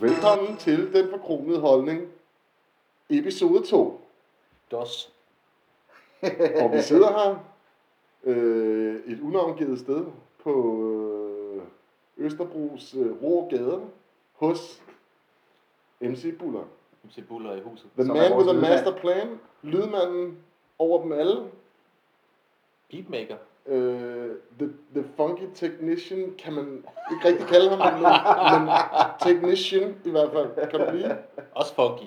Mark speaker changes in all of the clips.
Speaker 1: Velkommen til Den Forkromede Holdning, episode 2.
Speaker 2: Dos.
Speaker 1: Og vi sidder her øh, et unavngivet sted på øh, Østerbros øh, rå gader hos MC Buller.
Speaker 2: Nu ser buller i huset.
Speaker 1: The
Speaker 3: Som er
Speaker 1: man
Speaker 3: vores
Speaker 1: with a
Speaker 3: lydmand.
Speaker 1: master plan, lydmanden over dem alle,
Speaker 2: Beatmaker.
Speaker 1: øh, the, the funky technician, kan man ikke rigtig kalde ham, men, men technician i hvert fald kan blive.
Speaker 2: Også funky.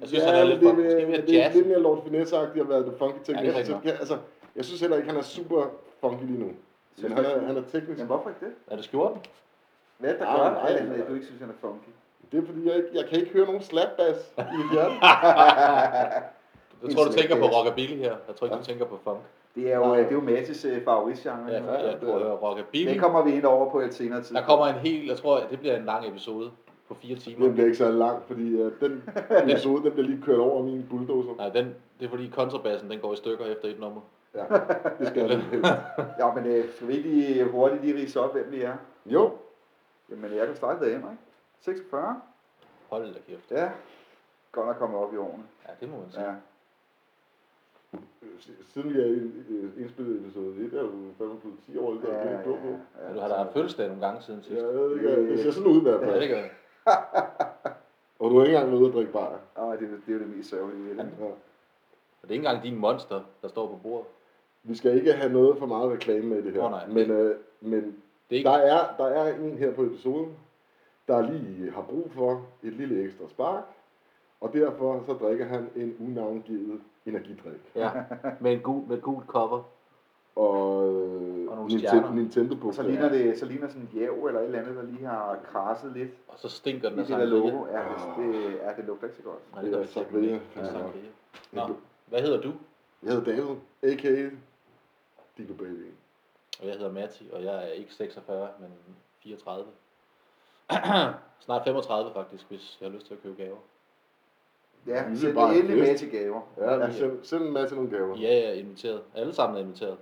Speaker 2: Jeg synes, han er lidt
Speaker 1: det
Speaker 2: funky. Måske mere
Speaker 1: det, er
Speaker 2: jazz.
Speaker 1: lidt mere Lord Finesse-agtigt at være the funky
Speaker 2: Ja, det er
Speaker 1: technician.
Speaker 2: rigtigt
Speaker 1: Ja,
Speaker 2: nok.
Speaker 1: altså, jeg synes heller ikke, han er super funky lige nu. Men han er, han er teknisk.
Speaker 3: Men hvorfor ikke det?
Speaker 2: Er det skjorten?
Speaker 3: Hvad er det, der
Speaker 1: Ah,
Speaker 3: gør,
Speaker 1: nej,
Speaker 3: at
Speaker 1: nej.
Speaker 3: at du ikke synes, han er funky?
Speaker 1: Det er fordi, jeg, ikke, jeg kan ikke høre nogen slapbass i et hjørne.
Speaker 2: Jeg tror, du
Speaker 3: slet
Speaker 2: tænker på
Speaker 3: ikke.
Speaker 2: rockabilly her. Jeg tror ikke, du tænker på funk.
Speaker 3: Det er jo,
Speaker 1: Nej.
Speaker 3: det er jo Mads' øh, favoritgenre.
Speaker 2: Ja,
Speaker 3: jo.
Speaker 1: ja,
Speaker 2: jeg tror,
Speaker 1: det-
Speaker 2: at rockabilly.
Speaker 3: Den kommer vi ind over på et senere tidspunkt.
Speaker 2: Der kommer en hel, jeg tror, at det bliver en lang episode på fire timer.
Speaker 1: Den bliver ikke så lang, fordi uh, den episode, den bliver lige kørt over af min bulldozer.
Speaker 2: Nej, den, det er fordi kontrabassen, den går i stykker efter et nummer.
Speaker 1: Ja, det skal jeg lige helst.
Speaker 3: Ja, men øh, skal vi ikke lige hurtigt lige rise op, hvem vi er?
Speaker 1: Jo,
Speaker 3: Jamen, jeg kan starte derhjemme, ikke? 46?
Speaker 2: Hold da kæft.
Speaker 3: Ja. Godt nok kommet op i årene.
Speaker 2: Ja, det må man sige.
Speaker 3: Ja.
Speaker 1: siden vi er i- øh, indspillet episode 1, er du fandme blevet 10 år ældre,
Speaker 3: Ja,
Speaker 1: og det er
Speaker 3: ja,
Speaker 1: ikke blå på.
Speaker 2: Men du har da haft fødselsdag nogle gange siden sidst.
Speaker 1: Ja, jeg ved ikke, øh, det ser sådan ud i hvert
Speaker 2: Ja, det
Speaker 1: fald.
Speaker 2: gør jeg.
Speaker 1: Og du er ikke engang med ude at drikke bajer.
Speaker 3: Åh, det, er- det er jo det mest sørgelige ved det.
Speaker 1: Ja.
Speaker 3: ikke?
Speaker 2: Og det er ikke engang din monster, der står på bordet.
Speaker 1: Vi skal ikke have noget for meget reklame med i det her.
Speaker 2: Åh, nej.
Speaker 1: Men, øh, men
Speaker 2: Det er ikke...
Speaker 1: der, er, der er en her på episoden, der lige har brug for et lille ekstra spark. Og derfor så drikker han en unavngivet energidrik.
Speaker 2: Ja, med, en gul, med et gult cover.
Speaker 1: Og, øh,
Speaker 2: Og nogle
Speaker 1: Nintendo,
Speaker 2: stjerner.
Speaker 1: Nintendo på.
Speaker 3: Og så ligner det så ligner sådan en jæv eller et eller andet, der lige har krasset lidt
Speaker 2: Og så stinker
Speaker 3: i
Speaker 2: den af
Speaker 3: det der
Speaker 2: sangria.
Speaker 3: logo. Ja, det, det, ja, det lugter ikke så godt.
Speaker 2: Nej,
Speaker 1: Det
Speaker 2: gør
Speaker 1: er
Speaker 2: det sikkert
Speaker 1: sangria.
Speaker 2: ikke. Det er
Speaker 1: Ja.
Speaker 2: sangria. Nå, hvad hedder du?
Speaker 1: Jeg hedder David, a.k.a. Dico Baby.
Speaker 2: Og jeg hedder Matti, og jeg er ikke 46, men 34. Snart 35 faktisk, hvis jeg har lyst til at købe gaver.
Speaker 3: Ja,
Speaker 1: Vi
Speaker 3: så
Speaker 1: vil
Speaker 3: det
Speaker 1: bare
Speaker 3: er endelig
Speaker 1: fest.
Speaker 3: med til gaver.
Speaker 1: Ja,
Speaker 2: Ja.
Speaker 1: vi send, send en masse nogle gaver.
Speaker 2: Ja, jeg er inviteret. Alle sammen er inviteret.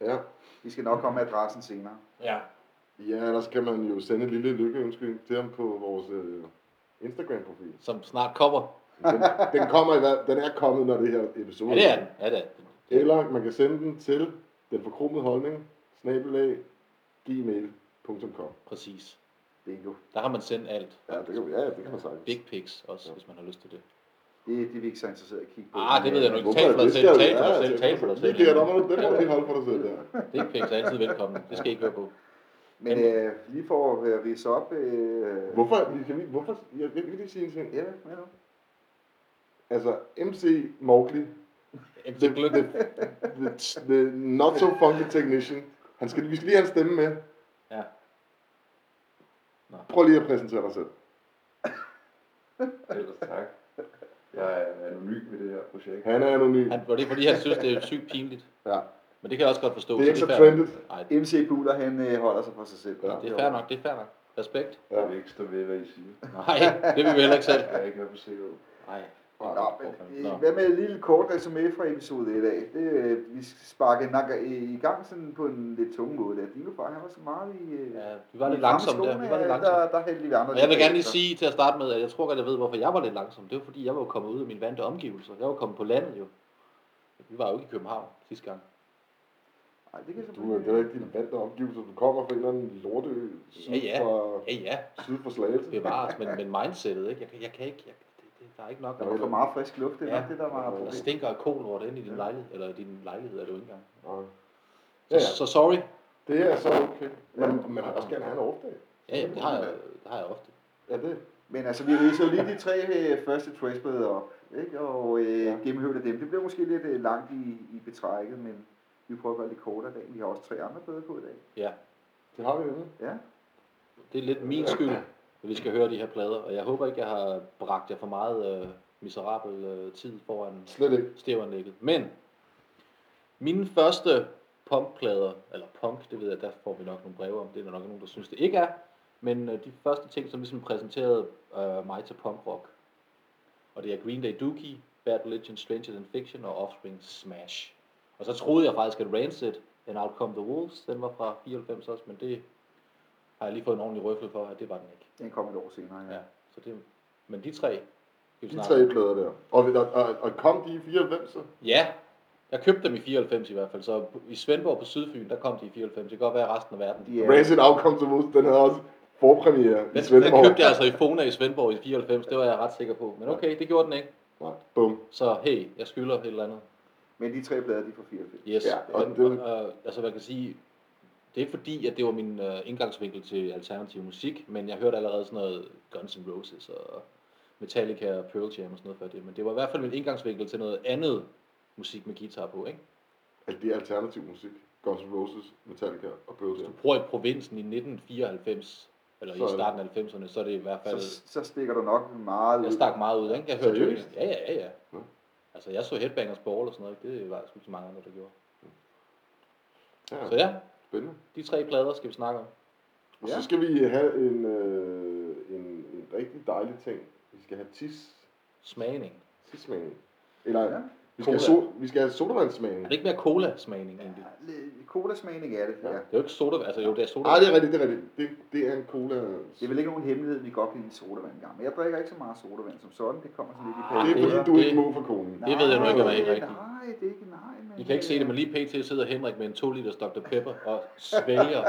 Speaker 1: Ja.
Speaker 3: Vi skal nok komme med adressen senere.
Speaker 2: Ja.
Speaker 1: ja, ellers kan man jo sende en lille lykkeønskning til ham på vores øh, Instagram-profil.
Speaker 2: Som snart kommer.
Speaker 1: Den, den, kommer i, hver- den er kommet, når det her episode
Speaker 2: Ja, det er den. Ja, det er den.
Speaker 1: Eller man kan sende den til den forkromede holdning, snabelag, gmail.com.
Speaker 2: Præcis.
Speaker 3: Bingo.
Speaker 2: Der har man sendt alt.
Speaker 1: Ja, det kan, ja, det kan man sagtens.
Speaker 2: Big pics også, hvis man har lyst til det.
Speaker 3: Det, det er vi ikke så interesseret i at kigge på.
Speaker 2: Ah, det ved jeg nu ikke.
Speaker 1: Hvorfor
Speaker 2: Tal
Speaker 1: er
Speaker 2: for dig
Speaker 1: det
Speaker 2: selv,
Speaker 1: skal-
Speaker 2: tal for
Speaker 1: ja,
Speaker 2: dig selv, tal for dig selv.
Speaker 1: Lige der, der må du, den må du lige holde for dig selv der.
Speaker 2: Big pics er altid velkommen. Det skal I ikke høre på.
Speaker 3: Men øh, lige for at øh, rise op... Øh,
Speaker 1: Hvorfor, kan vi, hvorfor, jeg vil lige sige en ting.
Speaker 3: Ja, hvad nu?
Speaker 1: Altså, MC Mowgli,
Speaker 2: MC
Speaker 1: the,
Speaker 2: Glück.
Speaker 1: the, the, the not so funky technician, han skal, vi skal lige have en stemme med.
Speaker 2: Ja.
Speaker 1: Prøv lige at præsentere dig selv.
Speaker 4: Ellers tak. Jeg er anonym i det her projekt.
Speaker 1: Han er anonym.
Speaker 2: Han, var det fordi, han synes, det er sygt pinligt?
Speaker 1: Ja.
Speaker 2: Men det kan jeg også godt forstå.
Speaker 1: Det er ikke så
Speaker 2: fair nok.
Speaker 1: trendet.
Speaker 2: Nej, det,
Speaker 3: MC Buller, han øh, holder sig for sig selv.
Speaker 1: Ja.
Speaker 2: det er fair nok, det er fair nok. Respekt.
Speaker 1: Ja.
Speaker 4: Jeg vil ikke stå ved, hvad I siger.
Speaker 2: Nej, det vil vi heller ikke selv.
Speaker 4: Jeg er ikke være for sikker.
Speaker 2: Nej.
Speaker 3: Nå, men, øh, hvad med et lille kort resumé fra episode 1 af? Det, øh, vi sparkede nok i gang sådan på en lidt tung måde. Der. Dino far, han var så meget i... Øh,
Speaker 2: Ja, vi var lidt
Speaker 3: i fremme i
Speaker 2: langsomme der.
Speaker 3: skoene,
Speaker 2: Vi var lidt
Speaker 3: ja,
Speaker 2: langsomme.
Speaker 3: Der, der hældte vi andre.
Speaker 2: Og jeg vil
Speaker 3: lidt
Speaker 2: gerne lige
Speaker 3: bagefter.
Speaker 2: sige til at starte med, at jeg tror godt, jeg ved, hvorfor jeg var lidt langsom. Det var fordi, jeg var jo kommet ud af min vante omgivelser. Jeg var kommet på landet jo. Vi var jo ikke i København sidste gang.
Speaker 3: Ej, det kan jeg
Speaker 1: Du er det er ikke dine vante omgivelser. Du kommer fra en eller anden lorteø syd,
Speaker 2: Ja, ja.
Speaker 1: Fra,
Speaker 2: Ja, ja,
Speaker 1: syd for Slagelse.
Speaker 2: bevares, men, men mindsetet, ikke? Jeg, kan- jeg kan ikke, jeg, det, det, der er ikke nok.
Speaker 1: Der
Speaker 3: Der var for meget frisk luft, det er
Speaker 2: Ja.
Speaker 3: nok det, der var
Speaker 2: Der
Speaker 3: problemet.
Speaker 2: stinker af kolort ind i din lejlighed, eller din lejlighed er det jo ikke engang.
Speaker 1: Nej. Ja,
Speaker 2: Så,
Speaker 1: ja.
Speaker 2: så sorry.
Speaker 1: Det er så okay. Men man vil også gerne have en overdag.
Speaker 2: Ja, ja, det har jeg, det har jeg ofte.
Speaker 1: Ja, det.
Speaker 3: Men altså, vi riser jo lige de tre øh, første trashblader op, ikke? og øh,
Speaker 1: Ja.
Speaker 3: ja. gennemhøvler dem. Det bliver måske lidt øh, langt i, i betrækket, men vi prøver at gøre det lidt kortere i dag. Vi har også tre andre blade på i dag.
Speaker 2: Ja,
Speaker 1: Det har vi nemlig.
Speaker 3: Ja,
Speaker 2: det er lidt min skyld, at vi skal høre de her plader, og jeg håber ikke, jeg har bragt jer for meget øh, miserabel øh, tid foran
Speaker 1: Slet ikke.
Speaker 2: stævernækket. Men mine første punkplader, eller punk, det ved jeg, der får vi nok nogle breve om, det er der nok nogen, der synes, det ikke er, men øh, de første ting, som ligesom præsenterede øh, mig til punkrock, og det er Green Day Dookie, Bad Religion, Stranger Than Fiction og Offspring Smash. Og så troede jeg faktisk, at Rancid and Out Come the Wolves, den var fra 94 også, men det har jeg lige fået en ordentlig røffel for, at det var den ikke.
Speaker 3: Den kom et år senere, ja.
Speaker 2: Ja, så det, men de tre, vi
Speaker 1: De
Speaker 2: snakker
Speaker 1: tre
Speaker 2: om.
Speaker 1: plader der. Og, og, og, og kom de i 94? så?
Speaker 2: Ja, jeg købte dem i 94 i hvert fald, så i Svendborg på Sydfyn, der kom de i 94. Det kan godt være at resten af verden.
Speaker 3: De er,
Speaker 1: Rancid Outcome to Moose, den havde også forpremiere i
Speaker 2: Den,
Speaker 1: Svendborg.
Speaker 2: den købte jeg altså i Fona i Svendborg i 94, det var jeg ret sikker på. Men okay, det gjorde den ikke.
Speaker 1: Nej, bum.
Speaker 2: Så hey, jeg skylder et eller andet.
Speaker 3: men de tre plader, de er fra 94.
Speaker 2: Yes.
Speaker 1: Ja,
Speaker 2: Ja,
Speaker 1: og
Speaker 2: og
Speaker 1: det-
Speaker 2: men, øh, altså, hvad jeg kan sige, det er fordi, at det var min øh, indgangsvinkel til alternativ musik, men jeg hørte allerede sådan noget Guns N' Roses og Metallica og Pearl Jam og sådan noget før det, men det var i hvert fald min indgangsvinkel til noget andet musik med guitar på,
Speaker 1: Alt
Speaker 2: ikke?
Speaker 1: Altså, det er alternativ musik. Guns N' Roses, Metallica og Pearl
Speaker 2: Hvis du
Speaker 1: Jam.
Speaker 2: bor i provinsen i 1994, eller
Speaker 1: Så er
Speaker 2: i
Speaker 1: det-
Speaker 2: starten af 90'erne, så er det i hvert fald...
Speaker 3: Så, så stikker der nok meget
Speaker 2: Jeg
Speaker 3: ud.
Speaker 2: stak meget ud, ikke? Jeg hørte jo...
Speaker 1: Seriøst?
Speaker 2: Ja, ja, ja, ja.
Speaker 1: Nå.
Speaker 2: Altså, jeg så Headbangers Ball og sådan noget, ikke? Det var sgu så mange andre, der gjorde.
Speaker 1: Ja,
Speaker 2: Så ja,
Speaker 1: spændende.
Speaker 2: de tre plader skal vi snakke om.
Speaker 1: Og
Speaker 3: Ja.
Speaker 1: så skal vi have en, øh, en, en rigtig dejlig ting. Vi skal have tis,
Speaker 2: Smagning.
Speaker 1: tismagning. Eller
Speaker 3: Ja.
Speaker 1: ja. vi, skal have
Speaker 2: Cola.
Speaker 1: so, vi skal have sodavandssmagning.
Speaker 2: Er det ikke mere cola-smagning, egentlig?
Speaker 3: Ja, lidt Cola-smagning er det,
Speaker 1: Ja.
Speaker 3: ja.
Speaker 2: Det er jo ikke soda, altså jo, det er soda.
Speaker 1: Nej, det er rigtigt, det er rigtigt. Det, det er en cola.
Speaker 3: Det er vel ikke nogen hemmelighed, vi godt kan lide sodavand engang. Men jeg drikker ikke så meget sodavand som sådan. Det kommer sådan lidt i
Speaker 2: Ah,
Speaker 1: Det er
Speaker 2: det-
Speaker 1: fordi, du
Speaker 2: det-
Speaker 1: ikke må for konen.
Speaker 2: det ved jeg nu ikke, om jeg er helt
Speaker 3: Nej,
Speaker 2: rigtig.
Speaker 3: Nej, det er ikke, nej. Men, øh,
Speaker 2: I kan ikke se det, men lige pt. sidder Henrik med en 2 liters Dr. Pepper og svælger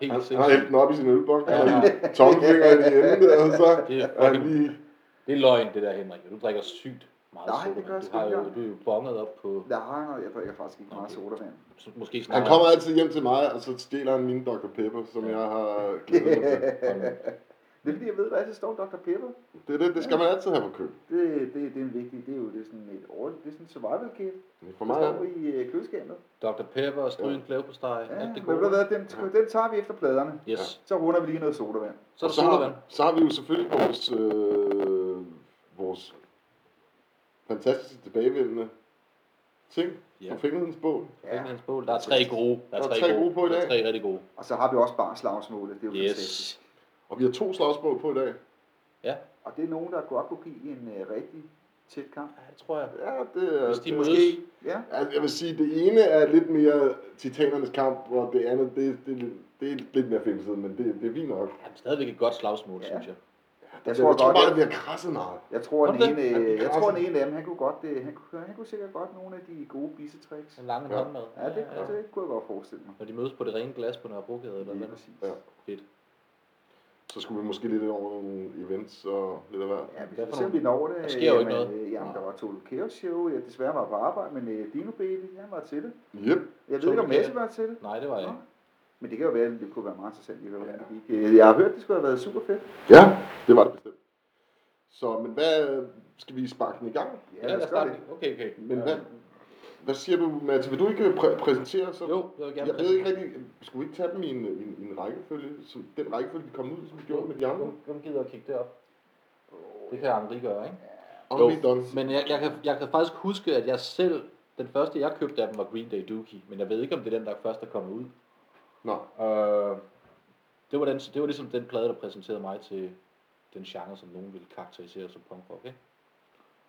Speaker 2: helt
Speaker 1: Han har hældt
Speaker 2: sindssygt.
Speaker 1: den op i sin ølbong, han
Speaker 2: Ja.
Speaker 1: har lige tommelfinger i den ende, og så
Speaker 2: Det er
Speaker 1: er han
Speaker 2: fucking
Speaker 1: lige...
Speaker 2: Det er løgn, det der, Henrik. Du drikker sygt meget
Speaker 3: Nej, det
Speaker 2: sodavand.
Speaker 3: gør jeg
Speaker 2: Du,
Speaker 3: sgu
Speaker 2: har jo,
Speaker 3: ikke.
Speaker 2: du er jo bonget op på...
Speaker 3: Nej, nej, jeg drikker faktisk ikke meget
Speaker 2: Okay.
Speaker 3: sodavand.
Speaker 2: Måske snart.
Speaker 1: Han kommer altid hjem til mig, og så stjæler han min Dr. Pepper, som jeg har glædet mig til.
Speaker 3: Det er fordi, jeg ved, der altid står Dr. Pepper.
Speaker 1: Det, er det, det skal man altid have på køb.
Speaker 3: Det, det, det er en vigtig, det er jo det er sådan et årligt, det er sådan en survival kit,
Speaker 1: For
Speaker 3: der
Speaker 1: mig er
Speaker 3: står i øh, køleskabet.
Speaker 2: Dr. Pepper og strygen ja. på steg.
Speaker 3: Ja,
Speaker 2: alt det
Speaker 3: men ved du
Speaker 2: gode.
Speaker 3: hvad, den, den tager vi efter pladerne.
Speaker 2: Yes.
Speaker 3: Så runder vi lige noget sodavand.
Speaker 2: Så er
Speaker 1: Og
Speaker 2: der
Speaker 1: så, har,
Speaker 2: sodavand.
Speaker 1: så har vi jo selvfølgelig vores, øh, vores fantastiske tilbagevendende ting
Speaker 2: Ja.
Speaker 1: ja. fra Fingerhedens bål.
Speaker 2: Ja.
Speaker 3: Ja.
Speaker 2: Der er tre gode. Der er, tre, gode
Speaker 1: på i
Speaker 2: Der er
Speaker 1: dag.
Speaker 2: tre rigtig gode.
Speaker 3: Og så har vi også bare slagsmålet, det er jo yes. fantastisk.
Speaker 2: Yes.
Speaker 1: Og vi har to slagsmål på i dag.
Speaker 3: Og det er nogen, der godt kunne give en øh, rigtig tæt kamp.
Speaker 2: Ja, det tror jeg.
Speaker 1: Ja, det er...
Speaker 2: Hvis de
Speaker 1: det er-
Speaker 2: mødes,
Speaker 3: Ja,
Speaker 1: Altså, jeg vil sige, det ene er lidt mere titanernes kamp, og det andet, det, det, det, det er lidt mere filmsiden, men det, det er fint nok.
Speaker 2: er det stadigvæk et godt slagsmål,
Speaker 3: Ja.
Speaker 2: synes jeg.
Speaker 3: jeg
Speaker 1: Jeg tror,
Speaker 3: tror
Speaker 1: jeg tror bare,
Speaker 3: godt,
Speaker 1: det
Speaker 3: jeg,
Speaker 1: bliver krasset meget.
Speaker 3: jeg tror, den
Speaker 2: Hvordan?
Speaker 3: ene,
Speaker 1: Ja, det
Speaker 3: øh,
Speaker 1: er
Speaker 3: jeg tror,
Speaker 1: også-
Speaker 3: den ene af dem, han kunne godt, øh, han, kunne, han kunne sikkert godt nogle af de gode bisetricks.
Speaker 2: Den lange
Speaker 1: Ja.
Speaker 2: ja. hånd med.
Speaker 3: Ja, det, det kunne jeg godt forestille mig.
Speaker 2: Når de mødes på det rene glas på Nørrebrogade, eller hvad?
Speaker 3: Lige
Speaker 2: det er.
Speaker 3: præcis.
Speaker 1: Ja.
Speaker 2: Fedt.
Speaker 1: Så skulle vi måske lidt over nogle events og lidt af hvert.
Speaker 3: Ja, hvis
Speaker 2: Hvad
Speaker 3: vi
Speaker 2: for
Speaker 3: ser
Speaker 2: nogle-
Speaker 3: vi når det.
Speaker 2: Der sker jo ikke
Speaker 3: jamen,
Speaker 2: noget.
Speaker 3: øh, Jamen, der var Tolo Chaos Show. Jeg desværre var på arbejde, men øh, Dino Baby, han var til det.
Speaker 1: Yep.
Speaker 3: Jeg ved
Speaker 2: Tolo
Speaker 3: ikke, om
Speaker 2: Chaos?
Speaker 3: Mads var til det.
Speaker 2: Nej, det var jeg
Speaker 3: Nå.
Speaker 2: ikke.
Speaker 3: Men det kan jo være, at det kunne være meget interessant at høre, hvordan det gik. Øh, Jeg har hørt, det skulle have været super fedt.
Speaker 1: Ja, det var det bestemt. Så, men hvad skal vi sparke den i gang?
Speaker 2: Ja, lad os starte. Okay, okay.
Speaker 1: Men hvad, hvad siger du, Mads? Vil du ikke præ- præsentere så?
Speaker 2: Jo, jeg vil gerne
Speaker 1: Jeg ved ikke rigtig, skulle vi ikke tage dem i en, i en, i en rækkefølge, som, den rækkefølge, de kom ud, som vi gjorde med de andre?
Speaker 2: Hvem gider at kigge derop? Det kan Henri gøre, ikke?
Speaker 1: Og
Speaker 2: Jo.
Speaker 1: vi er done.
Speaker 2: Men jeg, jeg, kan, jeg kan faktisk huske, at jeg selv, den første jeg købte af dem var Green Day Dookie, men jeg ved ikke, om det er den, der først er kommet ud.
Speaker 1: Nå,
Speaker 2: Øh, det, var den, det var ligesom den plade, der præsenterede mig til den genre, som nogen ville karakterisere som punkrock, ikke?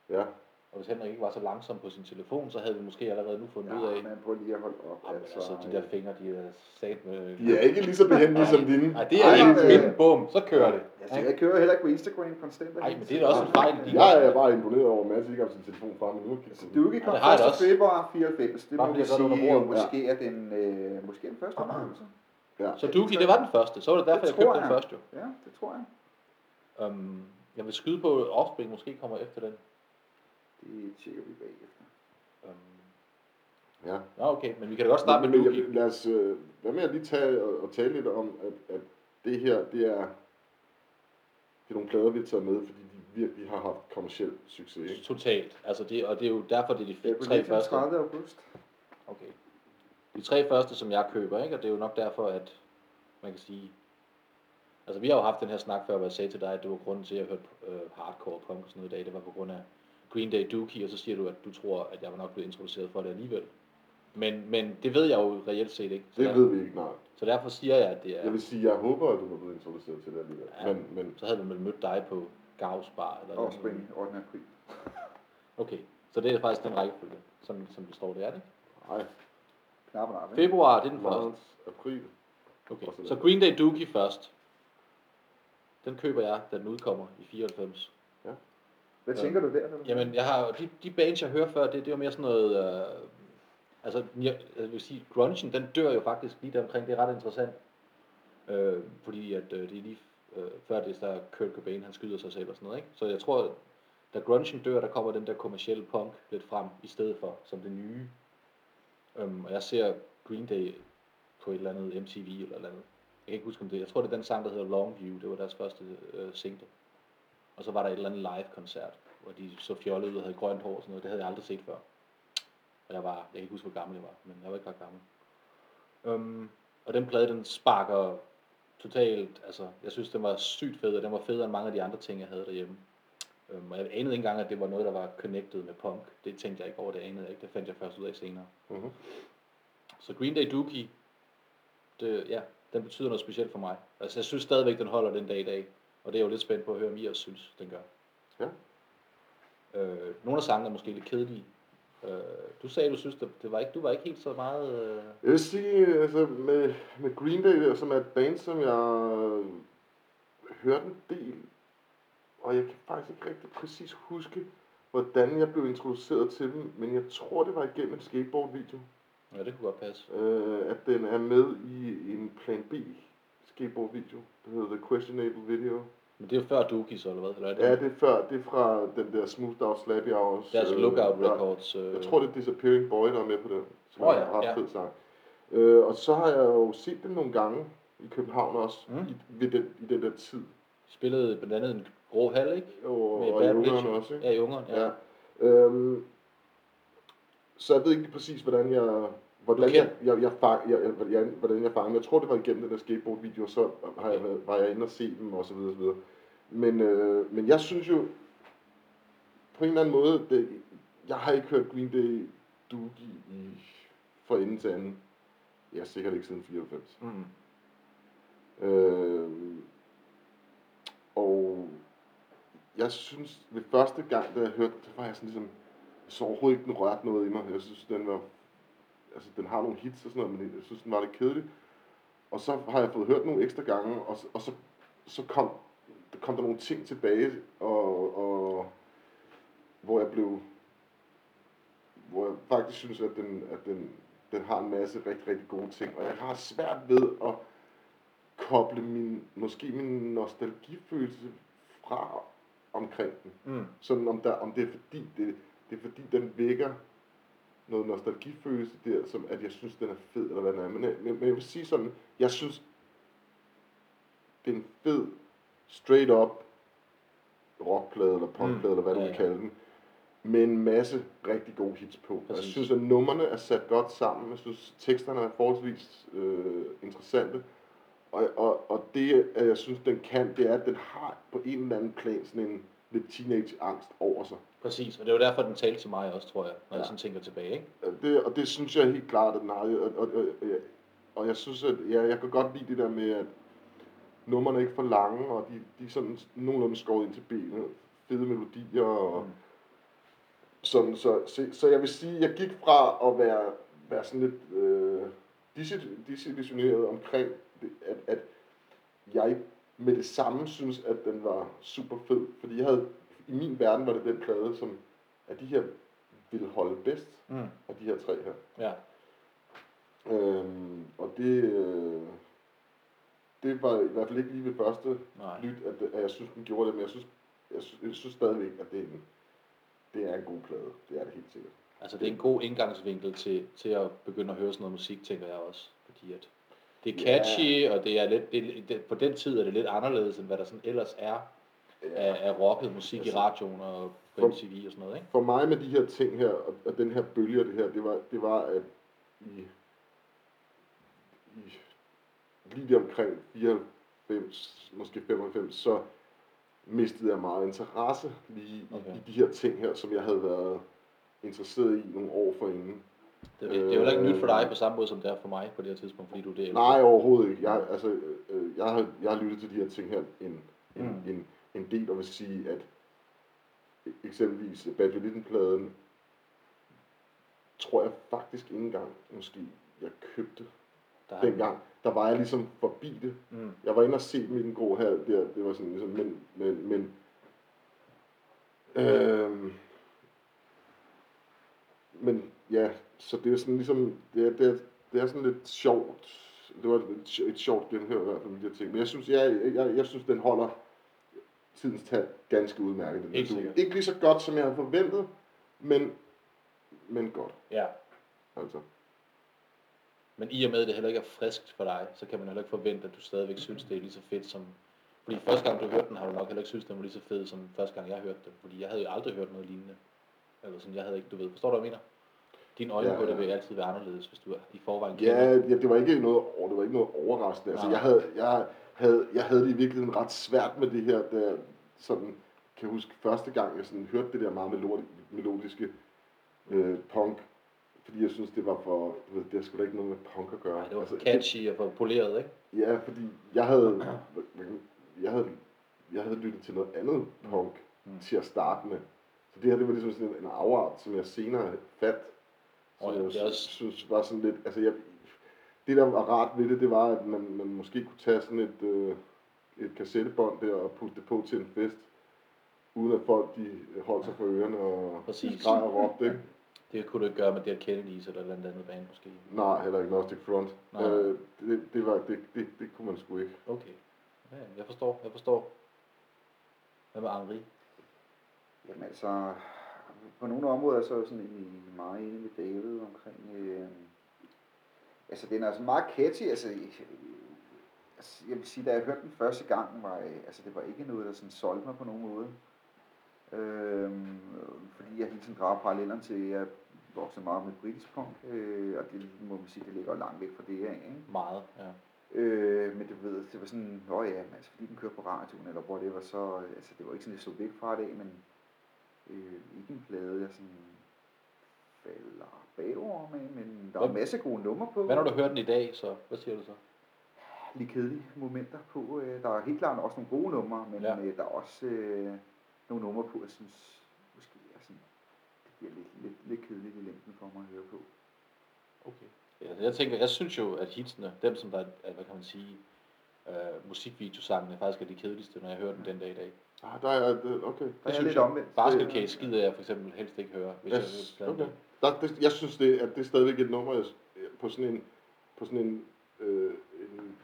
Speaker 1: ja.
Speaker 2: Og hvis Henrik ikke var så langsom på sin telefon, så havde vi måske allerede nu fundet ud af,
Speaker 3: Ja, man prøver lige at holde op.
Speaker 2: Jamen, altså, de der fingre, de er sat med...
Speaker 1: De er ikke lige så behendige som dine.
Speaker 2: Nej, det er
Speaker 3: Ej,
Speaker 2: ikke
Speaker 3: øh.
Speaker 2: min bum, så kører det.
Speaker 3: Altså, jeg kører heller ikke på Instagram konstant.
Speaker 2: Ej, men det er da også en fejl, de-
Speaker 1: øh, Jeg er bare imponeret over, at Mads ikke har sin telefon frem, men nu har kigget
Speaker 3: Altså,
Speaker 1: på den.
Speaker 3: Duke
Speaker 2: Ja,
Speaker 3: kom
Speaker 2: det har jeg da
Speaker 3: 1.
Speaker 2: også.
Speaker 3: februar 94. Det
Speaker 2: Bare
Speaker 3: må
Speaker 2: fordi
Speaker 3: vi
Speaker 2: jeg så det under
Speaker 3: sige,
Speaker 2: bordet, ja.
Speaker 3: måske er den, øh, måske er den
Speaker 2: Ah.
Speaker 3: første oplevelse.
Speaker 1: Ja.
Speaker 2: Så Dookie, det var den første, så var det derfor,
Speaker 3: Det
Speaker 2: jeg købte
Speaker 3: tror
Speaker 2: den
Speaker 3: jeg.
Speaker 2: først jo.
Speaker 3: Ja, det tror jeg.
Speaker 2: Um, jeg vil skyde på, at Offspring måske kommer efter den.
Speaker 3: Det tjekker vi bagefter.
Speaker 2: Um,
Speaker 1: Ja.
Speaker 2: Nå, okay, men vi kan da godt starte
Speaker 1: Men-
Speaker 2: med
Speaker 1: men
Speaker 2: Dookie.
Speaker 1: jeg- Lad os, øh, hvad med at lige tage og, og tale lidt om, at, at det her, det er, det er nogle plader, vi har taget med, fordi de virkelig har haft kommersiel succes. Ikke?
Speaker 2: Totalt. Altså det, og det er jo derfor, det er de
Speaker 3: Det
Speaker 2: f- tre første.
Speaker 3: 30. august.
Speaker 2: Okay. De tre første, som jeg køber, ikke? og det er jo nok derfor, at man kan sige... Altså, vi har jo haft den her snak før, hvor jeg sagde til dig, at det var grunden til, at jeg hørte øh, hardcore punk og sådan noget i dag. Det var på grund af Green Day Dookie, og så siger du, at du tror, at jeg var nok blevet introduceret for det alligevel. Men, men det ved jeg jo reelt set ikke. Så,
Speaker 1: Det ved vi ikke, nej.
Speaker 2: så derfor siger jeg, at det er...
Speaker 1: Jeg vil sige, jeg håber, at du var blevet introduceret til det alligevel.
Speaker 2: Ja.
Speaker 1: Men, men
Speaker 2: Så havde vi vel mødt dig på Gavs Bar. Eller noget.
Speaker 3: Offspring 8. april.
Speaker 2: Okay, så det er faktisk den rækkefølge, som, som det står der, er det?
Speaker 1: Nej,
Speaker 3: Knap og nap, ikke?
Speaker 2: Februar, det er den første.
Speaker 1: marts, april.
Speaker 2: Okay,
Speaker 1: Og så
Speaker 2: så
Speaker 1: den.
Speaker 2: Green Day Dookie først. Den køber jeg, da den udkommer i 94.
Speaker 3: Hvad
Speaker 2: Ja.
Speaker 3: tænker du der? Niels?
Speaker 2: Jamen, jeg har, jo- de, de bands, jeg hører før, det, det var mere sådan noget... Øh, altså, jeg, jeg vil sige, grungen, den dør jo faktisk lige der omkring. Det er ret interessant. Øh, fordi at, øh, det er lige øh, før det, der Kurt Cobain, han skyder sig selv og sådan noget. Ikke? Så jeg tror, at da grungen dør, der kommer den der kommercielle punk lidt frem i stedet for, som det nye. Øhm, og jeg ser Green Day på et eller andet MTV eller et eller andet. Jeg kan ikke huske om det. Jeg tror, det er den sang, der hedder Longview. Det var deres første øh, single. Og så var der et eller andet live-koncert, hvor de så fjollede ud og havde grønt hår og sådan noget. Det havde jeg aldrig set før. Og jeg var, jeg kan ikke huske, hvor gammel jeg var, men jeg var ikke ret gammel. Øhm, og den plade, den sparker totalt, altså, jeg synes, den var sygt fed, og den var federe end mange af de andre ting, jeg havde derhjemme. Øhm, og jeg anede ikke engang, at det var noget, der var connected med punk. Det tænkte jeg ikke over, det anede jeg ikke. Det fandt jeg først ud af senere.
Speaker 1: Mhm.
Speaker 2: Så Green Day Dookie, det, ja, den betyder noget specielt for mig. Altså, jeg synes stadigvæk, den holder den dag i dag. Og det er jeg jo lidt spændt på at høre, om I også synes, den gør.
Speaker 1: Ja.
Speaker 2: Øh, nogle af sangene er måske lidt kedelige. Øh, du sagde, du synes, det, det var ikke, du var ikke helt så meget... Øh,
Speaker 1: Jeg vil sige, altså med, med Green Day, der, som er et band, som jeg øh, hørte en del, og jeg kan faktisk ikke rigtig præcis huske, hvordan jeg blev introduceret til dem, men jeg tror, det var igennem en skateboardvideo,
Speaker 2: ja, det kunne godt passe.
Speaker 1: øh, at den er med i en Plan B skateboardvideo, der hedder The Questionable Video.
Speaker 2: Men det er jo før Dookie, så, eller hvad? Eller er det,
Speaker 1: Ja, det er før, det er fra den der Smooth Out Slappy Hours.
Speaker 2: deres
Speaker 1: øh,
Speaker 2: Lookout
Speaker 1: ja.
Speaker 2: Records. Øh,
Speaker 1: Jeg tror, det er Disappearing Boy, der er med på den. Som
Speaker 2: Åh
Speaker 1: oh,
Speaker 2: ja,
Speaker 1: ja, har
Speaker 2: ja.
Speaker 1: ja. fed sang. Øh, og så har jeg jo set dem nogle gange i København også,
Speaker 2: Mm.
Speaker 1: mm. i, ved den, i den der tid.
Speaker 2: spillede blandt andet en grå hal, ikke?
Speaker 1: Og,
Speaker 2: Med
Speaker 1: og i
Speaker 2: Bad
Speaker 1: Ungarn
Speaker 2: Bitch.
Speaker 1: også, ikke?
Speaker 2: Ja, i Ungeren, ja.
Speaker 1: Ja. Øhm, så jeg ved ikke præcis, hvordan jeg... Hvordan
Speaker 2: Okay.
Speaker 1: jeg, jeg, jeg, fang, jeg, jeg, hvordan- hvordan jeg fangede. Jeg tror, det var igennem den der skateboard-video, og så har jeg, været- var jeg inde og se dem, og så videre, og så videre. Men, øh, men jeg synes jo, på en eller anden måde, det, jeg har ikke hørt Green Day Doogie i, fra ende til anden. Ja, sikkert ikke siden 94.
Speaker 2: Mm.
Speaker 1: Øh, og jeg synes, det første gang, da jeg hørte det, var jeg sådan ligesom, jeg så overhovedet ikke, den rørte noget i mig. Jeg synes, den var, altså den har nogle hits og sådan noget, men jeg synes, den var lidt kedelig. Og så har jeg fået hørt nogle ekstra gange, og, så- og så, så kom, der kom der nogle ting tilbage, og, og hvor jeg blev, hvor jeg faktisk synes, at den, at den, den har en masse rigtig, rigtig gode ting, og jeg har svært ved at koble min, måske min nostalgifølelse fra omkring den.
Speaker 2: Mm.
Speaker 1: Sådan om, der, om det er fordi, det, det er fordi, den vækker noget nostalgifølelse der, som at jeg synes, den er fed, eller hvad den er. Men, jeg- men, men jeg vil sige sådan, jeg synes, det er en fed, straight up rockplade, eller punkplade,
Speaker 2: Mm,
Speaker 1: mm, eller hvad du
Speaker 2: ja,
Speaker 1: vil
Speaker 2: ja.
Speaker 1: kalde den, med en masse rigtig gode hits på. Jeg
Speaker 2: Præcis.
Speaker 1: synes, at numrene er sat godt sammen. Jeg synes, teksterne er forholdsvis øh, interessante. Og, og, og det, at jeg synes, den kan, det er, at den har på en eller anden plan sådan en lidt teenage-angst over sig.
Speaker 2: Præcis, og det var derfor, den talte til mig også, tror jeg, når ja. jeg
Speaker 1: Ja.
Speaker 2: sådan tænker tilbage, ikke?
Speaker 1: Og Det, og det synes jeg helt klart, at den har. Og, og, og, og jeg synes, at ja, jeg kan godt lide det der med, at numrene er ikke for lange, og de, de er sådan nogenlunde skåret ind til benet. Fede melodier og...
Speaker 2: Mm.
Speaker 1: Sådan, så, så, så jeg vil sige, jeg gik fra at være, være sådan lidt øh, disi- disillusioneret omkring, det, at, at jeg med det samme synes, at den var super fed. Fordi jeg havde, i min verden var det den plade, som at de her ville holde bedst
Speaker 2: Mm.
Speaker 1: af de her tre her.
Speaker 2: Ja.
Speaker 1: Øhm, og det, øh, det var i hvert fald ikke lige ved første
Speaker 2: Nej.
Speaker 1: lyt, at, at jeg synes, den gjorde det, men jeg synes, jeg synes, jeg synes stadigvæk, at det er, en, det er en god plade. Det er det helt sikkert.
Speaker 2: Altså, det er en god indgangsvinkel til, til at begynde at høre sådan noget musik, tænker jeg også. Fordi at det er
Speaker 1: Ja.
Speaker 2: catchy, og det er lidt, det, det, på den tid er det lidt anderledes, end hvad der sådan ellers er af, af rocket musik i
Speaker 1: Altså-
Speaker 2: radioen og på
Speaker 1: For-
Speaker 2: MTV og sådan noget, ikke?
Speaker 1: For mig med de her ting her, og, og den her bølge og det her, det var, det var at i, i lige der omkring 94, måske 95, så mistede jeg meget interesse lige
Speaker 2: Okay.
Speaker 1: okay. i de her ting her, som jeg havde været interesseret i nogle år forinden.
Speaker 2: Det, det, det er jo heller ikke
Speaker 1: Øh.
Speaker 2: nyt for dig på samme måde, som det er for mig på det her tidspunkt, fordi du er det ældre.
Speaker 1: Nej, overhovedet ikke. Jeg, altså, øh, jeg, har, jeg har lyttet til de her ting her en, en,
Speaker 2: Mm.
Speaker 1: mm. en, en del, og vil sige, at eksempelvis Badulitten-pladen, tror jeg faktisk ikke engang, måske jeg købte
Speaker 2: Der er-
Speaker 1: dengang. Der var jeg ligesom forbi det.
Speaker 2: Mm.
Speaker 1: Jeg var inde og se dem i den grå hal der. Det var sådan ligesom, men, men, men øhm, men ja, så det er sådan ligesom, det er, det er, det er sådan lidt sjovt. Det var et, sj- et sjovt genhør i hvert fald, med de her ting. Men jeg synes, jeg, jeg, jeg synes, den holder tidens tand ganske udmærket. Den her
Speaker 2: Helt
Speaker 1: duo.
Speaker 2: sikkert.
Speaker 1: Ikke lige så godt, som jeg havde forventet, men, men godt.
Speaker 2: Ja.
Speaker 1: Altså.
Speaker 2: Men i og med, at det heller ikke er friskt for dig, så kan man heller ikke forvente, at du stadigvæk synes, det er lige så fedt som... Fordi første gang, du hørte den, har du nok heller ikke synes, den var lige så fed, som første gang, jeg hørte den. Fordi jeg havde jo aldrig hørt noget lignende. Eller sådan, jeg havde ikke, du ved, forstår du, hvad jeg mener? Dine øjne
Speaker 1: Ja,
Speaker 2: på det
Speaker 1: ja.
Speaker 2: vil altid være anderledes, hvis du er i forvejen
Speaker 1: Ja, ja, det var ikke noget, over- det var ikke noget overraskende. Altså,
Speaker 2: Nej.
Speaker 1: jeg havde, jeg, havde, jeg havde det i virkeligheden ret svært med det her, da jeg sådan, kan huske første gang, jeg sådan hørte det der meget melodi- melodiske øh, punk, fordi jeg synes, det var for, du ved, det har sgu da ikke noget med punk at gøre. Altså,
Speaker 2: Nej, det var
Speaker 1: det-
Speaker 2: for catchy og for poleret, ikke?
Speaker 1: Ja, fordi jeg havde, jeg havde, jeg havde lyttet til noget andet punk
Speaker 2: Mm.
Speaker 1: mm. til at starte med. Så det her, det var ligesom sådan en afart, som jeg senere fandt. Som
Speaker 2: Og ja,
Speaker 1: jeg
Speaker 2: det er
Speaker 1: sy-
Speaker 2: også-
Speaker 1: synes var sådan lidt, altså jeg, det der var rart ved det, det var, at man, man måske kunne tage sådan et, øh, et kassettebånd der og putte det på til en fest, uden at folk de holdt sig for ørerne og
Speaker 2: Præcis.
Speaker 1: skreg og råbte, ikke?
Speaker 2: Det kunne du ikke gøre med det at Kennedys eller et eller andet band, måske.
Speaker 1: Nej, heller ikke Gnostic Front.
Speaker 2: Nej.
Speaker 1: Øh, det, det, var, det, det, det kunne man sgu ikke.
Speaker 2: Okay. Ja, jeg forstår, jeg forstår. Hvad med Henri?
Speaker 3: Jamen altså, på nogle områder så er jeg sådan egentlig meget enig med David omkring... Øh, altså, den er altså meget catchy. Altså, øh, altså, jeg vil sige, da jeg hørte den første gang, var, øh, altså, det var ikke noget, der sådan solgte mig på nogen måde. Øh, fordi jeg hele tiden drager parallellerne til, at jeg voksede meget med britisk punk, øh, og det må man sige, det ligger jo langt væk fra det her, ikke?
Speaker 2: Meget, ja.
Speaker 3: Øh, men du ved, det var sådan, nå ja, men altså, fordi den kører på radioen, eller hvor det var så, øh, altså det var ikke sådan, jeg så væk fra det, men øh, ikke en plade, jeg sådan falder bagover med, men der er
Speaker 2: Hvad-
Speaker 3: masser af gode numre på.
Speaker 2: Hvad når du hører den i dag, så? Hvad siger du så?
Speaker 3: Lidt kedelige momenter på. Øh, der er helt klart også nogle gode numre, men
Speaker 2: Ja.
Speaker 3: ja. øh, der er også øh, nogle numre på, jeg synes, måske er sådan, det bliver lidt, lidt, lidt kedeligt i længden for mig at høre på.
Speaker 2: Okay. Ja, altså, jeg tænker, jeg synes jo, at hitsene, dem som der, er, hvad kan man sige, øh, musikvideosangene faktisk er de kedeligste, når jeg hører dem den dag i dag.
Speaker 1: Ah, der er, det- okay.
Speaker 3: Der er
Speaker 2: synes
Speaker 3: lidt
Speaker 2: jeg.
Speaker 3: omvendt.
Speaker 2: Basket
Speaker 3: Øh,
Speaker 2: Case skider jeg for eksempel helst ikke høre, hvis
Speaker 1: Yes,
Speaker 2: jeg hører
Speaker 1: okay.
Speaker 2: pladen.
Speaker 1: Der, det, jeg synes, det, at det er stadigvæk et nummer, jeg, øh, på sådan en, på sådan en, øh, en,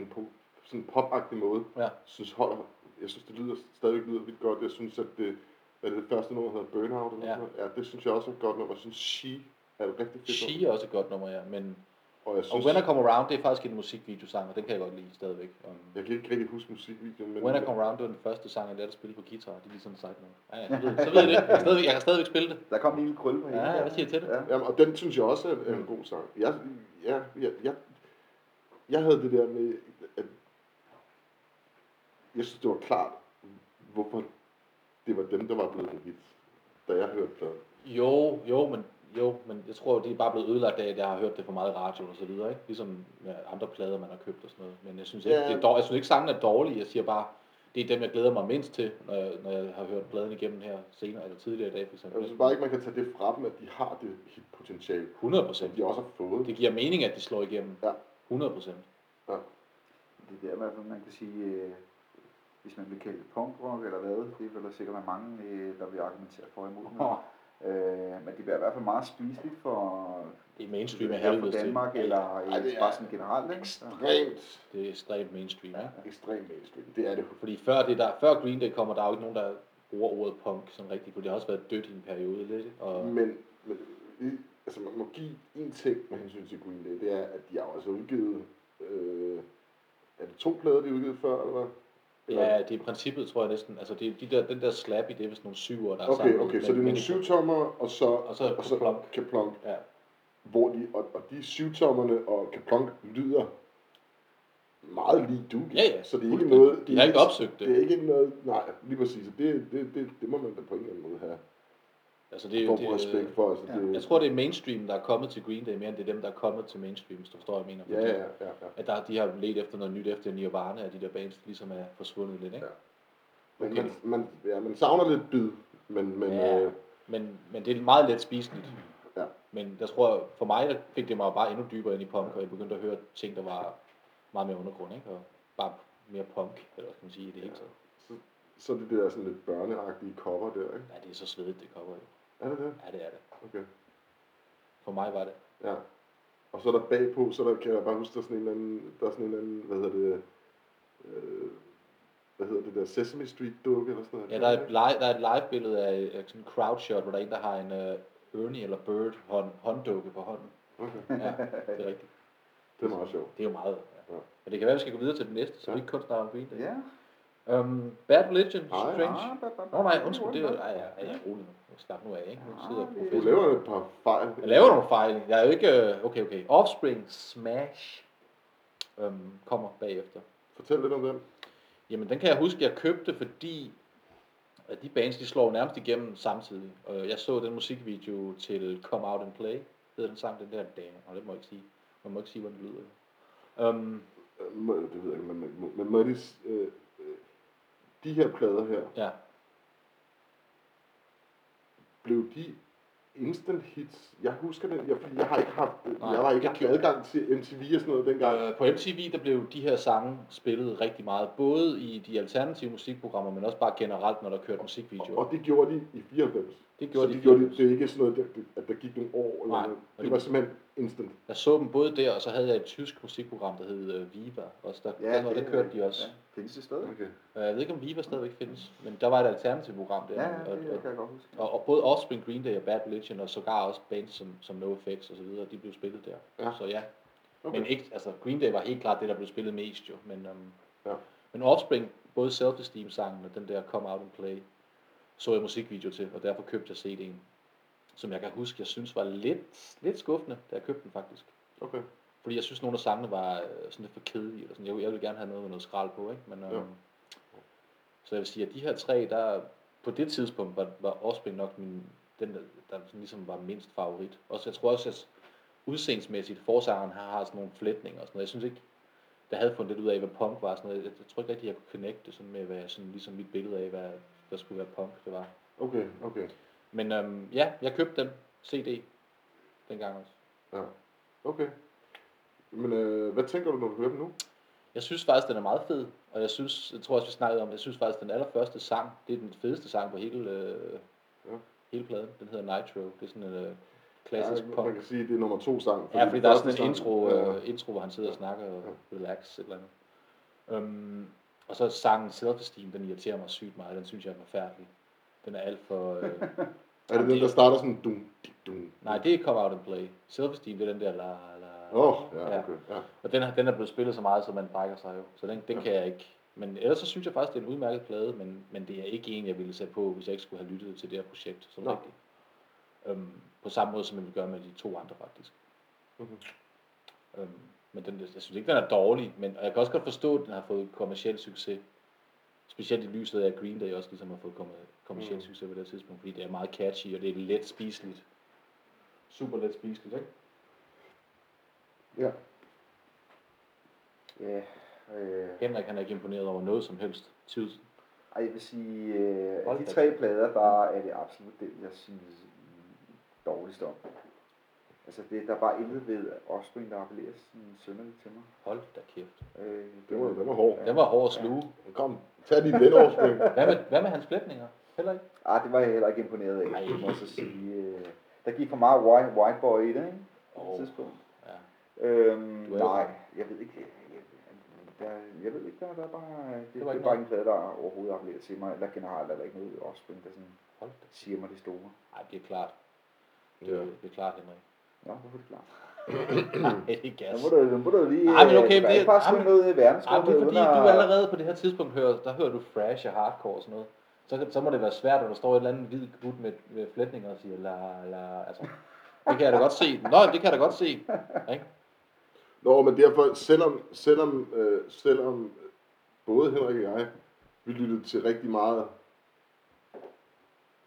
Speaker 1: en på, sådan en popagtig måde,
Speaker 2: Ja.
Speaker 1: synes holder. Jeg synes, det lyder stadigvæk lyder vildt godt. Jeg synes, at det, hvad er det, det første nummer, der hedder Burnout, eller
Speaker 2: Ja.
Speaker 1: ja. Noget. ja, det synes jeg også er et godt nummer. Jeg synes, She er et rigtig fedt nummer.
Speaker 2: She er også et godt nummer, ja. Men,
Speaker 1: Og jeg
Speaker 2: og
Speaker 1: synes,
Speaker 2: When I Come Around, det er faktisk en musikvideosang, og den kan jeg godt lide stadigvæk. Um,
Speaker 1: jeg kan ikke rigtig huske musikvideoen, men
Speaker 2: When I Come Around, det var den første sang, jeg lærte at spille på guitar. Det er lige sådan sagt nu. Ja, ja, så ved- så ved jeg det. Jeg kan stadigvæk, jeg kan stadigvæk spille det.
Speaker 3: Der kom en lille krølle på hende.
Speaker 2: Ja,
Speaker 3: der.
Speaker 2: hvad siger I til det?
Speaker 3: Ja.
Speaker 1: Jamen, og den synes jeg også er, er en god sang. Jeg, jeg, jeg, jeg, jeg havde det der med, at jeg synes, det var klart, hvorfor det var dem, der var blevet en hit, da jeg hørte pladen.
Speaker 2: Jo, jo, men jo, men jeg tror, det er bare blevet ødelagt af, at jeg har hørt det for meget i radioen og så videre, ikke? Ligesom med andre plader, man har købt og sådan noget. Men jeg synes ikke,
Speaker 1: Ja.
Speaker 2: det er dårligt. Jeg synes ikke, sangen er dårlig. Jeg siger bare, det er dem, jeg glæder mig mindst til, når jeg, når jeg har hørt pladen igennem her senere, eller tidligere i dag, for
Speaker 1: Jeg
Speaker 2: eksempel.
Speaker 1: synes bare ikke, man kan tage det fra dem, at de har det hitpotentiale,
Speaker 2: 100
Speaker 1: som
Speaker 2: procent.
Speaker 1: de også har fået.
Speaker 2: Det giver mening, at de slår igennem.
Speaker 1: Ja.
Speaker 2: 100 procent.
Speaker 3: Det er der i hvert fald, man kan sige, øh, hvis man vil kalde det punkrock eller hvad, det vil der sikkert være mange, øh, der vil argumentere for og imod.
Speaker 2: Oh,
Speaker 3: Oh. Øh, men det bliver i hvert fald meget spiseligt for,
Speaker 2: det er mainstream af
Speaker 3: her for
Speaker 2: helvede til.
Speaker 3: Danmark, eller øh,
Speaker 1: Ej, det er
Speaker 3: bare sådan generelt. Ikke? Så-
Speaker 1: Ekstremt,
Speaker 2: Det er ekstremt mainstream, ikke?
Speaker 1: ekstremt mainstream. Det er det.
Speaker 2: Fordi før, det der, før Green Day kommer, der er jo ikke nogen, der bruger ordet punk sådan rigtigt, for det har også været dødt i en periode lidt, ikke? og
Speaker 1: Men, men i- altså, man må give en ting med hensyn til Green Day, det er, at de har også udgivet, øh, er det to plader, de har udgivet før, eller hvad? Eller-
Speaker 2: Ja, det er i princippet, tror jeg næsten. Altså, det er de der, den der slap i det, hvis nogle syvere, der er
Speaker 1: Okay,
Speaker 2: sammen.
Speaker 1: okay, så det er nogle syvtommer, og så,
Speaker 2: Og så
Speaker 1: og så
Speaker 2: Kaplonk.
Speaker 1: Kaplonk,
Speaker 2: Ja,
Speaker 1: hvor de, og, og de syvtommerne og Kaplonk lyder meget lige du.
Speaker 2: Ja, ja,
Speaker 1: Så det er ikke
Speaker 2: fuldstændig.
Speaker 1: noget...
Speaker 2: De har ikke opsøgt det.
Speaker 1: Det er ikke noget... Nej, lige præcis. Og Det, det, det, det må man da på en eller anden måde have
Speaker 2: altså det er jo...
Speaker 1: for
Speaker 2: Det, er-
Speaker 1: respekt for. Altså,
Speaker 3: ja.
Speaker 1: det,
Speaker 2: Jeg tror, det er mainstream, der er kommet til Green Day, mere end det er dem, der er kommet til mainstream, hvis du forstår, hvad jeg mener.
Speaker 1: ja,
Speaker 2: Fordi
Speaker 1: ja, ja, ja.
Speaker 2: At der, de har let efter noget nyt efter Nirvana, og de der bands ligesom er forsvundet lidt, ikke?
Speaker 1: Ja. Men
Speaker 2: Okay.
Speaker 1: man, man, ja, man savner lidt bid, men, men
Speaker 2: Ja.
Speaker 1: ja. øh,
Speaker 2: Men, men det er meget let spiseligt.
Speaker 1: Ja.
Speaker 2: Men jeg tror, for mig der fik det mig bare endnu dybere ind i punk, og jeg begyndte at høre ting, der var meget mere undergrund, ikke? Og bare mere punk, eller hvad skal man sige, i det hele
Speaker 1: Ja.
Speaker 2: taget.
Speaker 1: så, så er det der sådan lidt børneagtige cover der, ikke?
Speaker 2: Ja, det er så svedigt, det cover jo.
Speaker 1: Er det det?
Speaker 2: Ja, det er det.
Speaker 1: Okay.
Speaker 2: For mig var det.
Speaker 1: Ja. Og så er der bagpå, så der, kan jeg bare huske, der er sådan en eller anden, der er sådan en eller anden, hvad hedder det, øh, hvad hedder det der, Sesame Street dukke eller sådan noget.
Speaker 2: Ja, der er et live, der er et live billede af øh, sådan en crowd shot, hvor der er en, der har en uh, Ernie eller Bird hånd, hånddukke på hånden.
Speaker 1: Okay,
Speaker 2: Ja, det er rigtigt.
Speaker 1: det er meget sjovt.
Speaker 2: Det er jo meget. Ja.
Speaker 1: Ja.
Speaker 2: Men det kan være, at vi skal gå videre til den næste, så
Speaker 1: Ja.
Speaker 2: vi ikke kun snakker om Green Day.
Speaker 3: Ja.
Speaker 2: Um, Bad Religion,
Speaker 1: Nej.
Speaker 2: Strange.
Speaker 3: Ah, ba, ba, ba.
Speaker 2: Nå nej, undskyld, det er jo...
Speaker 3: godt.
Speaker 2: Ej, ja, ja, rolig nu. Slap nu af, ikke? Nu
Speaker 3: Nej,
Speaker 2: sidder
Speaker 3: det-
Speaker 1: Du
Speaker 2: professor.
Speaker 1: laver et par fejl.
Speaker 2: Jeg laver nogle fejl. Jeg er jo ikke... øh, Okay, okay. Offspring Smash øhm, kommer bagefter.
Speaker 1: Fortæl lidt om den.
Speaker 2: Jamen, den kan jeg huske, jeg købte, fordi at de bands, de slår nærmest igennem samtidig. Og jeg så den musikvideo til Come Out and Play, hedder den sang, den der dame. Og det må jeg ikke sige. Man må ikke sige, hvordan det lyder. jo. Øhm,
Speaker 1: Øh, må- Det ved jeg ikke, men, men, men må de, s- øh, øh, de her plader her,
Speaker 2: ja.
Speaker 1: blev de instant hits? Jeg husker det, jeg, fordi jeg har ikke haft,
Speaker 2: Nej,
Speaker 1: jeg var ikke
Speaker 2: jeg
Speaker 1: jeg adgang til MTV og sådan noget dengang.
Speaker 2: Øh, på MTV, der blev de her sange spillet rigtig meget. Både i de alternative musikprogrammer, men også bare generelt, når der kørte musikvideoer.
Speaker 1: Og, og det gjorde de i 94.
Speaker 2: Det
Speaker 1: Gjorde så de
Speaker 2: gjorde de,
Speaker 1: gjorde det, det er ikke sådan noget, der, at der gik nogle år eller
Speaker 2: Nej,
Speaker 1: noget.
Speaker 2: og
Speaker 1: Det,
Speaker 2: det-
Speaker 1: var simpelthen instant.
Speaker 2: Jeg så dem både der, og så havde jeg et tysk musikprogram, der hed øh, Viva. Også der, ja, der, der kørte de også.
Speaker 3: Ja, findes det stadig?
Speaker 1: Okay.
Speaker 2: Øh, Jeg ved ikke, om Viva stadigvæk findes, men der var et alternativt program der.
Speaker 3: Ja, ja,
Speaker 2: og,
Speaker 3: det
Speaker 2: og,
Speaker 3: kan jeg godt huske.
Speaker 2: og, og, både Offspring, Green Day og Bad Religion, og sågar også bands som, som NoFX og så videre, de blev spillet der.
Speaker 1: Ja.
Speaker 2: Så ja,
Speaker 1: okay.
Speaker 2: okay. men ikke, altså Green Day var helt klart det, der blev spillet mest jo. Men, um,
Speaker 1: Ja.
Speaker 2: men Offspring, både Self Esteem sangen og den der Come Out and Play, så jeg musikvideo til, og derfor købte jeg CD'en, som jeg kan huske, jeg synes var lidt, lidt skuffende, da jeg købte den faktisk.
Speaker 1: okay.
Speaker 2: Fordi jeg synes, nogle af sangene var øh, sådan lidt for kedelige. Eller sådan. Jeg, jeg ville gerne have noget med noget skrald på, ikke? Men, øh,
Speaker 1: Ja.
Speaker 2: Så jeg vil sige, at de her tre, der på det tidspunkt var, var Offspring nok min, den, der, der sådan ligesom var mindst favorit. Også, jeg tror også, at udseendsmæssigt forsangeren har, har sådan nogle flætninger og sådan noget. Jeg synes ikke, der havde fundet lidt ud af, hvad punk var. og Sådan noget. Jeg, jeg tror ikke rigtig, jeg kunne connecte sådan med, hvad, sådan ligesom mit billede af, hvad der skulle være punk, det var.
Speaker 1: Okay, okay.
Speaker 2: Men øhm, ja, jeg købte den CD dengang også.
Speaker 1: Ja. Okay. Men øh, hvad tænker du, når du hører dem nu?
Speaker 2: Jeg synes faktisk, den er meget fed, og jeg synes, jeg tror også, vi snakkede om, jeg synes faktisk, den allerførste sang, det er den fedeste sang på hele, øh,
Speaker 1: Ja.
Speaker 2: hele pladen. Den hedder Nitro. Det er sådan en øh, klassisk
Speaker 1: Ja, man
Speaker 2: punk.
Speaker 1: kan sige, at det er nummer to sang.
Speaker 2: Ja, fordi
Speaker 1: den
Speaker 2: der er
Speaker 1: første
Speaker 2: sådan en
Speaker 1: sang-
Speaker 2: intro,
Speaker 1: Ja.
Speaker 2: øh, intro, hvor han sidder og
Speaker 1: Ja.
Speaker 2: snakker og relax et eller andet. Øhm, og så sangen Self Esteem, den irriterer mig sygt meget. Den synes jeg er forfærdelig. Den er alt for... Øh,
Speaker 1: er det den, der starter sådan dum, dik, dum?
Speaker 2: nej, det er Come Out and Play. Self Esteem, det er den der la la...
Speaker 1: Åh, oh, ja, okay. Ja.
Speaker 2: Og den, den er blevet spillet så meget, så man brækker sig jo. Så den, den ja. kan jeg ikke. Men ellers så synes jeg faktisk, det er en udmærket plade, men, men det er ikke en, jeg ville sætte på, hvis jeg ikke skulle have lyttet til det her projekt. Som
Speaker 1: Nå.
Speaker 2: rigtigt. Øhm, på samme måde, som jeg ville gøre med de to andre faktisk.
Speaker 1: Mhm.
Speaker 2: Øhm, men den, jeg synes ikke, den er dårlig, men og jeg kan også godt forstå, at den har fået kommersiel succes. Specielt i lyset af, at Green Day også ligesom har fået kommer, kommersiel
Speaker 1: Mm.
Speaker 2: succes på det her tidspunkt, fordi det er meget catchy, og det er let spiseligt. Super let spiseligt, ikke?
Speaker 1: ja.
Speaker 3: Ja, øh,
Speaker 2: Henrik, han er ikke imponeret over noget som helst. Tids,
Speaker 3: Ej, jeg vil sige, øh,
Speaker 2: Hold
Speaker 3: af de
Speaker 2: da
Speaker 3: tre plader, der er det absolut den, jeg synes mm, dårligst om. Altså, det, der er bare intet ved Offspring, der appellerer sådan sønderligt til mig.
Speaker 2: Hold da kæft.
Speaker 3: Øh,
Speaker 1: Den var, den var hård.
Speaker 2: Den var hård at sluge.
Speaker 1: Kom, tag din let overspring.
Speaker 2: Hvad med, hvad med hans flætninger? Heller ikke?
Speaker 3: ah, det var jeg heller ikke imponeret af,
Speaker 2: Ej.
Speaker 3: det må jeg så sige. Øh, der gik for meget white, white boy i det, ikke? På
Speaker 2: Åh,
Speaker 3: et tidspunkt.
Speaker 2: ja.
Speaker 3: Øhm,
Speaker 2: Du er
Speaker 3: nej,
Speaker 2: jo-
Speaker 3: jeg ved ikke. jeg- Der, jeg ved ikke, der, der er bare... Det, det,
Speaker 2: var
Speaker 3: er
Speaker 2: ikke
Speaker 3: bare ikke en plade, der overhovedet appellerer til mig, eller generelt er der ikke noget Offspring, der sådan
Speaker 2: Hold da.
Speaker 3: siger mig det store.
Speaker 2: Ej, det er klart. Det,
Speaker 1: Ja.
Speaker 2: ja. det er klart, Henrik.
Speaker 3: Nå, hvorfor er det klart?
Speaker 2: Nej, det er
Speaker 3: Nu
Speaker 2: gas.
Speaker 3: må du, nu må du lige...
Speaker 2: Ej, men okay,
Speaker 3: det
Speaker 2: det-
Speaker 3: er ikke bare
Speaker 2: ej, men-
Speaker 3: sådan noget i
Speaker 2: Ej,
Speaker 3: verdensrummet.
Speaker 2: det er fordi,
Speaker 3: uden at-
Speaker 2: du allerede på det her tidspunkt hører, der hører du fresh og hardcore og sådan noget. Så, kan- så må det være svært, når der står et eller andet hvid gut med, med flætninger og siger la la, altså. Det kan jeg da godt se. Nå, det kan jeg da godt se. Ikke?
Speaker 1: Nå, men derfor, selvom, selvom, øh, selvom både Henrik og jeg, vi lyttede til rigtig meget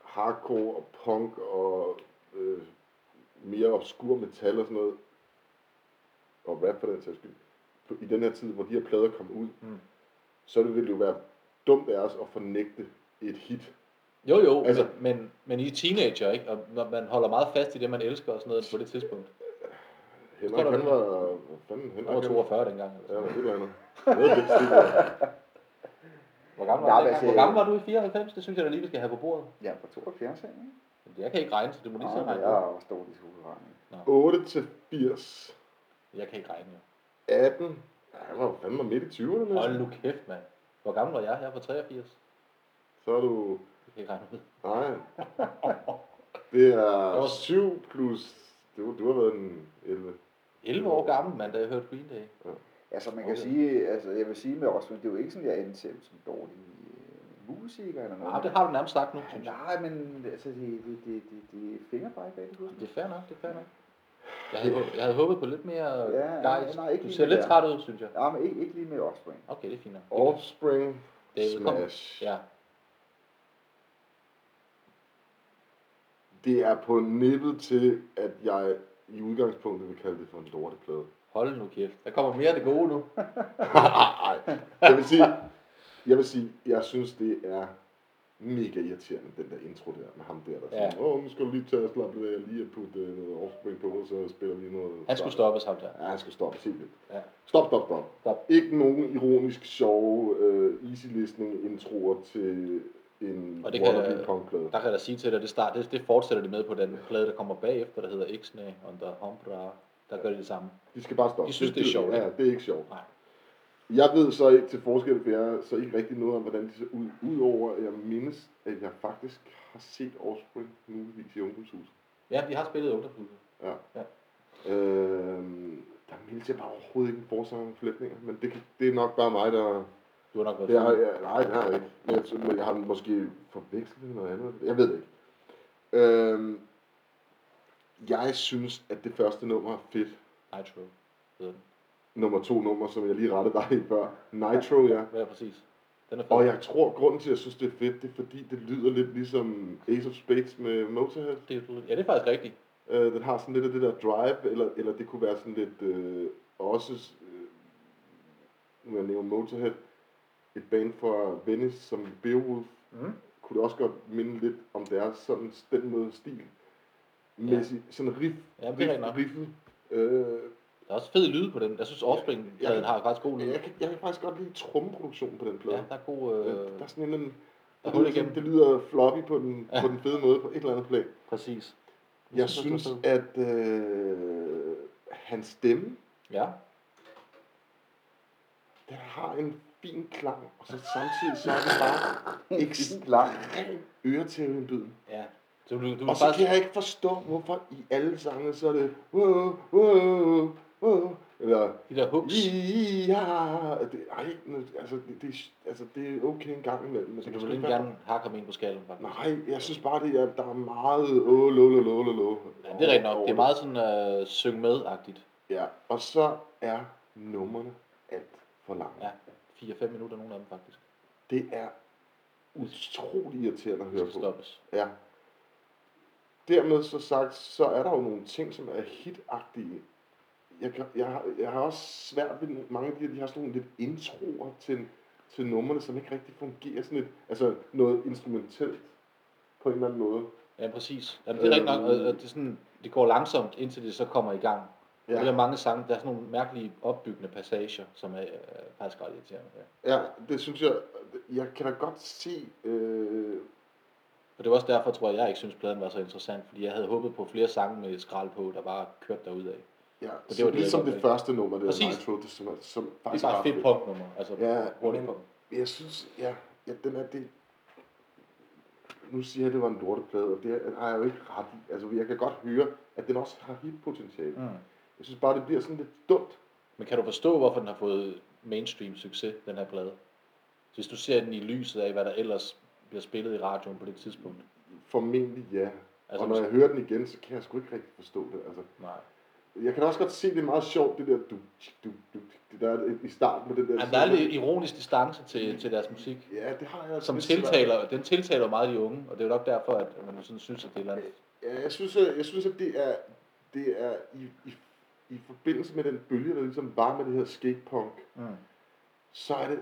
Speaker 1: hardcore og punk og øh, mere obskur metal og sådan noget, og rap for den sags skyld, på- i den her tid, hvor de her plader kom ud,
Speaker 2: Mm.
Speaker 1: mm. så ville det jo være dumt af os at fornægte et hit.
Speaker 2: Jo, jo, altså,
Speaker 1: Altså-
Speaker 2: men, men, men I er teenager, ikke? Og når man holder meget fast i det, man elsker og sådan noget på det tidspunkt.
Speaker 1: Henrik,
Speaker 2: Står der
Speaker 1: han
Speaker 2: det?
Speaker 1: var... Hvad fanden, Henrik?
Speaker 2: Jeg var
Speaker 1: han-
Speaker 2: 42 dengang. Eller
Speaker 1: Ja,
Speaker 2: sådan.
Speaker 1: men det var andet. Noget af det, det
Speaker 2: Hvor gammel,
Speaker 3: Ja,
Speaker 2: var du
Speaker 3: men
Speaker 2: dengang?
Speaker 3: altså,
Speaker 2: Hvor gammel var du i 94? Det synes jeg da lige, vi skal have på bordet.
Speaker 3: Jeg er på 72, ikke?
Speaker 2: Men Jeg kan ikke regne, så du må lige selv
Speaker 3: Nå,
Speaker 2: regne.
Speaker 3: jeg er også dårlig til hovedregning.
Speaker 1: 8 til 80.
Speaker 2: Jeg kan ikke regne, jo.
Speaker 1: 18. Ja, han var jo fandme midt i 20'erne.
Speaker 2: Hold
Speaker 1: næsten.
Speaker 2: nu kæft, mand. Hvor gammel var jeg? Jeg var 83.
Speaker 1: Så er du...
Speaker 2: Jeg kan ikke regne ud.
Speaker 1: Nej. Det
Speaker 2: Jeg var-
Speaker 1: er 7 plus... Du, du har været en 11.
Speaker 2: 11 år gammel, mand, da jeg hørte Green Day.
Speaker 3: Altså, man kan
Speaker 1: Okay.
Speaker 3: sige, altså, jeg vil sige med Osmond, det er jo ikke sådan, jeg anser ham som dårlig øh, musiker eller noget.
Speaker 2: Nej, Ah, det har du nærmest sagt nu, synes jeg.
Speaker 3: Nej, men altså, det, det, det, det, det er fingerbræk bag det hovedet.
Speaker 2: Det er fair nok, det er fair nok. Jeg havde, håbet- jeg havde håbet på lidt mere
Speaker 3: Ja, ja,
Speaker 2: gejst.
Speaker 3: nej, ikke
Speaker 2: Du
Speaker 3: lige
Speaker 2: ser
Speaker 3: det
Speaker 2: lidt
Speaker 3: der.
Speaker 2: træt ud, synes jeg.
Speaker 3: Nej, men ikke, ikke lige med Offspring.
Speaker 2: Okay, det er fint nok.
Speaker 1: Offspring
Speaker 2: David, kom.
Speaker 1: Smash.
Speaker 2: Ja,
Speaker 1: Det er på nippet til, at jeg i udgangspunktet vil kalde det for en lorteplade.
Speaker 2: hold nu kæft. Der kommer mere af det gode nu.
Speaker 1: Nej, jeg vil sige, jeg vil sige, jeg synes, det er mega irriterende, den der intro der med ham der, der
Speaker 2: Ja.
Speaker 1: ja. siger, åh, nu skal du lige tage og slappe af, lige at putte øh, noget offspring på, og så spiller vi noget.
Speaker 2: Han skulle stoppes ham der.
Speaker 1: Ja, han skulle stoppe, helt vildt.
Speaker 2: Ja.
Speaker 1: Stop, stop, stop.
Speaker 2: Stop.
Speaker 1: Ikke nogen ironisk sjove øh, easy listening introer til en
Speaker 2: Og det kan-
Speaker 1: wannabe punkplade.
Speaker 2: Der kan jeg da sige til dig, det, start, det, det fortsætter de med på den plade, der kommer bagefter, der hedder Ixnay under Hombra. Der gør de det samme.
Speaker 1: De skal bare stoppe.
Speaker 2: De synes, det er sjovt,
Speaker 1: Ja, det er ikke sjovt.
Speaker 2: Nej.
Speaker 1: Jeg ved så ikke til forskel, for jeg så ikke rigtig noget om, hvordan de ser ud. Udover, at jeg mindes, at jeg faktisk har set Offspring muligvis i ungdomshuset.
Speaker 2: Ja, vi har spillet i ungdomshuset.
Speaker 1: Øh, der mindes jeg bare overhovedet ikke en forsanger om flætninger, men det, kan- det er nok bare mig, der...
Speaker 2: Du har nok været
Speaker 1: Det har,
Speaker 2: fuld.
Speaker 1: jeg, nej, det har jeg ikke. Men jeg, tror- men jeg har måske forvekslet det med noget andet. Jeg ved det ikke. Øh, jeg synes, at det første nummer er fedt.
Speaker 2: Nitro. hedder den.
Speaker 1: Nummer to nummer, som jeg lige rettede dig i før. Nitro, ja.
Speaker 2: Ja, præcis. Den er fed.
Speaker 1: Og jeg tror, grunden til, at jeg synes, det er fedt, det er fordi, det lyder lidt ligesom Ace of Spades med Motorhead.
Speaker 2: Det, er- ja, det er faktisk rigtigt.
Speaker 1: Øh, den har sådan lidt af det der drive, eller, eller det kunne være sådan lidt øh, også, øh, nu jeg nævner Motorhead, et band fra Venice som Beowulf,
Speaker 2: Mm.
Speaker 1: kunne det også godt minde lidt om deres sådan, den måde stil. Mæssigt, sådan riff,
Speaker 2: Ja, men det er rigtigt nok.
Speaker 1: riff, riffet. Øh,
Speaker 2: Der er også fed lyde på den. Jeg synes, offspring ja,
Speaker 1: Ja.
Speaker 2: har faktisk god lyd.
Speaker 1: jeg, kan, jeg kan faktisk godt lide trommeproduktionen på den plade.
Speaker 2: Ja, der er god... Øh,
Speaker 1: Øh, der er sådan en eller anden,
Speaker 2: der er
Speaker 1: det,
Speaker 2: hul
Speaker 1: lyder,
Speaker 2: igennem.
Speaker 1: sådan- det lyder floppy på den,
Speaker 2: Ja.
Speaker 1: på den fede måde på et eller andet plan.
Speaker 2: Præcis.
Speaker 1: Jeg synes, at øh, hans stemme,
Speaker 2: Ja,
Speaker 1: den har en fin klang, og så samtidig så er den bare
Speaker 3: langt.
Speaker 1: ekstremt øretævindbydende.
Speaker 2: ja. Så du, du,
Speaker 1: Og så kan jeg ikke forstå, hvorfor i alle sange, så er det wow, wow, wow, eller
Speaker 2: de der hooks,
Speaker 1: ja, det, ej, nu- altså det, det, altså, det er okay en gang imellem. Men det
Speaker 2: så du
Speaker 1: kan sgu ikke
Speaker 2: vil ikke
Speaker 1: være-
Speaker 2: gerne hakke ham ind på skallen, faktisk.
Speaker 1: Nej, jeg synes bare, det er, der er meget åh, lo, lo, lo, lo, lo.
Speaker 2: Ja, det er rigtigt nok. Det er meget sådan øh, syng med-agtigt.
Speaker 1: Ja, og så er numrene alt for lange.
Speaker 2: Ja. 4-5 minutter, nogle af dem faktisk.
Speaker 1: Det er utrolig irriterende at
Speaker 2: Det
Speaker 1: høre
Speaker 2: skal
Speaker 1: på.
Speaker 2: stoppes.
Speaker 1: Ja. Dermed så sagt, så er der jo nogle ting, som er hitagtige. Jeg, kan, jeg, har, jeg har også svært ved nogle- mange af de her, de har sådan nogle lidt introer til, til numrene, som ikke rigtig fungerer sådan lidt, altså noget instrumentelt på en eller anden måde.
Speaker 2: Ja, præcis. Jamen, det er rigtigt nok.
Speaker 1: Øhm.
Speaker 2: og- og Det, er sådan, det går langsomt, indtil det så kommer i gang. Ja. Der er mange sange, der er sådan nogle mærkelige opbyggende passager, som er øh, faktisk ret irriterende. Ja.
Speaker 1: Ja, det synes jeg, jeg kan da godt se, øh,
Speaker 2: Og det var også derfor, tror jeg, jeg ikke synes, pladen var så interessant, fordi jeg havde håbet på flere sange med skrald på, der bare kørte derud af.
Speaker 1: ja,
Speaker 2: det
Speaker 1: det
Speaker 2: var
Speaker 1: var
Speaker 2: det,
Speaker 1: ligesom
Speaker 2: jeg
Speaker 1: det,
Speaker 2: godt
Speaker 1: første nummer, det
Speaker 2: Præcis.
Speaker 1: er Nitro, det som, er- som
Speaker 2: Det er
Speaker 1: faktisk
Speaker 2: bare
Speaker 1: ret
Speaker 2: et fedt punknummer, altså
Speaker 1: Ja,
Speaker 2: hurtigt
Speaker 1: men-
Speaker 2: punk.
Speaker 1: Jeg synes, ja, ja den er det... Nu siger jeg, at det var en lorteplade, og det har jeg jo ikke ret i. Altså, jeg kan godt høre, at den også har hitpotentiale.
Speaker 2: Mm.
Speaker 1: Jeg synes bare, det bliver sådan lidt dumt.
Speaker 2: Men kan du forstå, hvorfor den har fået mainstream succes, den her plade? Hvis du ser den i lyset af, hvad der ellers bliver spillet i radioen på det tidspunkt.
Speaker 1: Formentlig ja.
Speaker 2: Altså,
Speaker 1: Altså, og når jeg hører den igen, så kan jeg sgu ikke rigtig forstå det. Altså,
Speaker 2: Nej.
Speaker 1: jeg kan da også godt se, det er meget sjovt, det der du, du, du, det der i starten med det der...
Speaker 2: Altså, der er lidt ironisk distance til, til deres musik,
Speaker 1: Mm. Ja, det har jeg
Speaker 2: som
Speaker 1: lidt svært-
Speaker 2: tiltaler, den tiltaler jo meget de unge, og det er jo nok derfor, at man sådan synes, at det er et eller andet.
Speaker 1: Ja, jeg synes, at, jeg synes, at det er, det er i, i, i forbindelse med den bølge, der ligesom var med det her skatepunk,
Speaker 2: Mm.
Speaker 1: så er det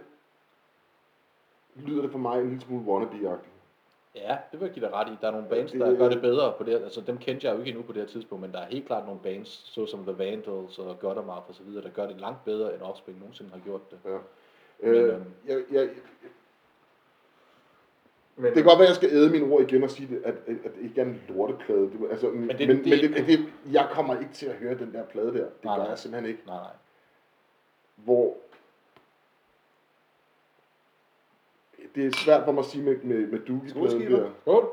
Speaker 1: lyder det for mig en lille smule wannabe-agtigt.
Speaker 2: Ja, det vil jeg give dig ret i. Der er nogle bands,
Speaker 1: Det-
Speaker 2: der gør det bedre på det her. Altså, dem kendte jeg jo ikke endnu på det her tidspunkt, men der er helt klart nogle bands, såsom The Vandals og Goddermouth og så videre, der gør det langt bedre, end Offspring nogensinde har gjort det.
Speaker 1: Ja.
Speaker 2: Men,
Speaker 1: Øh,
Speaker 2: øhm,
Speaker 1: jeg, jeg,
Speaker 4: Men,
Speaker 1: Det kan godt være, at jeg skal æde mine ord igen og sige, det, at, at, at det ikke er en lorteplade. Det, må- altså, men,
Speaker 2: det-
Speaker 1: det, men,
Speaker 2: det-
Speaker 1: det, men det, det, jeg kommer ikke til at høre den der plade der. Det
Speaker 2: Nej,
Speaker 1: gør
Speaker 2: nej.
Speaker 1: jeg simpelthen ikke.
Speaker 2: Nej, nej.
Speaker 1: Hvor det er svært for mig at sige med, med, med Doogie-pladen
Speaker 3: Skrueskiver.
Speaker 1: der.
Speaker 2: Skål!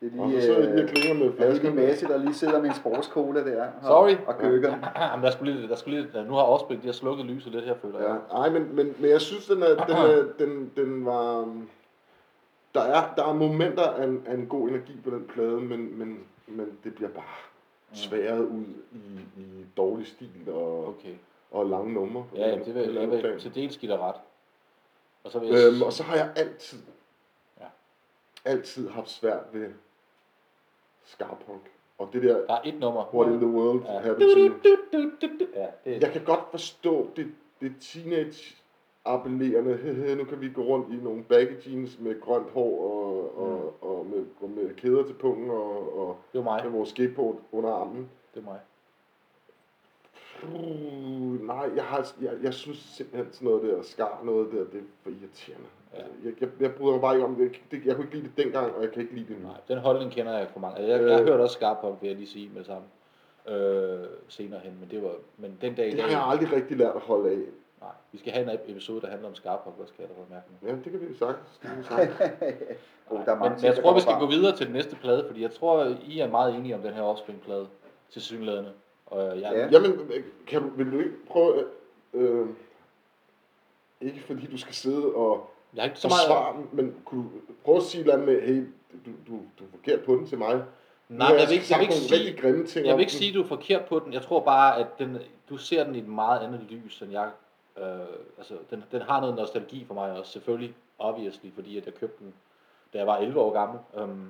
Speaker 3: Det er
Speaker 1: Og så
Speaker 3: lige,
Speaker 1: sidder jeg lige og
Speaker 3: øh,
Speaker 1: klinger med
Speaker 3: det er lige
Speaker 1: flaskerne.
Speaker 3: Masse, der lige sidder med en sportscola der. Og,
Speaker 2: Sorry.
Speaker 3: Og køkker.
Speaker 2: men der skulle lidt, der skulle lidt, nu har Offspring, de har slukket lyset lidt her, føler jeg.
Speaker 1: Ja, ej, men, men, men jeg synes, den, er, den, er, den, den var... um, Der er, der er momenter af en, af en god energi på den plade, men, men, men det bliver bare sværet ud i, i dårlig stil og,
Speaker 2: Okay.
Speaker 1: og lange numre. på
Speaker 2: Ja,
Speaker 1: en
Speaker 2: jamen, det vil
Speaker 1: eller
Speaker 2: jeg,
Speaker 1: anden
Speaker 2: jeg vil
Speaker 1: plan.
Speaker 2: til dels give dig ret. Og så vil jeg...
Speaker 1: Øhm, og så har jeg altid,
Speaker 2: Ja.
Speaker 1: ja. altid haft svært ved Scarpunk. Og det der,
Speaker 2: der er et nummer.
Speaker 1: what in the world
Speaker 2: Ja.
Speaker 1: ja. happened to you.
Speaker 2: Ja, det er...
Speaker 1: Jeg kan godt forstå det, det teenage appellerende, hehe, nu kan vi gå rundt i nogle baggy jeans med grønt hår og, og, og med, og med kæder til pungen og, og
Speaker 2: Det er mig.
Speaker 1: med vores skateboard under armen.
Speaker 2: Det er mig.
Speaker 1: Uh, nej, jeg, har, jeg, jeg synes simpelthen sådan noget der, skar noget der, det er for irriterende.
Speaker 2: Ja.
Speaker 1: Altså, jeg, jeg, jeg bryder mig bare ikke om det. Jeg, det. jeg kunne ikke lide det dengang, og jeg kan ikke lide det nu.
Speaker 2: Nej, den holdning kender jeg for mange. Altså, jeg, jeg
Speaker 1: Øh.
Speaker 2: hørte også skarp på, vil jeg lige sige med det samme. Øh, senere hen, men det var... Men den dag i
Speaker 1: Det
Speaker 2: dag...
Speaker 1: har jeg aldrig rigtig lært at holde af.
Speaker 2: Nej, vi skal have en episode, der handler om skarp på, skal jeg da mærke nu.
Speaker 1: Ja, det kan vi jo sagtens. Det kan vi sagtens.
Speaker 3: oh, der
Speaker 2: Nej,
Speaker 3: er mange
Speaker 2: men, men
Speaker 3: ting,
Speaker 2: jeg
Speaker 3: der
Speaker 2: tror, vi skal
Speaker 3: kommer
Speaker 2: gå
Speaker 3: fra.
Speaker 2: videre til den næste plade, fordi jeg tror, I er meget enige om den her offspring-plade til synlædende. Og jeg,
Speaker 3: Ja.
Speaker 1: Jamen, øh, kan, du- vil du ikke prøve... Øh, øh, ikke fordi du skal sidde og
Speaker 2: jeg har ikke så meget...
Speaker 1: forsvare, meget... men kunne du prøve at sige et eller andet med, hey, du, du, du er forkert på den til mig. Nu
Speaker 2: Nej,
Speaker 1: har
Speaker 2: men jeg vil ikke, jeg
Speaker 1: sagt
Speaker 2: vil ikke
Speaker 1: nogle
Speaker 2: sige...
Speaker 1: rigtig grimme ting
Speaker 2: Jeg
Speaker 1: om
Speaker 2: vil ikke
Speaker 1: den.
Speaker 2: sige, at du er forkert på den. Jeg tror bare, at den, du ser den i et meget andet lys, end jeg... Øh, altså, den, den har noget nostalgi for mig også, selvfølgelig, obviously, fordi at jeg købte den, da jeg var 11 år gammel. Øhm,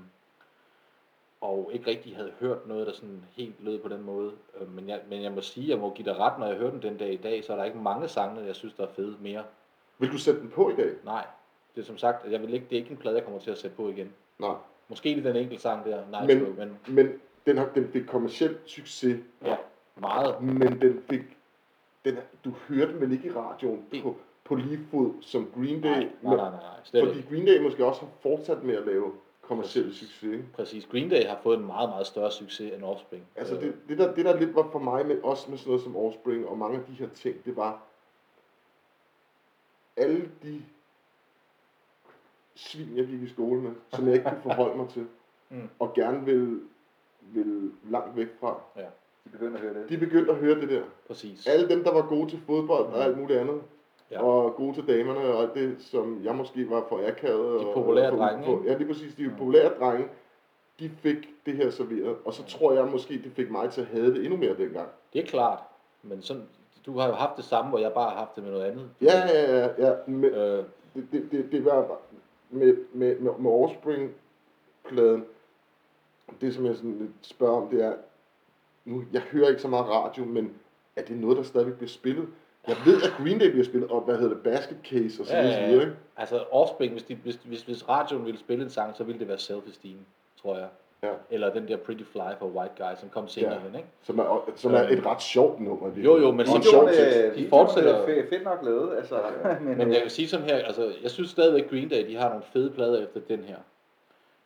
Speaker 2: og ikke rigtig havde hørt noget, der sådan helt lød på den måde. Øh, men, jeg, men jeg må sige, jeg må give dig ret, når jeg hører den den dag i dag, så er der ikke mange sange, jeg synes, der er fede mere.
Speaker 1: Vil du sætte den på i dag?
Speaker 2: Nej, det er som sagt, at jeg vil ikke, det er ikke en plade, jeg kommer til at sætte på igen.
Speaker 1: Nej.
Speaker 2: Måske lige den enkelte sang der, nej,
Speaker 1: Men-
Speaker 2: men, men
Speaker 1: Men den, har, den fik kommersiel succes,
Speaker 2: ja, meget.
Speaker 1: men den fik... Den, du hørte den vel ikke i radioen
Speaker 2: Det-
Speaker 1: på, på lige fod som Green Day?
Speaker 2: Nej, nej, nej, nej, slet ikke.
Speaker 1: Fordi Green Day måske også har fortsat med at lave kommersiel succes. ikke?
Speaker 2: Præcis. Green Day har fået en meget, meget større succes end Offspring.
Speaker 1: Altså
Speaker 2: Øh,
Speaker 1: det, det, der, det der lidt var for mig, men også med sådan noget som Offspring og mange af de her ting, det var alle de svin, jeg gik i skole med, som jeg ikke kunne forholde mig til,
Speaker 2: Mm.
Speaker 1: og gerne ville, ville langt væk fra.
Speaker 3: De begynder at høre det.
Speaker 1: De begyndte at høre det der.
Speaker 2: Præcis.
Speaker 1: Alle dem, der var gode til fodbold
Speaker 2: Mm.
Speaker 1: og alt muligt andet,
Speaker 2: Ja.
Speaker 1: ja. og gode til damerne og alt det, som jeg måske var for akavet.
Speaker 2: De
Speaker 1: og-
Speaker 2: populære
Speaker 1: og,
Speaker 2: drenge,
Speaker 1: på-
Speaker 2: ikke?
Speaker 1: Ja, lige præcis. De
Speaker 2: Mm.
Speaker 1: populære drenge, de fik det her serveret. Og så tror jeg måske, det fik mig til at have det endnu mere dengang.
Speaker 2: Det er klart. Men sådan, du har jo haft det samme, hvor jeg bare har haft det med noget andet.
Speaker 1: Ja, ja, ja, ja. Men
Speaker 2: Øh,
Speaker 1: det, det, det, det var bare- med, med, med, med Offspring-pladen, det som jeg sådan lidt spørger om, det er, nu, jeg hører ikke så meget radio, men er det noget, der stadigvæk bliver spillet? Jeg ved, at Green Day bliver spillet, og hvad hedder det, Basket Case og sådan
Speaker 2: Ja, ja, ja.
Speaker 1: noget, ikke?
Speaker 2: altså Offspring, hvis, de, hvis, hvis, hvis radioen ville spille en sang, så ville det være Self-Esteem, tror jeg.
Speaker 1: Ja.
Speaker 2: Eller den der Pretty Fly for White Guy, som kom senere
Speaker 1: Ja.
Speaker 2: hen, ikke?
Speaker 1: Som er, som er
Speaker 2: Øhm.
Speaker 1: et ret sjovt nummer. virkelig.
Speaker 2: Jo, jo,
Speaker 1: Og
Speaker 2: men
Speaker 1: en
Speaker 2: så-
Speaker 1: sjov
Speaker 3: Videoen,
Speaker 1: tekst.
Speaker 3: øh, videoen
Speaker 2: fortsætter
Speaker 3: er
Speaker 2: jo.
Speaker 3: fe- fedt nok lavet, altså. men,
Speaker 2: Men
Speaker 3: øh,
Speaker 2: jeg kan sige som her, altså, jeg synes stadigvæk Green Day, de har nogle fede plader efter den her.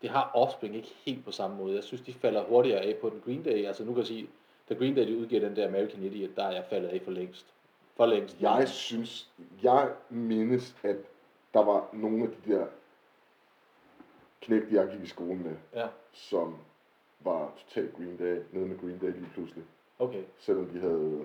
Speaker 2: Det har Offspring ikke helt på samme måde. Jeg synes, de falder hurtigere af på den Green Day. Altså nu kan jeg sige, da Green Day de udgiver den der American Idiot, der er jeg faldet af for længst. For længst.
Speaker 1: Jeg synes, jeg mindes, at der var nogle af de der knægte, jeg gik i skole med,
Speaker 2: Ja,
Speaker 1: som var totalt Green Day, nede med Green Day lige pludselig.
Speaker 2: okay.
Speaker 1: Selvom de havde,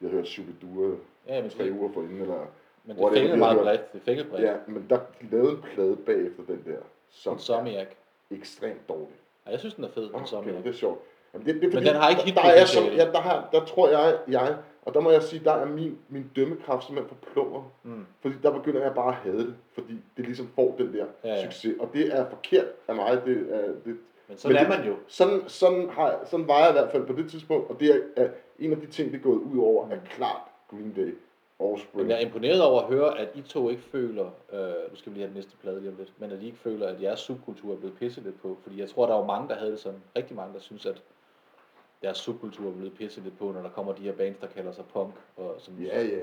Speaker 1: de havde hørt Shubidua
Speaker 2: Ja, men
Speaker 1: tre
Speaker 2: det,
Speaker 1: uger forinden, eller...
Speaker 2: men
Speaker 1: Hvor
Speaker 2: det
Speaker 1: er det,
Speaker 2: fængede
Speaker 1: vi har
Speaker 2: meget
Speaker 1: hørt?
Speaker 2: bredt. Det fængede bredt.
Speaker 1: Ja, men der de lavede en plade bagefter den der, som er
Speaker 2: Insomniac.
Speaker 1: ekstremt dårlig.
Speaker 2: Ja, jeg synes, den er fed,
Speaker 1: Okay,
Speaker 2: Insomniac.
Speaker 1: det er sjovt. Jamen, det, det er,
Speaker 2: Men
Speaker 1: fordi,
Speaker 2: den har ikke
Speaker 1: der, der, er som,
Speaker 2: hitpotentiale.
Speaker 1: ja, der, har, der tror jeg, jeg, og der må jeg sige, der er min, min dømmekraft simpelthen forplummer.
Speaker 2: Mm.
Speaker 1: Fordi der begynder jeg bare at hade det, fordi det ligesom får den der
Speaker 2: Ja,
Speaker 1: ja,
Speaker 2: ja.
Speaker 1: ja. succes. Og det er forkert af mig. Det er, det,
Speaker 2: Men sådan
Speaker 1: Men
Speaker 2: er
Speaker 1: det-
Speaker 2: man jo.
Speaker 1: sådan, sådan, har, jeg- sådan var jeg i hvert fald på det tidspunkt, og det er, er en af de ting, det er gået ud over, er klart Green Day. Offspring.
Speaker 2: Men Mm. jeg er imponeret over at høre, at I to ikke føler, øh, nu skal vi lige have den næste plade lige om lidt, men at I ikke føler, at jeres subkultur er blevet pisset lidt på. Fordi jeg tror, der var mange, der havde det sådan, rigtig mange, der synes, at deres subkultur er blevet pisset lidt på, når der kommer de her bands, der kalder sig punk. Og som,
Speaker 1: Ja, ja, ja.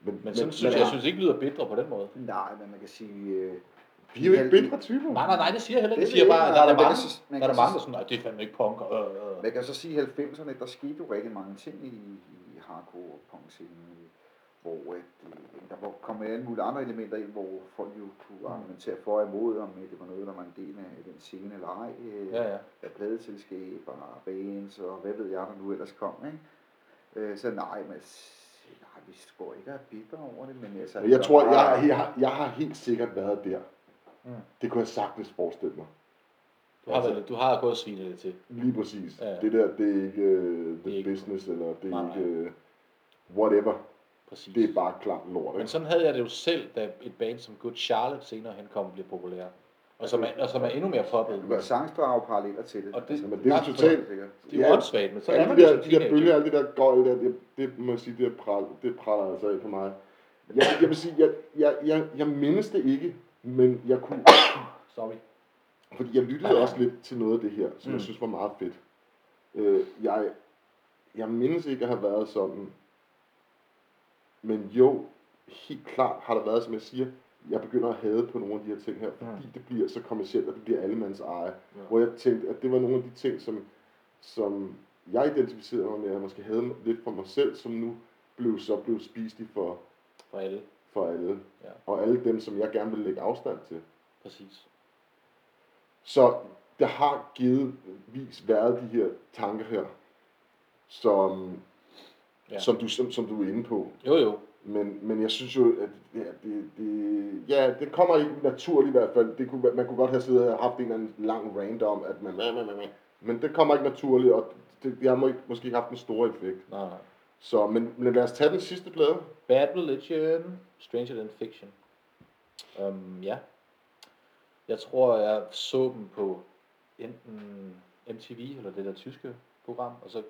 Speaker 1: Men,
Speaker 2: Men sådan synes jeg, jeg
Speaker 1: nej,
Speaker 2: synes ikke lyder bedre på den måde.
Speaker 3: Nej, men man kan sige... Øh,
Speaker 1: Vi er jo ikke bedre
Speaker 3: Mm.
Speaker 1: typer.
Speaker 2: Nej, nej, nej, det siger jeg heller ikke.
Speaker 3: det
Speaker 2: Jeg siger
Speaker 3: ved
Speaker 2: bare,
Speaker 3: jeg,
Speaker 2: at der er
Speaker 3: men
Speaker 2: der
Speaker 3: man kan
Speaker 2: mange,
Speaker 3: så- man
Speaker 2: der, er
Speaker 3: kan
Speaker 2: der mange,
Speaker 3: så-
Speaker 2: der er sådan, nej, det er fandme ikke punk. Og, øh, øh.
Speaker 3: Man kan så sige, at i 90'erne, der skete jo rigtig mange ting i, i hardcore og punk scenen, hvor at, øh, der var kommet alle mulige andre elementer ind, hvor folk jo
Speaker 2: Mm.
Speaker 3: kunne argumentere for og imod, om øh, det var noget, der var en del af den scene eller ej, øh,
Speaker 2: Ja, ja.
Speaker 3: af pladeselskaber, bands og hvad ved jeg, der nu ellers kom. Ikke? Øh, så nej, men s- nej, vi går ikke og er bitre over det, men altså...
Speaker 1: Men jeg
Speaker 3: der
Speaker 1: tror,
Speaker 3: var-
Speaker 1: jeg, jeg, har- jeg har helt sikkert været der.
Speaker 2: Mm.
Speaker 1: Det kunne jeg sagtens forestille mig.
Speaker 2: Du har, været, du har gået og svinet det til.
Speaker 1: Lige præcis.
Speaker 2: Mm. Ja.
Speaker 1: Det der, det er ikke uh,
Speaker 2: Det er
Speaker 1: the
Speaker 2: ikke-
Speaker 1: business, eller det
Speaker 2: Nej,
Speaker 1: er
Speaker 2: nej.
Speaker 1: ikke uh, whatever.
Speaker 2: Præcis.
Speaker 1: Det er bare klart lort,
Speaker 2: Men
Speaker 1: ikke?
Speaker 2: sådan havde jeg det jo selv, da et band som Good Charlotte senere hen kom og blev populær. Og som, er, og som er endnu mere poppet.
Speaker 3: Du kan sagtens drage paralleller til det. Altså,
Speaker 2: Og det-
Speaker 1: Men det er jo totalt...
Speaker 3: sikkert.
Speaker 2: Det er jo åndssvagt, men så er
Speaker 1: alle
Speaker 2: man
Speaker 1: de
Speaker 2: det
Speaker 1: der, de
Speaker 2: som
Speaker 1: der
Speaker 2: teenager.
Speaker 1: bølger, alt det der gøjl, der, det, det må jeg sige, det, pral, det praller altså af for mig. Jeg, jeg vil sige, jeg, jeg, jeg, jeg mindes det ikke, men jeg kunne,
Speaker 2: Sorry.
Speaker 1: fordi jeg lyttede også lidt til noget af det her, som mm.
Speaker 2: Mm.
Speaker 1: jeg synes var meget fedt. Øh, jeg, jeg mindes ikke at have været sådan, men jo, helt klart har der været, som jeg siger, jeg begynder at hade på nogle af de her ting her, fordi det bliver så kommercielt, og det bliver allemands eje.
Speaker 2: Mm. Ja.
Speaker 1: Hvor jeg tænkte, at det var nogle af de ting, som, som jeg identificerede mig med, og måske havde lidt for mig selv, som nu blev så blev spist i for,
Speaker 2: For alle.
Speaker 1: for alle.
Speaker 2: Ja.
Speaker 1: Og alle dem, som jeg gerne vil lægge afstand til.
Speaker 2: Præcis.
Speaker 1: Så der har givetvis været de her tanker her, som,
Speaker 2: Ja.
Speaker 1: ja. som, du, som, som du er inde på.
Speaker 2: Jo, jo.
Speaker 1: Men, men jeg synes jo, at ja, det, det, ja, det kommer ikke naturligt i hvert fald. Det kunne, være- man kunne godt have siddet og haft en eller anden lang rant om, at man... man, man, man, man. Men det kommer ikke naturligt, og det, jeg må ikke, måske ikke haft den store effekt.
Speaker 2: Nej, nej.
Speaker 1: Så, men, men lad os tage den sidste plade.
Speaker 2: Bad Religion. Stranger Than Fiction. Um, ja. Jeg tror, jeg så dem på enten MTV eller det der tyske program, og så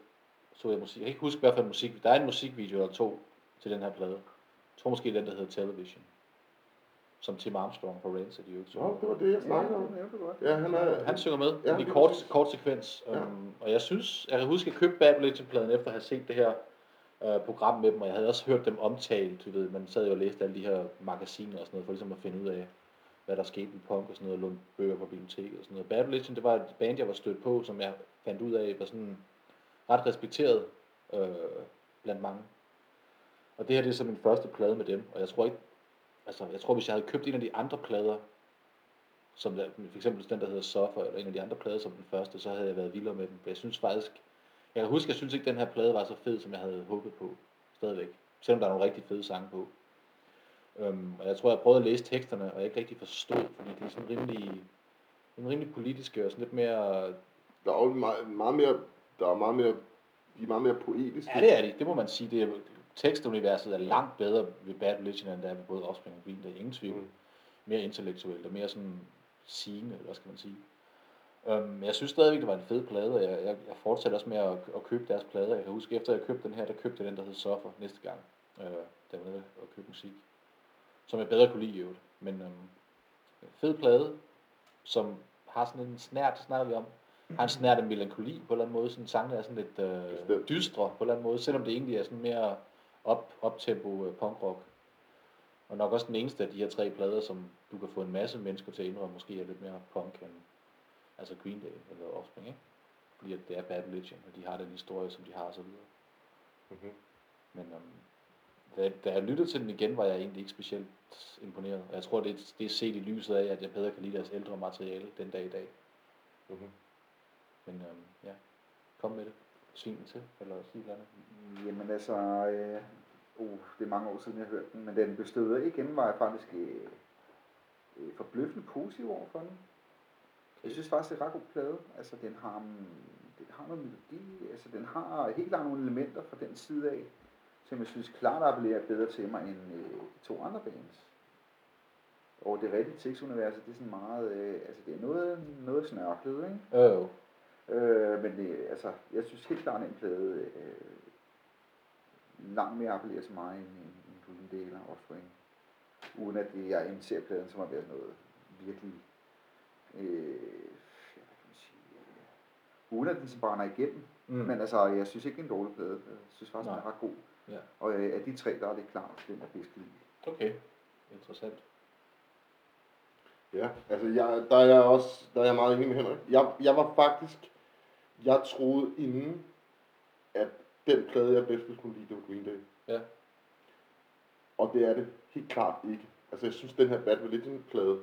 Speaker 2: så jeg musik. Jeg kan ikke huske, hvad for en musik. Der er en musikvideo eller to til den her plade. Jeg tror måske den, der hedder Television. Som Tim Armstrong fra Rancid jo ikke
Speaker 1: Nå, det var det, jeg snakkede om.
Speaker 3: Ja, det er godt.
Speaker 1: Ja, han er...
Speaker 2: Han synger med
Speaker 1: Ja,
Speaker 2: ja, i
Speaker 1: lige
Speaker 2: kort,
Speaker 1: præcis.
Speaker 2: kort sekvens. Ja.
Speaker 1: Ja.
Speaker 2: Øhm, og jeg synes, jeg kan huske, at jeg købte Bad Religion-pladen efter at have set det her øh, program med dem, og jeg havde også hørt dem omtale, du ved, man sad jo og læste alle de her magasiner og sådan noget, for ligesom at finde ud af, hvad der skete med punk og sådan noget, og lånte bøger på biblioteket og sådan noget. Bad Religion, det var et band, jeg var stødt på, som jeg fandt ud af, var sådan ret respekteret øh, blandt mange. Og det her, det er så min første plade med dem, og jeg tror ikke, altså, jeg tror, hvis jeg havde købt en af de andre plader, som der, for eksempel den, der hedder Suffer, eller en af de andre plader som den første, så havde jeg været vildere med dem. Jeg synes faktisk, jeg kan huske, jeg synes ikke, den her plade var så fed, som jeg havde håbet på, stadigvæk. Selvom der er nogle rigtig fede sange på. Øhm, og jeg tror, jeg prøvede at læse teksterne, og jeg ikke rigtig forstod, fordi de er sådan rimelig, en rimelig politiske og sådan lidt mere...
Speaker 1: Der er jo meget, meget mere... Der er meget mere... De er meget mere poetiske.
Speaker 2: Ja, det er de. Det må man sige. Det er, tekstuniverset er langt bedre ved Bad Religion, end det er ved både Offspring og Green. Der er ingen tvivl.
Speaker 1: Mm.
Speaker 2: mere intellektuelt og mere sådan sigende, eller hvad skal man sige. Øhm, men jeg synes stadigvæk, det var en fed plade, og jeg, jeg, jeg fortsatte også med at, at købe deres plader. Jeg kan huske, efter jeg købte den her, der købte jeg den, der hed Suffer næste gang, øh, da jeg var nede og købte musik. Som jeg bedre kunne lide i øvrigt. Men øhm, en fed plade, som har sådan en snært, det snakker vi om, har en snært af melankoli på en eller anden måde. Sådan sangene er sådan lidt øh,
Speaker 1: Bestemt.
Speaker 2: dystre på en eller anden måde, selvom det egentlig er sådan mere op, optempo øh, punkrock. Og nok også den eneste af de her tre plader, som du kan få en masse mennesker til at indrømme, måske er lidt mere punk end altså Green Day eller Offspring, ikke? Fordi at det er Bad Religion, og de har den historie, som de har osv.
Speaker 1: Mhm.
Speaker 2: Men um, da, da jeg lyttede til den igen, var jeg egentlig ikke specielt imponeret. Og jeg tror, det, er- det er set i lyset af, at jeg bedre kan lide deres ældre materiale den dag i dag.
Speaker 1: Mhm.
Speaker 2: Men um, ja, kom med det. Svin den til, eller sig et eller andet.
Speaker 3: Jamen altså, øh, uh, det er mange år siden, jeg hørte den, men da den bestod igen, var jeg faktisk øh, øh, forbløffende positiv over for den. Jeg synes faktisk, det er en ret god plade. Altså, den har, mm, den har noget melodi, altså, den har helt klart nogle elementer fra den side af, som jeg synes klart appellerer bedre til mig end øh, de to andre bands. Og det rigtige tekstuniverset, det er sådan meget, øh, altså det er noget, noget snørklet, ikke?
Speaker 2: Øh, øh.
Speaker 3: Øh, men det, altså, jeg synes helt klart, at en plade øh, langt mere appellerer til mig end, end, end Green Day eller Offspring, uden at det, jeg indser pladen som at være noget virkelig, øh, ja, hvad kan man sige, øh, uden at den så brænder igennem. Mm. Men altså, jeg synes ikke, det er en dårlig plade. Jeg synes faktisk, den er
Speaker 2: Nej.
Speaker 3: ret god.
Speaker 2: Ja.
Speaker 3: Og øh, af de tre, der er det klart, den er bedst lige.
Speaker 2: Okay, interessant.
Speaker 1: Ja, altså jeg, der er jeg også der er jeg meget enig med Henrik. Jeg, jeg var faktisk, jeg troede inden, at den plade, jeg bedst ville kunne lide, det var Green Day.
Speaker 2: Ja.
Speaker 1: Og det er det helt klart ikke. Altså jeg synes, den her Bad Religion-plade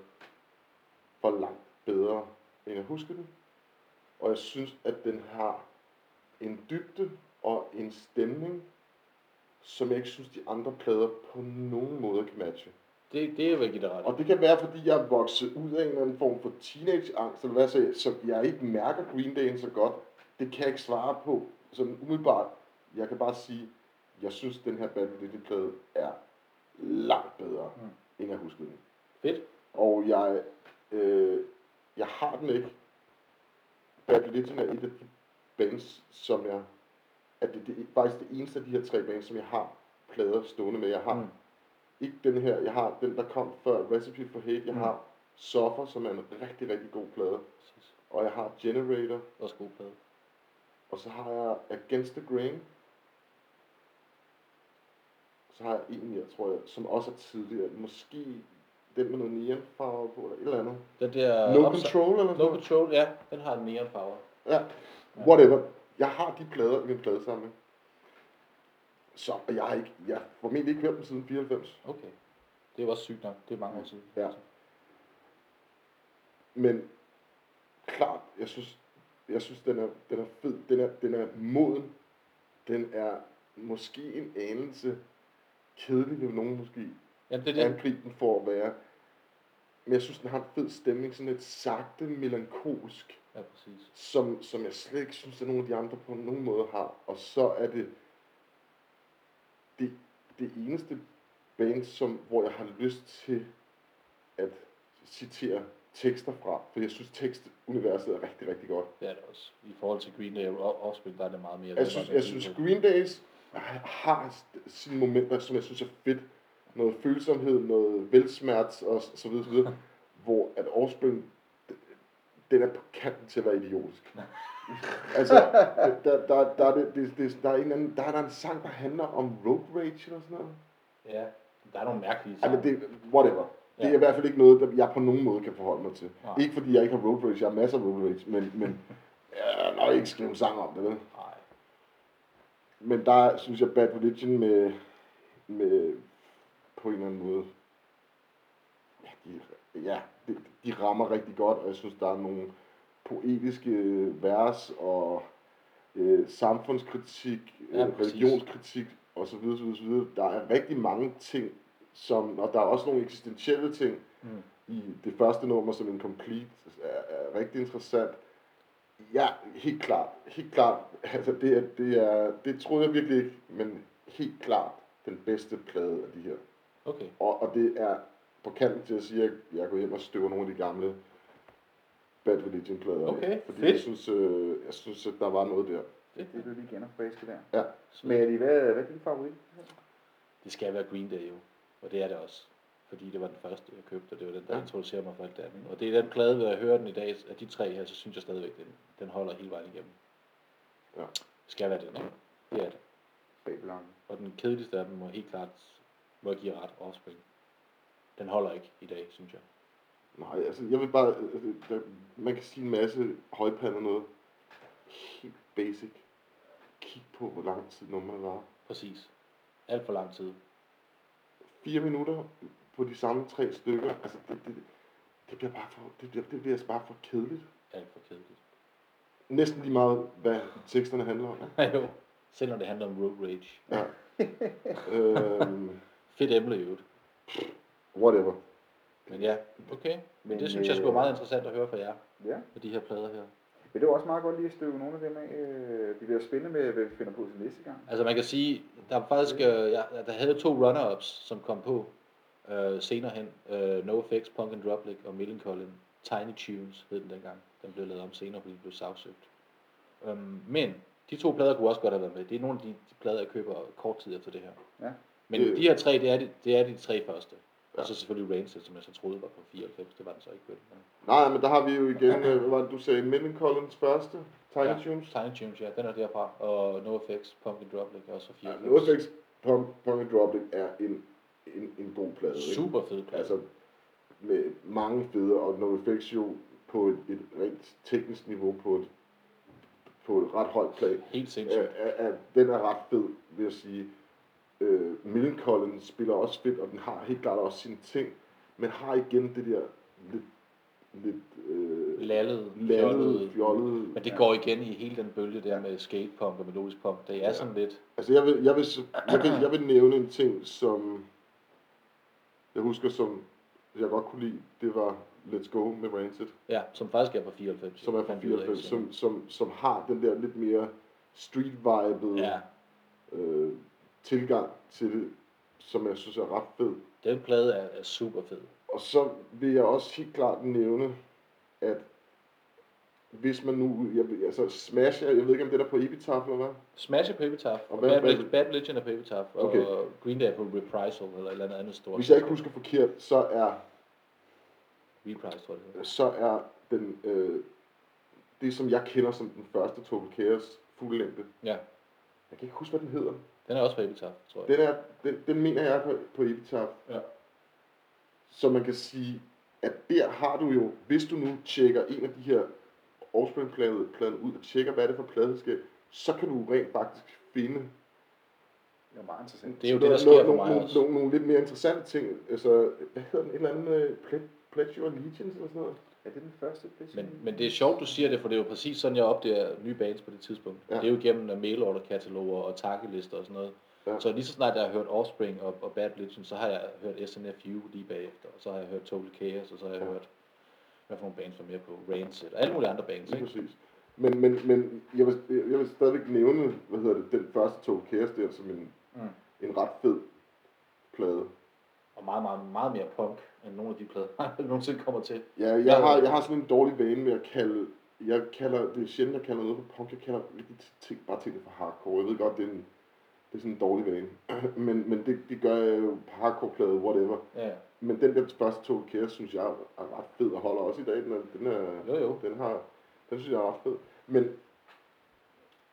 Speaker 1: var langt bedre, end jeg husker den. Og jeg synes, at den har en dybde og en stemning, som jeg ikke synes, de andre plader på nogen måde kan matche.
Speaker 2: Det, det er vel ikke ret.
Speaker 1: Og det kan være, fordi jeg er vokset ud af en eller anden form for teenageangst, eller hvad så, så jeg ikke mærker Green Day'en så godt. Det kan jeg ikke svare på, sådan umiddelbart. Jeg kan bare sige, jeg synes, den her Bad Religion plade er langt bedre, mm. end jeg huskede den.
Speaker 2: Fedt.
Speaker 1: Og jeg, øh, jeg har den ikke. Bad Religion er et af de bands, som jeg... At det, det er faktisk det eneste af de her tre bands, som jeg har plader stående med. Jeg har
Speaker 2: Mm.
Speaker 1: mm. ikke den her, jeg har den, der kom før Recipe for Hate. Jeg
Speaker 2: Mm.
Speaker 1: mm. har Suffer, som er en rigtig, rigtig god plade.
Speaker 2: Præcis.
Speaker 1: Og jeg har Generator.
Speaker 2: Også god plade.
Speaker 1: Og så har jeg Against the Grain. Så har jeg en, jeg tror, jeg, som også er tidligere. Måske den med noget neonfarve på, eller et eller andet.
Speaker 2: Den der...
Speaker 1: No
Speaker 2: opsa-
Speaker 1: Control, eller
Speaker 2: Øh, No
Speaker 1: noget?
Speaker 2: Control, ja. Den har en mere power.
Speaker 1: Ja, whatever. Jeg har de plader i min pladesamling. Så og jeg har ikke, jeg har formentlig ikke hørt dem siden 94.
Speaker 2: Okay. Det er jo også sygt nok. Det er mange år siden.
Speaker 1: Ja. Men klart, jeg synes, jeg synes den, er, den er fed. Den er, den er moden. Den er måske en anelse kedelig, vil nogen måske
Speaker 2: Jamen, det er det.
Speaker 1: angribe den for at være. Men jeg synes, den har en fed stemning, sådan lidt sagte, melankolsk.
Speaker 2: Ja, præcis.
Speaker 1: som, som jeg slet ikke synes, at nogen af de andre på nogen måde har. Og så er det det, det eneste band, som, hvor jeg har lyst til at citere tekster fra. For jeg synes, tekstuniverset er rigtig, rigtig godt.
Speaker 2: Det er det også. I forhold til Green Day og Offspring, der er det meget mere.
Speaker 1: Jeg synes, jeg synes Green Days har sine momenter, som jeg synes er fedt. Noget følsomhed, noget velsmert og så videre, så videre. hvor at Offspring, den er på kanten til at være idiotisk. altså, der, der, der, er det, det, det, der, er en eller anden, der er der en sang, der handler om road rage eller sådan noget.
Speaker 2: Ja. Der er nogle mærkelige
Speaker 1: Ej,
Speaker 2: sange.
Speaker 1: men det, whatever. Det er
Speaker 2: Ja.
Speaker 1: i hvert fald ikke noget, der jeg på nogen måde kan forholde mig til.
Speaker 2: Nej.
Speaker 1: Ikke fordi jeg ikke har road rage, jeg har masser af road rage, men, men jeg har nok ikke skrevet en sang om det, vel?
Speaker 2: Nej.
Speaker 1: Men der synes jeg, Bad Religion med, med på en eller anden måde, ja, de, ja, de, de rammer rigtig godt, og jeg synes, der er nogle poetiske vers og øh, samfundskritik,
Speaker 2: Ja,
Speaker 1: ja, øh,
Speaker 2: præcis.
Speaker 1: religionskritik osv. videre, så videre. Der er rigtig mange ting, som, og der er også nogle eksistentielle ting
Speaker 2: Mm.
Speaker 1: i det første nummer, som en complete, er, er rigtig interessant. Ja, helt klart. Helt klart. Altså, det, er, det, er, det troede jeg virkelig ikke, men helt klart den bedste plade af de her.
Speaker 2: Okay.
Speaker 1: Og, og det er på kanten til at sige, at jeg går hjem og støver nogle af de gamle Bad Religion-plader. af,
Speaker 2: Okay,
Speaker 1: fordi
Speaker 2: fedt.
Speaker 1: jeg synes, øh, jeg synes, at der var noget der.
Speaker 2: Det,
Speaker 3: Det blev lige genopfrisket der.
Speaker 1: Ja.
Speaker 3: Men er de, hvad, hvad er din favorit?
Speaker 2: det skal være Green Day jo, og det er det også. Fordi det var den første, jeg købte, og det var den, der
Speaker 1: Ja.
Speaker 2: introducerede mig for alt det andet. Og det er den plade, hvor jeg hører den i dag, af de tre her, så synes jeg stadigvæk, den, den holder hele vejen igennem.
Speaker 1: Ja.
Speaker 2: Det skal være den, ikke? Det er det.
Speaker 3: Babylon.
Speaker 2: Og den kedeligste af dem må helt klart, må jeg give ret offspring. Den holder ikke i dag, synes jeg.
Speaker 1: Nej, altså, jeg vil bare... Altså, der, man kan sige en masse højpande og noget. Helt basic. Kig på, hvor lang tid nummeret var.
Speaker 2: Præcis. Alt for lang tid.
Speaker 1: fire minutter på de samme tre stykker, altså det, det, det bliver bare for, det bliver, det bliver altså bare for kedeligt.
Speaker 2: Alt for kedeligt.
Speaker 1: Næsten lige meget, hvad teksterne handler om.
Speaker 2: jo. Selv når det handler om road rage.
Speaker 1: Ja. øhm,
Speaker 2: Fedt emne i øvrigt.
Speaker 1: whatever.
Speaker 2: Men ja, okay. Men,
Speaker 3: Men,
Speaker 2: det synes jeg skulle
Speaker 3: øh,
Speaker 2: være meget interessant at høre fra jer,
Speaker 3: Ja.
Speaker 2: med de her plader her.
Speaker 3: Men det var også meget godt lige at støve nogle af dem af. Øh, Det bliver spændende med, hvad vi finder på til næste gang.
Speaker 2: Altså man kan sige, der er faktisk, øh, jeg, der havde to runner-ups, som kom på øh, senere hen. Øh, NoFX, Punk and Droplik og Millencolin. Tiny Tunes hed den dengang. Den blev lavet om senere, fordi den blev sagsøgt. Øhm, men de to plader kunne også godt have været med. Det er nogle af de, de plader, jeg køber kort tid efter det her.
Speaker 3: Ja.
Speaker 2: Men
Speaker 1: Det-
Speaker 2: de her tre, det er de, det er de tre første. Ja. Og
Speaker 1: Ja.
Speaker 2: så selvfølgelig Rancid, som jeg så troede var på 94. Det var den så ikke. Vel? Men
Speaker 1: Nej, men der har vi jo igen, øh, hvad var det, du sagde, Millencolins første, Tiny
Speaker 2: Ja.
Speaker 1: ja. Tunes.
Speaker 2: Tiny Tunes, ja, den er derfra. Og NoFX, Pumpkin Drop ligger også fra
Speaker 1: Ja,
Speaker 2: 94.
Speaker 1: Nordfix Punk and Droplet er en, en, en god plade. ikke?
Speaker 2: Super fed plade.
Speaker 1: Altså, med mange fede, og NoFX jo på et, et rent teknisk niveau på et, på et ret højt plan.
Speaker 2: Helt
Speaker 1: Er,
Speaker 2: sindssygt.
Speaker 1: er, er, den er ret fed, vil jeg sige. Øh, Millencolin spiller også fedt, og den har helt klart også sine ting, men har igen det der lidt, lidt øh,
Speaker 2: Lallet,
Speaker 1: landet,
Speaker 2: fjollet.
Speaker 1: fjollede.
Speaker 2: Men det går igen i hele den bølge der med skatepunk og melodisk punk. Det er
Speaker 1: Ja.
Speaker 2: sådan lidt...
Speaker 1: Altså, jeg vil, jeg, vil, s- jeg, vil, jeg vil nævne en ting, som jeg husker, som jeg godt kunne lide. Det var Let's Go med Rancid,
Speaker 2: Ja, som faktisk er på 94.
Speaker 1: som er fra
Speaker 2: fandt vi ud af,
Speaker 1: 94,
Speaker 2: så-
Speaker 1: som, som, som har den der lidt mere street-vibede
Speaker 2: Ja,
Speaker 1: øh, tilgang til det, som jeg synes er ret fed.
Speaker 2: den plade er, er super fed.
Speaker 1: Og så vil jeg også helt klart nævne, at hvis man nu, jeg, altså Smash, jeg ved ikke om det er der på Epitaph eller hvad,
Speaker 2: Smash er på Epitaph, og
Speaker 1: hvad-
Speaker 2: Bad,
Speaker 1: hvad-
Speaker 2: Relig- Bad Religion er på Epitaph, og
Speaker 1: Okay.
Speaker 2: Green Day er på Reprisal, eller et eller andet andet stort.
Speaker 1: hvis jeg ikke husker forkert, så er
Speaker 2: Reprise, tror jeg det hedder.
Speaker 1: så er den, øh, det, som jeg kender som den første Total Chaos fuldlængde.
Speaker 2: Ja,
Speaker 1: Jeg kan ikke huske, hvad den hedder.
Speaker 2: den er også på Epitaph, tror jeg.
Speaker 1: Den, er, den, den mener jeg er på, på Epitaph.
Speaker 2: Ja.
Speaker 1: Så man kan sige, at der har du jo, hvis du nu tjekker en af de her Offspring-pladen pladen ud og tjekker, hvad det er for pladeselskab, så kan du rent faktisk finde
Speaker 4: Det er meget interessant.
Speaker 2: Det er jo det,
Speaker 1: nogle-
Speaker 2: der sker
Speaker 1: nogle-
Speaker 2: for mig
Speaker 1: nogle-
Speaker 2: også.
Speaker 1: nogle, nogle lidt mere interessante ting. Altså, hvad hedder den? Et eller andet øh, Ple- Pledge Your Allegiance eller sådan noget?
Speaker 3: Er øh, det den første pladsen?
Speaker 2: Men, men det er sjovt, du siger det, for det er jo præcis sådan, jeg opdager nye bands på det tidspunkt. Ja.
Speaker 1: Ja.
Speaker 2: Det er jo gennem øh, mailorderkataloger og takkelister og sådan noget. Ja.
Speaker 1: Ja.
Speaker 2: Så lige så snart jeg har hørt Offspring og, og Bad Religion, så har jeg hørt SNFU lige bagefter, og så har jeg hørt Total Chaos, og så har jeg ja.
Speaker 1: Ja.
Speaker 2: hørt, hvad for nogle bands var mere på, Rancid, og alle mulige andre bands,
Speaker 1: Lige
Speaker 2: ikke?
Speaker 1: præcis. Men, men, men jeg, vil, jeg vil stadigvæk nævne, hvad hedder det, den første Total Chaos der, som en,
Speaker 2: Mm.
Speaker 1: mm. en ret fed plade.
Speaker 2: Og meget, meget, meget mere punk, end nogle af de plader, jeg nogensinde kommer til.
Speaker 1: Ja, jeg,
Speaker 2: Ja.
Speaker 1: har, jeg har sådan en dårlig vane med at kalde, jeg kalder, det er sjældent, jeg kalder noget for punk, jeg kalder rigtig ting, bare tingene for hardcore. Jeg ved godt, det er, en, det er sådan en dårlig vane, men, men det, det gør jeg jo på hardcore-plade, whatever.
Speaker 2: Ja, ja.
Speaker 1: Men den der første Total Chaos, synes jeg er ret fed og holder også i dag. Den er, den er,
Speaker 2: jo jo.
Speaker 1: Den har, den synes jeg er ret fed. Men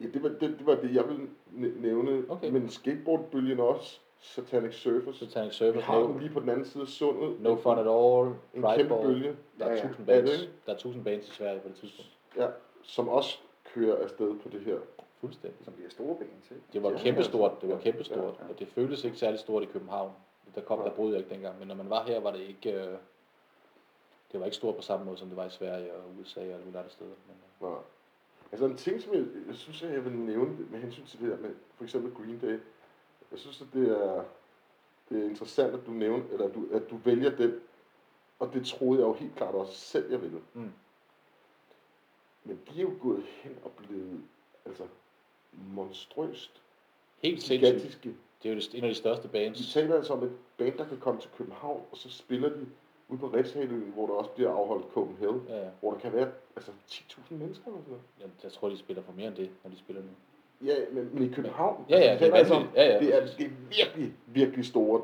Speaker 1: ja, det, var, det, det var det, jeg ville næ- nævne.
Speaker 2: Okay.
Speaker 1: Men skateboardbølgen er også, Satanic Surfers.
Speaker 2: Satanic
Speaker 1: Vi
Speaker 2: Surface,
Speaker 1: har
Speaker 2: no,
Speaker 1: den lige på den anden side af sundet.
Speaker 2: no Fun At All,
Speaker 1: En
Speaker 2: Pride
Speaker 1: kæmpe
Speaker 2: Ball.
Speaker 1: bølge,
Speaker 2: Der er
Speaker 3: Ja, ja.
Speaker 2: tusind
Speaker 1: Er det
Speaker 2: bands,
Speaker 1: ikke?
Speaker 2: der er tusind bands i Sverige på det tidspunkt.
Speaker 1: ja, som også kører afsted på det her.
Speaker 2: Fuldstændig.
Speaker 3: Som bliver store ben til.
Speaker 2: Det var
Speaker 1: Ja,
Speaker 2: kæmpestort,
Speaker 1: altså.
Speaker 2: det var kæmpestort,
Speaker 3: Ja, ja.
Speaker 2: og det føltes ikke særlig stort i København. Der kom,
Speaker 1: Nej.
Speaker 2: der boede jeg ikke dengang, men når man var her, var det ikke, øh, det var ikke stort på samme måde, som det var i Sverige og USA og alle mulige andre steder. Men, øh,
Speaker 1: Nå. Altså en ting, som jeg, jeg synes, at jeg vil nævne med hensyn til det her med for eksempel Green Day. Jeg synes, at det er, det er interessant, at du, nævner, eller at du, at du vælger den. Og det troede jeg jo helt klart også selv, jeg ville.
Speaker 2: Mm.
Speaker 1: Men de er jo gået hen og blevet altså, monstrøst
Speaker 2: helt sindssygt.
Speaker 1: gigantiske.
Speaker 2: Det er jo det- en af de største
Speaker 1: Vi
Speaker 2: bands.
Speaker 1: taler altså om et band, der kan komme til København, og så spiller de ude på Refshaløen, hvor der også bliver afholdt Copenhagen,
Speaker 2: Ja, ja.
Speaker 1: hvor der kan være altså, 10.000 mennesker eller sådan noget.
Speaker 2: Jamen, Jeg tror, de spiller for mere end det, når de spiller nu.
Speaker 1: Ja, men, men i København,
Speaker 2: Ja, ja,
Speaker 1: vi
Speaker 2: det er
Speaker 1: taler altså om,
Speaker 2: vanvittigt. Ja, ja,
Speaker 1: det, er,
Speaker 2: præcis.
Speaker 1: det er virkelig, virkelig store,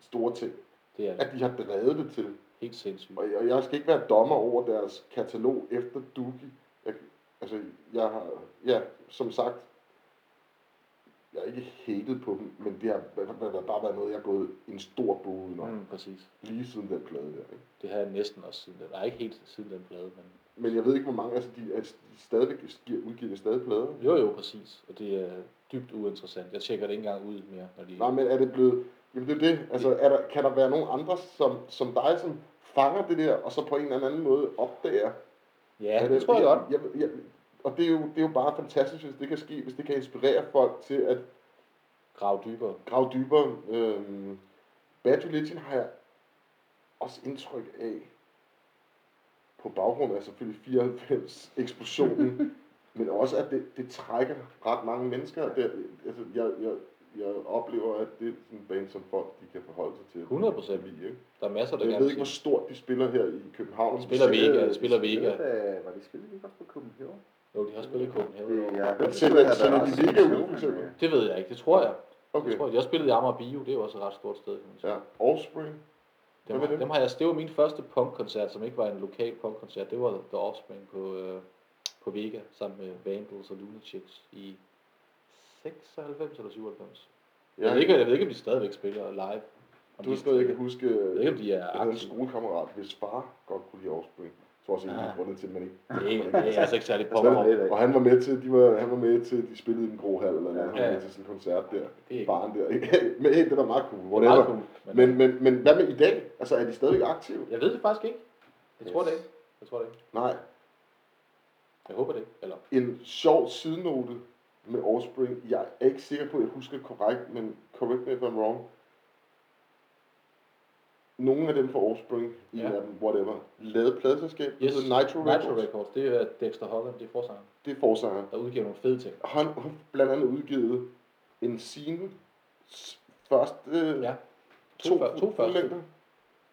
Speaker 1: store ting,
Speaker 2: Det er det.
Speaker 1: at de har drevet det til.
Speaker 2: helt sindssygt.
Speaker 1: Og jeg, og jeg skal ikke være dommer over deres katalog efter Duki. Jeg, altså, jeg har, ja, som sagt, jeg er ikke hatet på dem, men det har bare- bare- bare været noget, jeg har gået en stor bue udenom, mm.
Speaker 2: Mm, præcis.
Speaker 1: lige siden den plade der. Ikke?
Speaker 2: Det har jeg næsten også siden den. Nej, ikke helt siden den plade, men
Speaker 1: Men jeg ved ikke, hvor mange, altså de, er stadigvæk giver- udgiver stadig plader.
Speaker 2: jo jo, præcis. Og det er dybt uinteressant. Jeg tjekker det ikke engang ud mere, når de...
Speaker 1: Nej, men er det blevet... Jamen det er det. Altså, er der, kan der være nogen andre som, som dig, som fanger det der, og så på en eller anden måde opdager?
Speaker 2: ja,
Speaker 1: at
Speaker 2: det tror jeg godt.
Speaker 1: Jeg, jeg, og det er, jo, det er jo bare fantastisk, hvis det kan ske, hvis det kan inspirere folk til at
Speaker 2: Grav dybere.
Speaker 1: grave dybere. Øhm, Bad Religion har jeg også indtryk af, på baggrund af selvfølgelig 94 eksplosionen, men også at det, det trækker ret mange mennesker. og Det, altså, jeg, jeg, jeg oplever, at det er sådan en band, som folk de kan forholde sig til.
Speaker 2: 100%.
Speaker 1: Lide, ikke?
Speaker 2: Der er masser, der
Speaker 1: Jeg
Speaker 2: gerne
Speaker 1: ved
Speaker 2: vil
Speaker 1: ikke, hvor
Speaker 2: se-
Speaker 1: stort de spiller her i København.
Speaker 2: Spiller vi ikke,
Speaker 1: Øh,
Speaker 2: spiller vi ikke.
Speaker 3: Da, var det spillet ikke også på Copenhagen?
Speaker 2: Jo, de har spillet i Copenhagen.
Speaker 3: Det, jeg har hørt,
Speaker 1: Sælger-
Speaker 3: at der
Speaker 1: sælger
Speaker 3: var
Speaker 1: de
Speaker 3: også
Speaker 1: Liga ud,
Speaker 3: diskussion,
Speaker 1: for eksempel?
Speaker 3: men, øh,
Speaker 2: Det ved jeg ikke, det tror jeg.
Speaker 1: Okay.
Speaker 2: Jeg, tror, jeg spillede i Amager Bio, det er jo også et ret stort sted. Kan man sige.
Speaker 1: Ja, Offspring. Hvad
Speaker 2: Dem,
Speaker 1: med
Speaker 2: har,
Speaker 1: dem?
Speaker 2: dem har jeg, det var min første punkkoncert, som ikke var en lokal punkkoncert. Det var The Offspring på, øh, på Vega, sammen med Vandals og Lunatics i 96 eller 97. Ja. Jeg, ved ikke, jeg ved ikke, om de stadigvæk spiller live. Om
Speaker 1: Du
Speaker 2: de
Speaker 1: er stadig, jeg kan huske,
Speaker 2: Jeg ved ikke, om de er
Speaker 1: jeg havde en
Speaker 2: aktive.
Speaker 1: skolekammerat, hvis far godt kunne lide Offspring. Jeg tror også, en af
Speaker 2: Ah.
Speaker 1: grundene til, at man ikke...
Speaker 2: Det er, det er altså ikke særlig
Speaker 1: Stadig-
Speaker 2: popper.
Speaker 3: det er det.
Speaker 1: Og han var med til, de var, han var med til, de spillede i den grå hal eller noget. Han var
Speaker 2: Ja.
Speaker 1: med til sådan en koncert der.
Speaker 2: Det er ikke
Speaker 1: Baren der. men hey, det var meget cool.
Speaker 2: det er meget
Speaker 1: Whatever.
Speaker 2: cool. Men,
Speaker 1: Men, men, men hvad med i dag? Altså, er de stadigvæk aktive?
Speaker 2: jeg ved det faktisk ikke. Jeg tror det ikke. Jeg tror det ikke.
Speaker 1: Nej.
Speaker 2: Jeg håber det ikke. Eller,
Speaker 1: En sjov sidenote med Offspring. Jeg er ikke sikker på, at jeg husker korrekt, men correct me if I'm wrong. Nogle af dem fra Offspring, en
Speaker 2: Ja.
Speaker 1: af dem, whatever, lavede pladeselskab, yes.
Speaker 2: yes,
Speaker 1: hedder Nitro Records.
Speaker 2: Nitro Records. Det er Dexter Holland, det er forsanger,
Speaker 1: Det er forsanger.
Speaker 2: der udgiver nogle fede ting.
Speaker 1: Han har blandt andet udgivet en sine s- første
Speaker 2: Ja. To,
Speaker 1: to,
Speaker 2: før- to første.
Speaker 1: fuldlængder.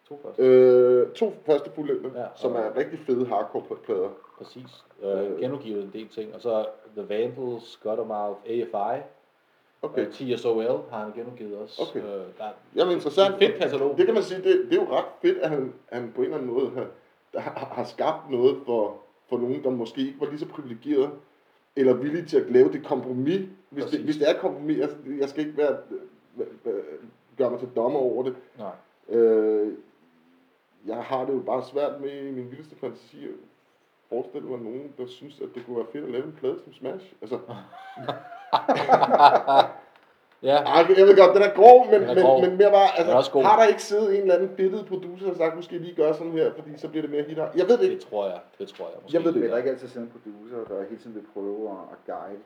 Speaker 2: To første.
Speaker 1: Øh, to første fuldlængder,
Speaker 2: Ja,
Speaker 1: ja,
Speaker 2: og-
Speaker 1: som er rigtig fede hardcore-plader.
Speaker 2: Præcis. Øh, genudgivet en del ting. Og så The Vandals, Scuddermouth, AFI.
Speaker 1: Okay.
Speaker 2: Øh, TSOL har han genudgivet også.
Speaker 1: Okay.
Speaker 2: Øh, der er
Speaker 1: Jamen interessant.
Speaker 2: en fedt katalog.
Speaker 1: Det kan man sige, det, det er jo ret fedt, at han, han på en eller anden måde har, der har, har skabt noget for, for nogen, der måske ikke var lige så privilegeret, eller villige til at lave det kompromis. Hvis, det,
Speaker 2: Præcis.
Speaker 1: hvis det er et kompromis, jeg, jeg skal ikke være, øh, øh, gøre mig til dommer over det.
Speaker 2: Nej.
Speaker 1: Øh, jeg har det jo bare svært med i min vildeste fantasi at forestille mig nogen, der synes, at det kunne være fedt at lave en plade som Smash. Altså,
Speaker 2: Ja,
Speaker 1: Ej, jeg ved godt, den er grov, men,
Speaker 2: Den er
Speaker 1: men,
Speaker 2: grov.
Speaker 1: men mere bare,
Speaker 2: Den er også
Speaker 1: altså,
Speaker 2: god.
Speaker 1: har der ikke siddet en eller anden billede producer og sagt, nu skal I lige gøre sådan her, fordi så bliver det mere hitter. Jeg ved det ikke.
Speaker 2: det tror jeg. Det tror jeg. Måske.
Speaker 1: Jeg ved det
Speaker 3: Men der er
Speaker 1: ikke.
Speaker 3: ikke altid sådan en producer, der hele tiden vil prøve at, at guide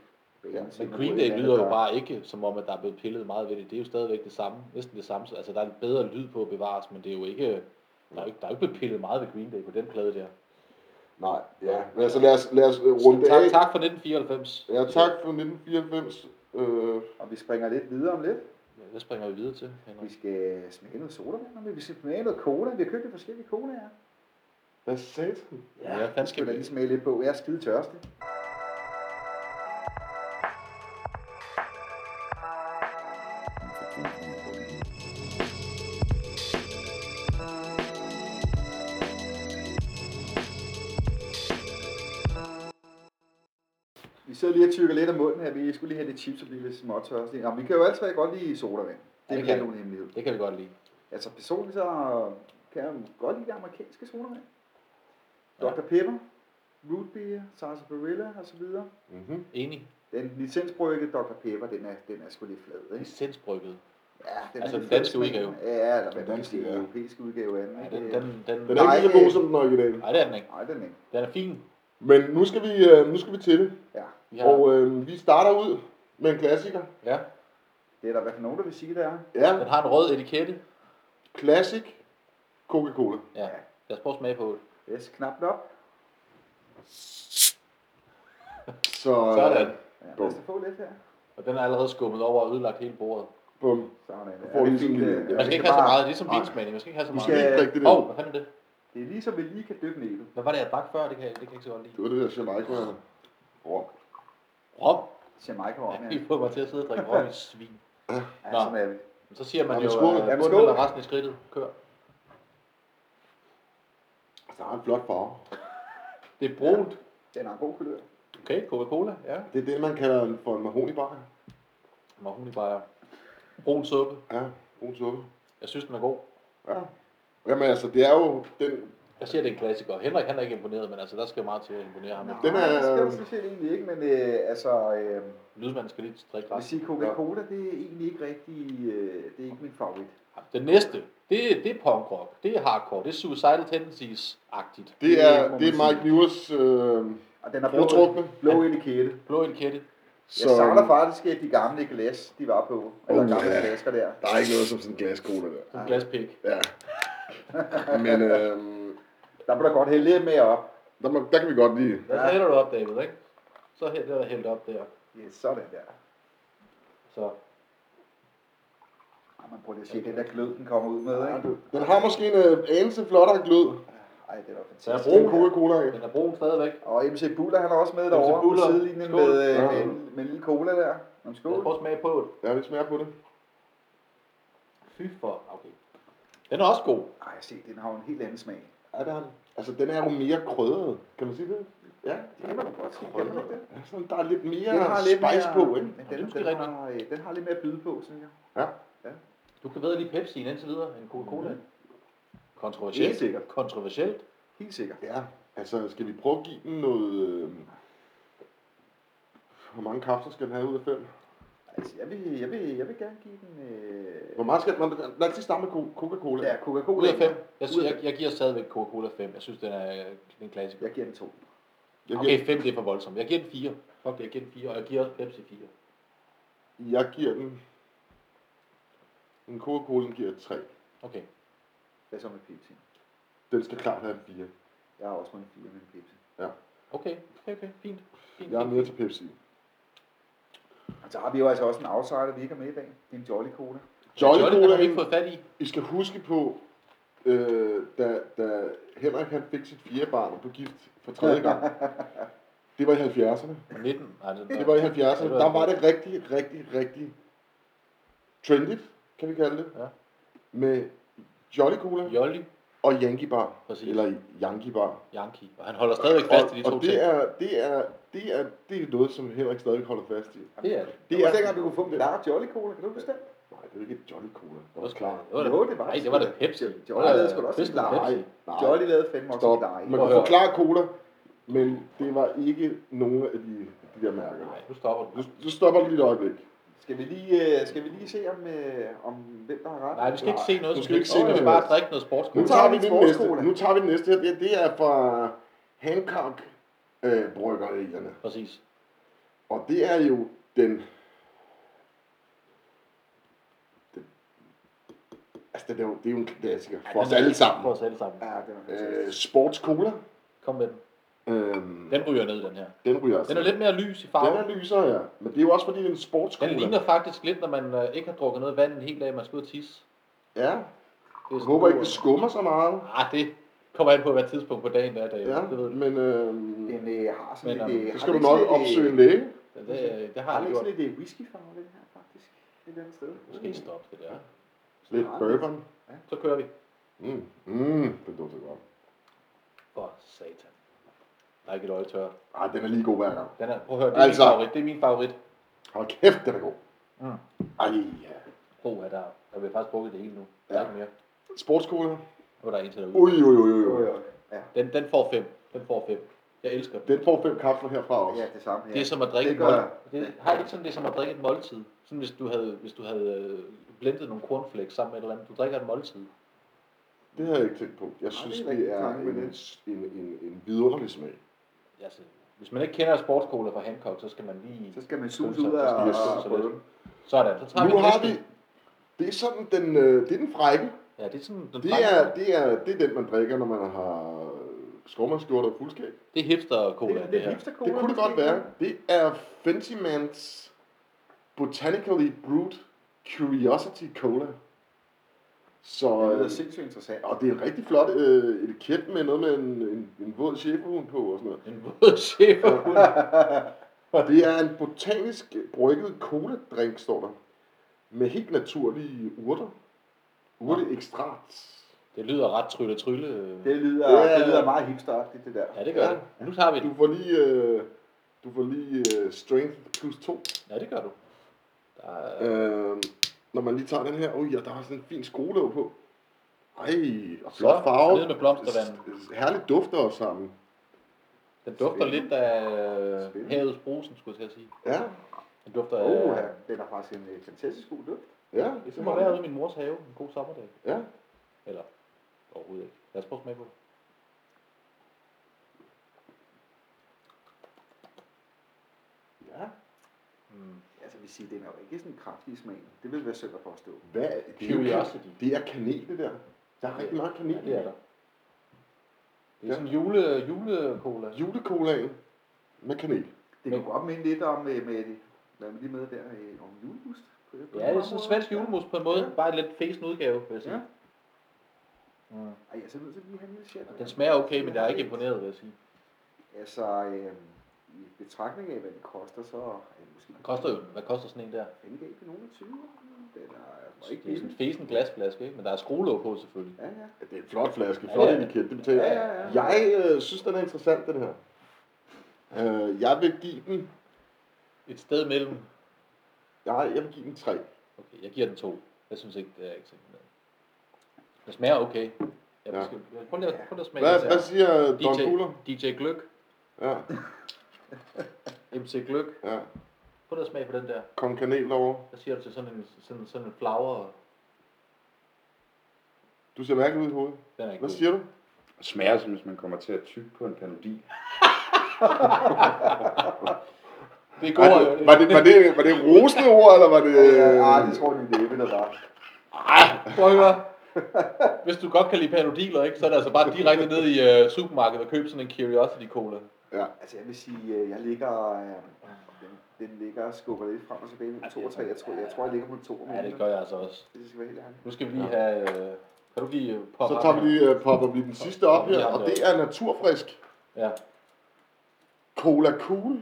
Speaker 1: Ja,
Speaker 3: banen. til
Speaker 2: Men
Speaker 3: noget
Speaker 2: Green
Speaker 3: eller
Speaker 2: Day
Speaker 3: andet,
Speaker 2: lyder jo
Speaker 3: der-
Speaker 2: bare ikke, som om at der er blevet pillet meget ved det. Det er jo stadigvæk det samme, næsten det samme. Altså, der er en bedre lyd på at bevares, men det er jo ikke... Der er jo ikke, der er jo ikke blevet pillet meget ved Green Day på den plade der.
Speaker 1: Nej, ja. Men altså, lad os, lad os øh, runde
Speaker 2: Så tak,
Speaker 1: af.
Speaker 2: tak for 1994.
Speaker 1: Ja, tak for 1994. Øh,
Speaker 3: Og vi springer lidt videre om lidt.
Speaker 2: Hvad springer vi videre til,
Speaker 3: Vi
Speaker 2: Henrik?
Speaker 3: skal smage noget sodavand, og vi skal smage noget cola. Vi har købt lidt forskellige colaer.
Speaker 1: hvad sagde den?
Speaker 2: Ja, hvad fanden
Speaker 3: det skal
Speaker 2: skal
Speaker 3: vi da
Speaker 2: vi...
Speaker 3: lige smage lidt på. Jeg er skide tørstig. Vi sidder lige og tykker lidt af munden her. Vi skulle lige have lidt chips og blive lidt småtørstige. Nå, vi kan jo alle tre godt lide sodavand.
Speaker 2: Ja, det
Speaker 3: Det
Speaker 2: kan
Speaker 3: er ja,
Speaker 2: vi.
Speaker 3: nogen hemmelighed.
Speaker 2: Det kan vi godt lide.
Speaker 3: Altså personligt så kan jeg godt lide det amerikanske sodavand. Dr. Pepper, root beer, sarsaparilla og så videre.
Speaker 1: Mm-hmm.
Speaker 2: Enig.
Speaker 3: Den licensbrygge Dr. Pepper, den er, den er sgu lidt flad, ikke?
Speaker 2: Licensbrygget.
Speaker 3: Ja, den
Speaker 2: Altså den
Speaker 3: er lidt flad,
Speaker 2: danske
Speaker 3: men-
Speaker 2: udgave.
Speaker 3: Ja, eller hvad
Speaker 1: Den
Speaker 3: man kan
Speaker 1: danske,
Speaker 3: sige,
Speaker 1: ja.
Speaker 3: den europæiske udgave af den.
Speaker 2: Ja,
Speaker 3: ikke?
Speaker 2: den, den, den,
Speaker 1: Den er ikke lige så
Speaker 3: Nej,
Speaker 1: god
Speaker 3: øh.
Speaker 1: som den originale.
Speaker 2: Nej, det er den ikke.
Speaker 3: Nej, den er ikke.
Speaker 2: Den er fin.
Speaker 1: Men nu skal vi, øh, nu skal vi til det.
Speaker 3: Ja,
Speaker 2: Vi
Speaker 1: Ja.
Speaker 2: har,
Speaker 1: Og øh, vi starter ud med en klassiker.
Speaker 2: ja,
Speaker 3: det er der i hvert fald nogen, der vil sige, det er.
Speaker 1: Ja,
Speaker 2: den har en rød etikette.
Speaker 1: classic Coca-Cola.
Speaker 2: Ja, lad os prøve at smage på det.
Speaker 3: Yes, knapt op.
Speaker 1: Så, øh,
Speaker 2: Sådan.
Speaker 3: Ja, lad
Speaker 1: Bum.
Speaker 3: os da få lidt her.
Speaker 2: Og den er allerede skummet over og ødelagt hele bordet.
Speaker 1: Bum.
Speaker 3: Sådan, ja.
Speaker 1: får lige sådan en lille-
Speaker 3: øh,
Speaker 2: Man skal
Speaker 3: vi
Speaker 2: ikke
Speaker 3: kan
Speaker 2: have så
Speaker 3: bare-
Speaker 2: meget, ligesom det er som
Speaker 1: Nej.
Speaker 2: vinsmagning. Man skal ikke have så
Speaker 1: Du
Speaker 2: meget.
Speaker 1: skal ikke drikke det der.
Speaker 2: Åh, oh, hvad fanden er det?
Speaker 3: Det er ligesom, vi lige kan dyppe næbet.
Speaker 2: Hvad var det, jeg drak før? Det kan, jeg- det kan jeg ikke så godt lide.
Speaker 1: Det var det der altså, Jamaica. Rom.
Speaker 2: Rom?
Speaker 3: Jamaica om, ja.
Speaker 2: Ja. I får mig til at sidde og drikke rom i svin.
Speaker 3: ja
Speaker 2: Nå.
Speaker 3: sådan er vi.
Speaker 2: Men så siger man
Speaker 1: Jamen,
Speaker 2: jo,
Speaker 1: skål.
Speaker 2: at
Speaker 3: Jamen,
Speaker 2: bunden
Speaker 3: skål.
Speaker 2: eller resten i skridtet kør.
Speaker 1: Der er en flot farve.
Speaker 2: Det er brunt.
Speaker 3: Den har en god kulør.
Speaker 2: Okay, Coca-Cola, ja.
Speaker 1: Det er det, man kalder en- for en mahonibakker.
Speaker 2: Mahognibajer. Brun suppe.
Speaker 1: Ja, brun suppe.
Speaker 2: Jeg synes, den er god.
Speaker 1: Ja. Jamen altså, det er jo den...
Speaker 2: Jeg siger, det er en klassiker. Henrik, han er ikke imponeret, men altså, der skal meget til at imponere ham.
Speaker 1: Den er-
Speaker 3: Nej, det skal du sådan set egentlig ikke, men øh, altså, øh,
Speaker 2: Lydmanden skal lige drikke
Speaker 3: jeg vil
Speaker 2: resten.
Speaker 3: sige, Coca-Cola, det er egentlig ikke rigtig, øh, det er ikke min favorit.
Speaker 2: Den næste, det, er- det er punkrock. Det er hardcore. Det er suicidal
Speaker 1: Det
Speaker 2: tendencies-agtigt.
Speaker 3: Det må
Speaker 1: er,
Speaker 3: man
Speaker 1: det er Mike Newers øh,
Speaker 3: Og den er blå,
Speaker 1: foretrukne.
Speaker 3: blå etikette.
Speaker 2: Blå etikette.
Speaker 3: Jeg savner faktisk at de gamle glas, de var på. Eller
Speaker 1: Uh,
Speaker 3: gamle
Speaker 1: ja.
Speaker 3: flasker der.
Speaker 1: Der er ikke noget som sådan en glaskola der.
Speaker 2: En glaspik.
Speaker 1: Ja. Men øh,
Speaker 3: Der blev der godt hælde lidt mere op.
Speaker 1: der, må, der kan vi godt lide.
Speaker 2: Der
Speaker 3: Ja.
Speaker 2: hælder du op, David, ikke? Så hælder der hældt op der.
Speaker 3: Ja, sådan der.
Speaker 2: Så
Speaker 3: Ej, man prøver lige at se, den der glød, den kommer ud med, ikke?
Speaker 1: Den har måske en øh, anelse flottere glød.
Speaker 3: Ej, det er da fantastisk.
Speaker 2: Der er
Speaker 1: Det er
Speaker 2: brug.
Speaker 1: Coca-Cola, ikke?
Speaker 2: Den er brun stadigvæk.
Speaker 3: Og MC Buller, han er også med derovre på
Speaker 2: Buller.
Speaker 3: sidelinjen
Speaker 2: Skål.
Speaker 3: med, øh,
Speaker 1: Ja.
Speaker 3: med, en- med en lille cola der. Nå,
Speaker 2: Lad os
Speaker 3: skål.
Speaker 2: prøve at smage på det.
Speaker 1: Ja, vi smager på det.
Speaker 2: Fy for, okay. Den er også god.
Speaker 3: Ej, se, den har jo en helt anden smag.
Speaker 1: Ja, det har den. Altså, den er jo mere krydret. Kan man sige det? Ja.
Speaker 3: Det kan man godt sige, kan man ikke det?
Speaker 1: Ja, sådan, der er lidt mere
Speaker 3: Den har lidt
Speaker 1: spice
Speaker 3: mere,
Speaker 1: på, ikke?
Speaker 3: Men
Speaker 2: Ja, det er
Speaker 3: den,
Speaker 2: måske
Speaker 3: den,
Speaker 2: rigtigt
Speaker 3: har, øh, den har lidt mere at byde på, synes jeg.
Speaker 2: Du kan bedre lige Pepsi'en indtil videre end Coca-Cola.
Speaker 3: Mhm. Helt
Speaker 2: Kontroversielt.
Speaker 3: sikkert.
Speaker 2: Kontroversielt.
Speaker 3: Helt sikkert.
Speaker 1: Ja, altså skal vi prøve at give den noget... Øh... Hvor mange kapsler skal den have ud af fem?
Speaker 3: Altså, jeg vil, jeg vil, jeg vil gerne give den... Øh...
Speaker 1: Hvor meget skal den... Lad os lige starte med Co- Coca-Cola.
Speaker 3: Ja, Coca-Cola.
Speaker 2: Ud af fem. Jeg,
Speaker 3: Ud af
Speaker 2: jeg, jeg giver stadigvæk Coca-Cola 5. Jeg synes, den er øh, en klassiker.
Speaker 3: Jeg giver den to.
Speaker 1: Jeg, giver,
Speaker 2: Okay, 5 det er for voldsomt. Jeg giver den 4. Fuck det, jeg giver den 4. Og jeg giver også Pepsi 4.
Speaker 1: jeg giver den... En Coca-Cola den giver jeg tre.
Speaker 2: Okay.
Speaker 3: Hvad så med Pepsi?
Speaker 1: Den skal klart have en fire.
Speaker 3: Jeg har også med en fire med en Pepsi.
Speaker 2: Okay, okay, okay. Fint. Fint.
Speaker 1: Jeg er
Speaker 2: fint.
Speaker 1: mere til Pepsi.
Speaker 3: Og så har vi jo altså også en outsider, vi ikke er med i dag. Det er en Jolly Cola.
Speaker 2: Jolly,
Speaker 1: Jolly
Speaker 2: den har vi ikke
Speaker 1: Cola,
Speaker 2: fået fat i.
Speaker 1: I skal huske på, øh, da, da Henrik han fik sit fjerde barn og blev gift for tredje gang. Det var i 70'erne.
Speaker 2: 19. Nej, den
Speaker 1: Det var i 70'erne.
Speaker 2: var-
Speaker 1: Der var det rigtig, rigtig, rigtig trendigt, kan vi kalde det.
Speaker 2: Ja.
Speaker 1: Med Jolly Cola
Speaker 2: Jolly
Speaker 1: og Yankee Bar.
Speaker 2: Præcis.
Speaker 1: Eller Yankee Bar.
Speaker 2: Yankee. Og han holder stadigvæk fast i de
Speaker 1: og
Speaker 2: to
Speaker 1: og
Speaker 2: ting.
Speaker 1: det, er, det, er, det, er, det er noget, som Henrik stadig holder fast i.
Speaker 2: Det er det.
Speaker 3: Det
Speaker 1: er-
Speaker 3: er også dengang, vi kunne få en klar Jolly Cola. Kan du huske det?
Speaker 1: Nej, det er jo ikke et Jolly Cola. Det
Speaker 2: Det
Speaker 1: var
Speaker 2: var
Speaker 1: klart.
Speaker 2: Det var
Speaker 3: Jo, det var
Speaker 2: Nej,
Speaker 3: det
Speaker 2: det var
Speaker 3: sgu
Speaker 2: da
Speaker 3: da.
Speaker 2: Pepsi.
Speaker 3: Jolly lavede sgu da også
Speaker 2: Fisk
Speaker 3: en
Speaker 2: og
Speaker 3: klar-
Speaker 2: Pepsi.
Speaker 1: Nej,
Speaker 3: Jolly lavede fandme også
Speaker 1: stop.
Speaker 3: en klar. ikke?
Speaker 1: Man
Speaker 2: Prøv at
Speaker 1: kunne
Speaker 2: høre.
Speaker 1: forklare cola, men det var ikke nogen af de, de der mærker.
Speaker 2: Nej, nu stopper du.
Speaker 1: Nu, nu stopper du lige et øjeblik.
Speaker 3: Skal vi lige, øh, skal vi lige se, om, øh, om hvem der har ret?
Speaker 2: Nej, vi skal ikke se noget.
Speaker 1: Du
Speaker 2: som
Speaker 1: skal ikke
Speaker 2: helst.
Speaker 1: se
Speaker 2: Vi skal
Speaker 1: noget.
Speaker 2: bare drikke noget
Speaker 1: Nu
Speaker 2: sportscola.
Speaker 1: tager vi den
Speaker 3: en
Speaker 1: næste.
Speaker 3: sportscola.
Speaker 1: Nu tager vi den næste her. Det- Det er fra Hancock øh, bryggerierne.
Speaker 2: Præcis.
Speaker 1: Og det er jo den... den altså, det er jo, det er jo en klassiker for os alle
Speaker 2: For
Speaker 1: sammen.
Speaker 2: os alle sammen.
Speaker 3: Ja, det var fantastisk.
Speaker 1: Øh, sports cola.
Speaker 2: Kom med den.
Speaker 1: Øhm,
Speaker 2: Den ryger ned, den her.
Speaker 1: den ryger altså.
Speaker 2: Den er lidt mere lys i
Speaker 1: den
Speaker 2: farven.
Speaker 1: er lysere, ja. Men det er jo også fordi, det er en sportscola.
Speaker 2: Den ligner faktisk lidt, når man øh, ikke har drukket noget vand en hel dag, man skal ud og tisse.
Speaker 1: Ja.
Speaker 2: Det er
Speaker 1: Jeg håber ikke, det skummer så meget.
Speaker 2: Ah, det kommer an på, hvad tidspunkt på dagen der er. David.
Speaker 1: Ja,
Speaker 2: Det ved du.
Speaker 1: men øhm,
Speaker 3: Den øh, har sådan
Speaker 2: Men,
Speaker 3: lidt...
Speaker 2: øhm,
Speaker 3: øh,
Speaker 1: så
Speaker 3: har
Speaker 1: skal du
Speaker 3: den ikke
Speaker 1: nok
Speaker 3: sådan lidt, øh,
Speaker 1: opsøge en læge.
Speaker 2: Det, det, det har jeg
Speaker 3: Har den ikke
Speaker 2: gjort.
Speaker 3: sådan lidt øh, whiskyfarve, den her, faktisk? Et eller andet sted.
Speaker 2: Måske stop det der.
Speaker 1: Lidt bourbon.
Speaker 2: Så kører vi.
Speaker 1: Mm. Mm, det dufter godt.
Speaker 2: For satan. Der er ikke et øje tørt.
Speaker 1: Ej, den er lige god hver gang.
Speaker 2: Den er, prøv at høre, det er
Speaker 1: Altså.
Speaker 2: min favorit. Det er min favorit.
Speaker 1: Hold kæft, den er god.
Speaker 2: Mm.
Speaker 1: Ej, ja.
Speaker 2: Åh, ja, der, der bliver faktisk brugt det hele nu. Der er
Speaker 1: Ja.
Speaker 2: ikke mere.
Speaker 1: Sportskola.
Speaker 2: Nu er der en til derude.
Speaker 1: Ui, ui, ui,
Speaker 3: Jo,
Speaker 1: ui.
Speaker 3: jo. Ja.
Speaker 2: Den, den får fem. Den får fem. Jeg elsker den.
Speaker 1: Den får fem kapsler herfra også.
Speaker 3: Ja, det samme her.
Speaker 2: Det er som at drikke
Speaker 3: Det
Speaker 2: det
Speaker 3: gør
Speaker 2: mål... det, har det ikke sådan, det er som at drikke et måltid? Sådan hvis du havde, hvis du havde øh, blendet nogle cornflakes sammen med et eller andet. Du drikker et måltid.
Speaker 1: Det har jeg ikke tænkt på. Jeg synes,
Speaker 3: det er
Speaker 1: det er
Speaker 3: rigtig
Speaker 1: en,
Speaker 3: tanke med
Speaker 1: en, en, en vidunderlig smag.
Speaker 2: Altså, hvis man ikke kender sportskola fra Hancock, så skal man lige...
Speaker 3: Så skal man sus
Speaker 2: Skynde sig.
Speaker 3: ud af
Speaker 1: Yes.
Speaker 3: og prøve den.
Speaker 2: Sådan, så tager
Speaker 1: Nu
Speaker 2: vi
Speaker 1: har
Speaker 2: næste.
Speaker 1: vi... Det er sådan den, øh, det er den frække.
Speaker 2: Ja, det er sådan... Den
Speaker 1: Det er, det, er, det er den, man drikker, når man har skovmandskjorte og fuldskab.
Speaker 2: det er hipster-cola, det,
Speaker 3: Det er
Speaker 2: her.
Speaker 3: hipster cola.
Speaker 1: Det kunne det godt være. Det er Fenty Man's Botanically Brewed Curiosity Cola. Så,
Speaker 3: Det lyder
Speaker 1: øh,
Speaker 3: sindssygt interessant.
Speaker 1: og det er en rigtig flot øh, etiket med noget med en, en, en våd chefhund på og sådan noget.
Speaker 2: En våd chef.
Speaker 1: Og det er en botanisk brygget cola-drink, står der. Med helt naturlige urter. Urteekstrakt.
Speaker 2: Det lyder ret trylle trylle. øh.
Speaker 3: Det lyder,
Speaker 1: Det er-
Speaker 3: det lyder meget hipsteragtigt, det der.
Speaker 2: Ja, det gør
Speaker 1: Ja.
Speaker 2: det. Nu tager vi
Speaker 1: Du
Speaker 2: den.
Speaker 1: får lige, øh, du får lige øh, strength plus 2.
Speaker 2: Ja, det gør du. Der er,
Speaker 1: Øh, når man lige tager den her, ui, og der er sådan en fin skruelåg på. Ej, og flot farve.
Speaker 2: ned med blomstervand.
Speaker 1: S- s- Herligt dufter også sammen.
Speaker 2: den dufter
Speaker 3: spændende.
Speaker 2: lidt af
Speaker 3: Spændende.
Speaker 2: havets brusen, skulle jeg til at sige.
Speaker 1: Ja,
Speaker 2: Den dufter af...
Speaker 3: Oh, ja. Den er faktisk en øh, fantastisk god duft.
Speaker 1: ja.
Speaker 2: Det må være ude i min mors have en god sommerdag.
Speaker 1: Ja.
Speaker 2: Eller overhovedet ikke. Lad os prøve at smage på det.
Speaker 1: ja.
Speaker 2: Mm.
Speaker 3: Altså, vi siger, den er jo ikke sådan kraftig i smagen. Det vil være synd at forstå.
Speaker 1: Hvad? Det er, jo,
Speaker 2: Curiosity.
Speaker 1: det er kanel, det der. Der er rigtig meget kanel.
Speaker 2: Ja, det er der. Det
Speaker 1: Ja.
Speaker 2: er sådan jule, julekola.
Speaker 1: Julekolaen med kanel.
Speaker 3: Det kunne godt minde lidt om, øh, med, hvad er det lige med der, øh, om julebust.
Speaker 2: Ja, det er sådan en svensk julemus på en måde.
Speaker 3: Ja.
Speaker 2: Bare en lidt fesen udgave, vil jeg sige.
Speaker 3: Ja.
Speaker 2: Mm.
Speaker 3: Ej, altså, jeg er simpelthen nødt til at lige have en lille chat.
Speaker 2: Den smager okay, men jeg er ikke imponeret, vil jeg sige.
Speaker 3: Altså, øh, i betragtning af, hvad det koster, så er det måske...
Speaker 2: Den koster jo, hvad koster sådan en der?
Speaker 3: Angreb i nogen af 20. Den er ikke
Speaker 2: Det er sådan en
Speaker 3: billig.
Speaker 2: fesen glasflaske, ikke? Men der er skruelåg på selvfølgelig.
Speaker 3: Ja, ja.
Speaker 1: Ja, det er en flot flaske,
Speaker 2: Ja,
Speaker 1: flot
Speaker 2: ja.
Speaker 1: ja, etiket, det betaler
Speaker 3: Ja, ja, ja.
Speaker 1: Jeg øh, synes, den er interessant, den her. Øh, jeg vil give den,
Speaker 2: Et sted mellem...
Speaker 1: jeg, jeg vil give den tre.
Speaker 2: Okay, jeg giver den to. Jeg synes ikke, det er ikke sådan noget. Den smager okay. Jeg
Speaker 1: Ja.
Speaker 2: ja. skal, prøv lige at, prøv lige at smage
Speaker 1: Hvad,
Speaker 2: den
Speaker 1: hvad
Speaker 2: her.
Speaker 1: siger Don
Speaker 2: DJ.
Speaker 1: Cooler?
Speaker 2: DJ Gløk,
Speaker 1: Ja,
Speaker 2: MC Gløk.
Speaker 1: ja.
Speaker 2: Prøv lige at smage på den der.
Speaker 1: Kom kanel over.
Speaker 2: Hvad siger du til sådan en, sådan, sådan en flower?
Speaker 1: Du ser mærkelig ud i hovedet.
Speaker 2: Den er ikke
Speaker 1: Hvad
Speaker 2: god.
Speaker 1: siger du?
Speaker 4: Det smager som, hvis man kommer til at tygge på en panodi.
Speaker 2: Det er
Speaker 1: Ej,
Speaker 2: god,
Speaker 1: det- var, det, var, det, var det rosende ord, eller var det...
Speaker 3: Ah, det tror jeg, det er Ebbe, der var.
Speaker 2: Prøv at høre. Hvis du godt kan lide panodiler, ikke, så er det altså bare direkte ned i øh, supermarkedet og købe sådan en Curiosity Cola.
Speaker 3: Altså, jeg vil sige, øh, jeg ligger... øh, Den, den ligger og skubber lidt frem og tilbage mellem 2 og 3. Jeg tror, jeg, tror, jeg ligger på 2
Speaker 2: Ja, det gør jeg altså også.
Speaker 3: Det skal være helt ærligt.
Speaker 2: Nu skal vi lige have... Øh, kan du lige øh, poppe
Speaker 1: Så
Speaker 2: op
Speaker 1: tager vi
Speaker 2: her?
Speaker 1: lige, øh, popper vi den sidste op her,
Speaker 2: Ja,
Speaker 1: og
Speaker 2: ja.
Speaker 1: det er naturfrisk.
Speaker 2: Ja.
Speaker 1: Cola Cool.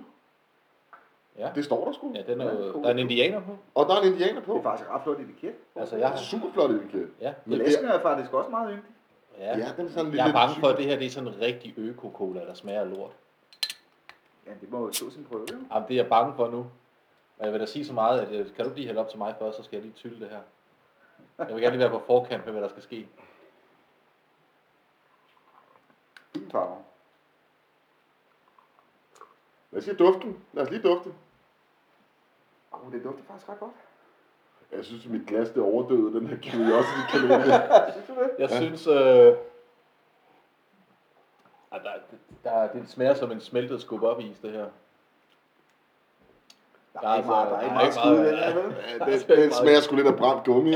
Speaker 2: Ja.
Speaker 1: Det står der sgu.
Speaker 2: ja, den er
Speaker 3: Ja,
Speaker 2: jo,
Speaker 3: cool.
Speaker 2: der er en indianer på.
Speaker 1: Og der er en indianer på.
Speaker 3: Det er faktisk et ret flot etiket.
Speaker 2: Altså, jeg har...
Speaker 1: Super flot etiket.
Speaker 2: Ja,
Speaker 1: Men det-
Speaker 3: Flasken er faktisk også meget yndelig.
Speaker 2: ja.
Speaker 1: Ja, den er sådan lidt...
Speaker 2: Jeg er
Speaker 1: lidt
Speaker 2: bange for,
Speaker 1: syg.
Speaker 2: at det her det er sådan en rigtig øko-cola, der smager af lort.
Speaker 3: Ja, det må jo stå sin prøve. jo.
Speaker 2: Jamen, det er jeg bange for nu. Og jeg vil da sige så meget, at øh, kan du lige hælde op til mig først, så skal jeg lige tylde det her. Jeg vil gerne lige være på forkant med, hvad der skal ske.
Speaker 3: Fine farver.
Speaker 1: Hvad siger duften? Lad os lige dufte.
Speaker 3: Åh, oh, det dufter faktisk ret godt.
Speaker 1: Jeg synes, mit glas det overdøde den her curiosity kalender.
Speaker 3: Synes du det?
Speaker 2: Jeg ja. synes, øh, at der, der, det smager som en smeltet skub op is, det her.
Speaker 3: Der
Speaker 2: Der
Speaker 3: er
Speaker 2: er
Speaker 3: ikke meget, der er
Speaker 2: altså-
Speaker 3: ikke
Speaker 2: der er ikke
Speaker 3: meget skud i
Speaker 2: meget-
Speaker 3: den her,
Speaker 1: den,
Speaker 3: vel?
Speaker 1: den smager sgu lidt af brændt gummi.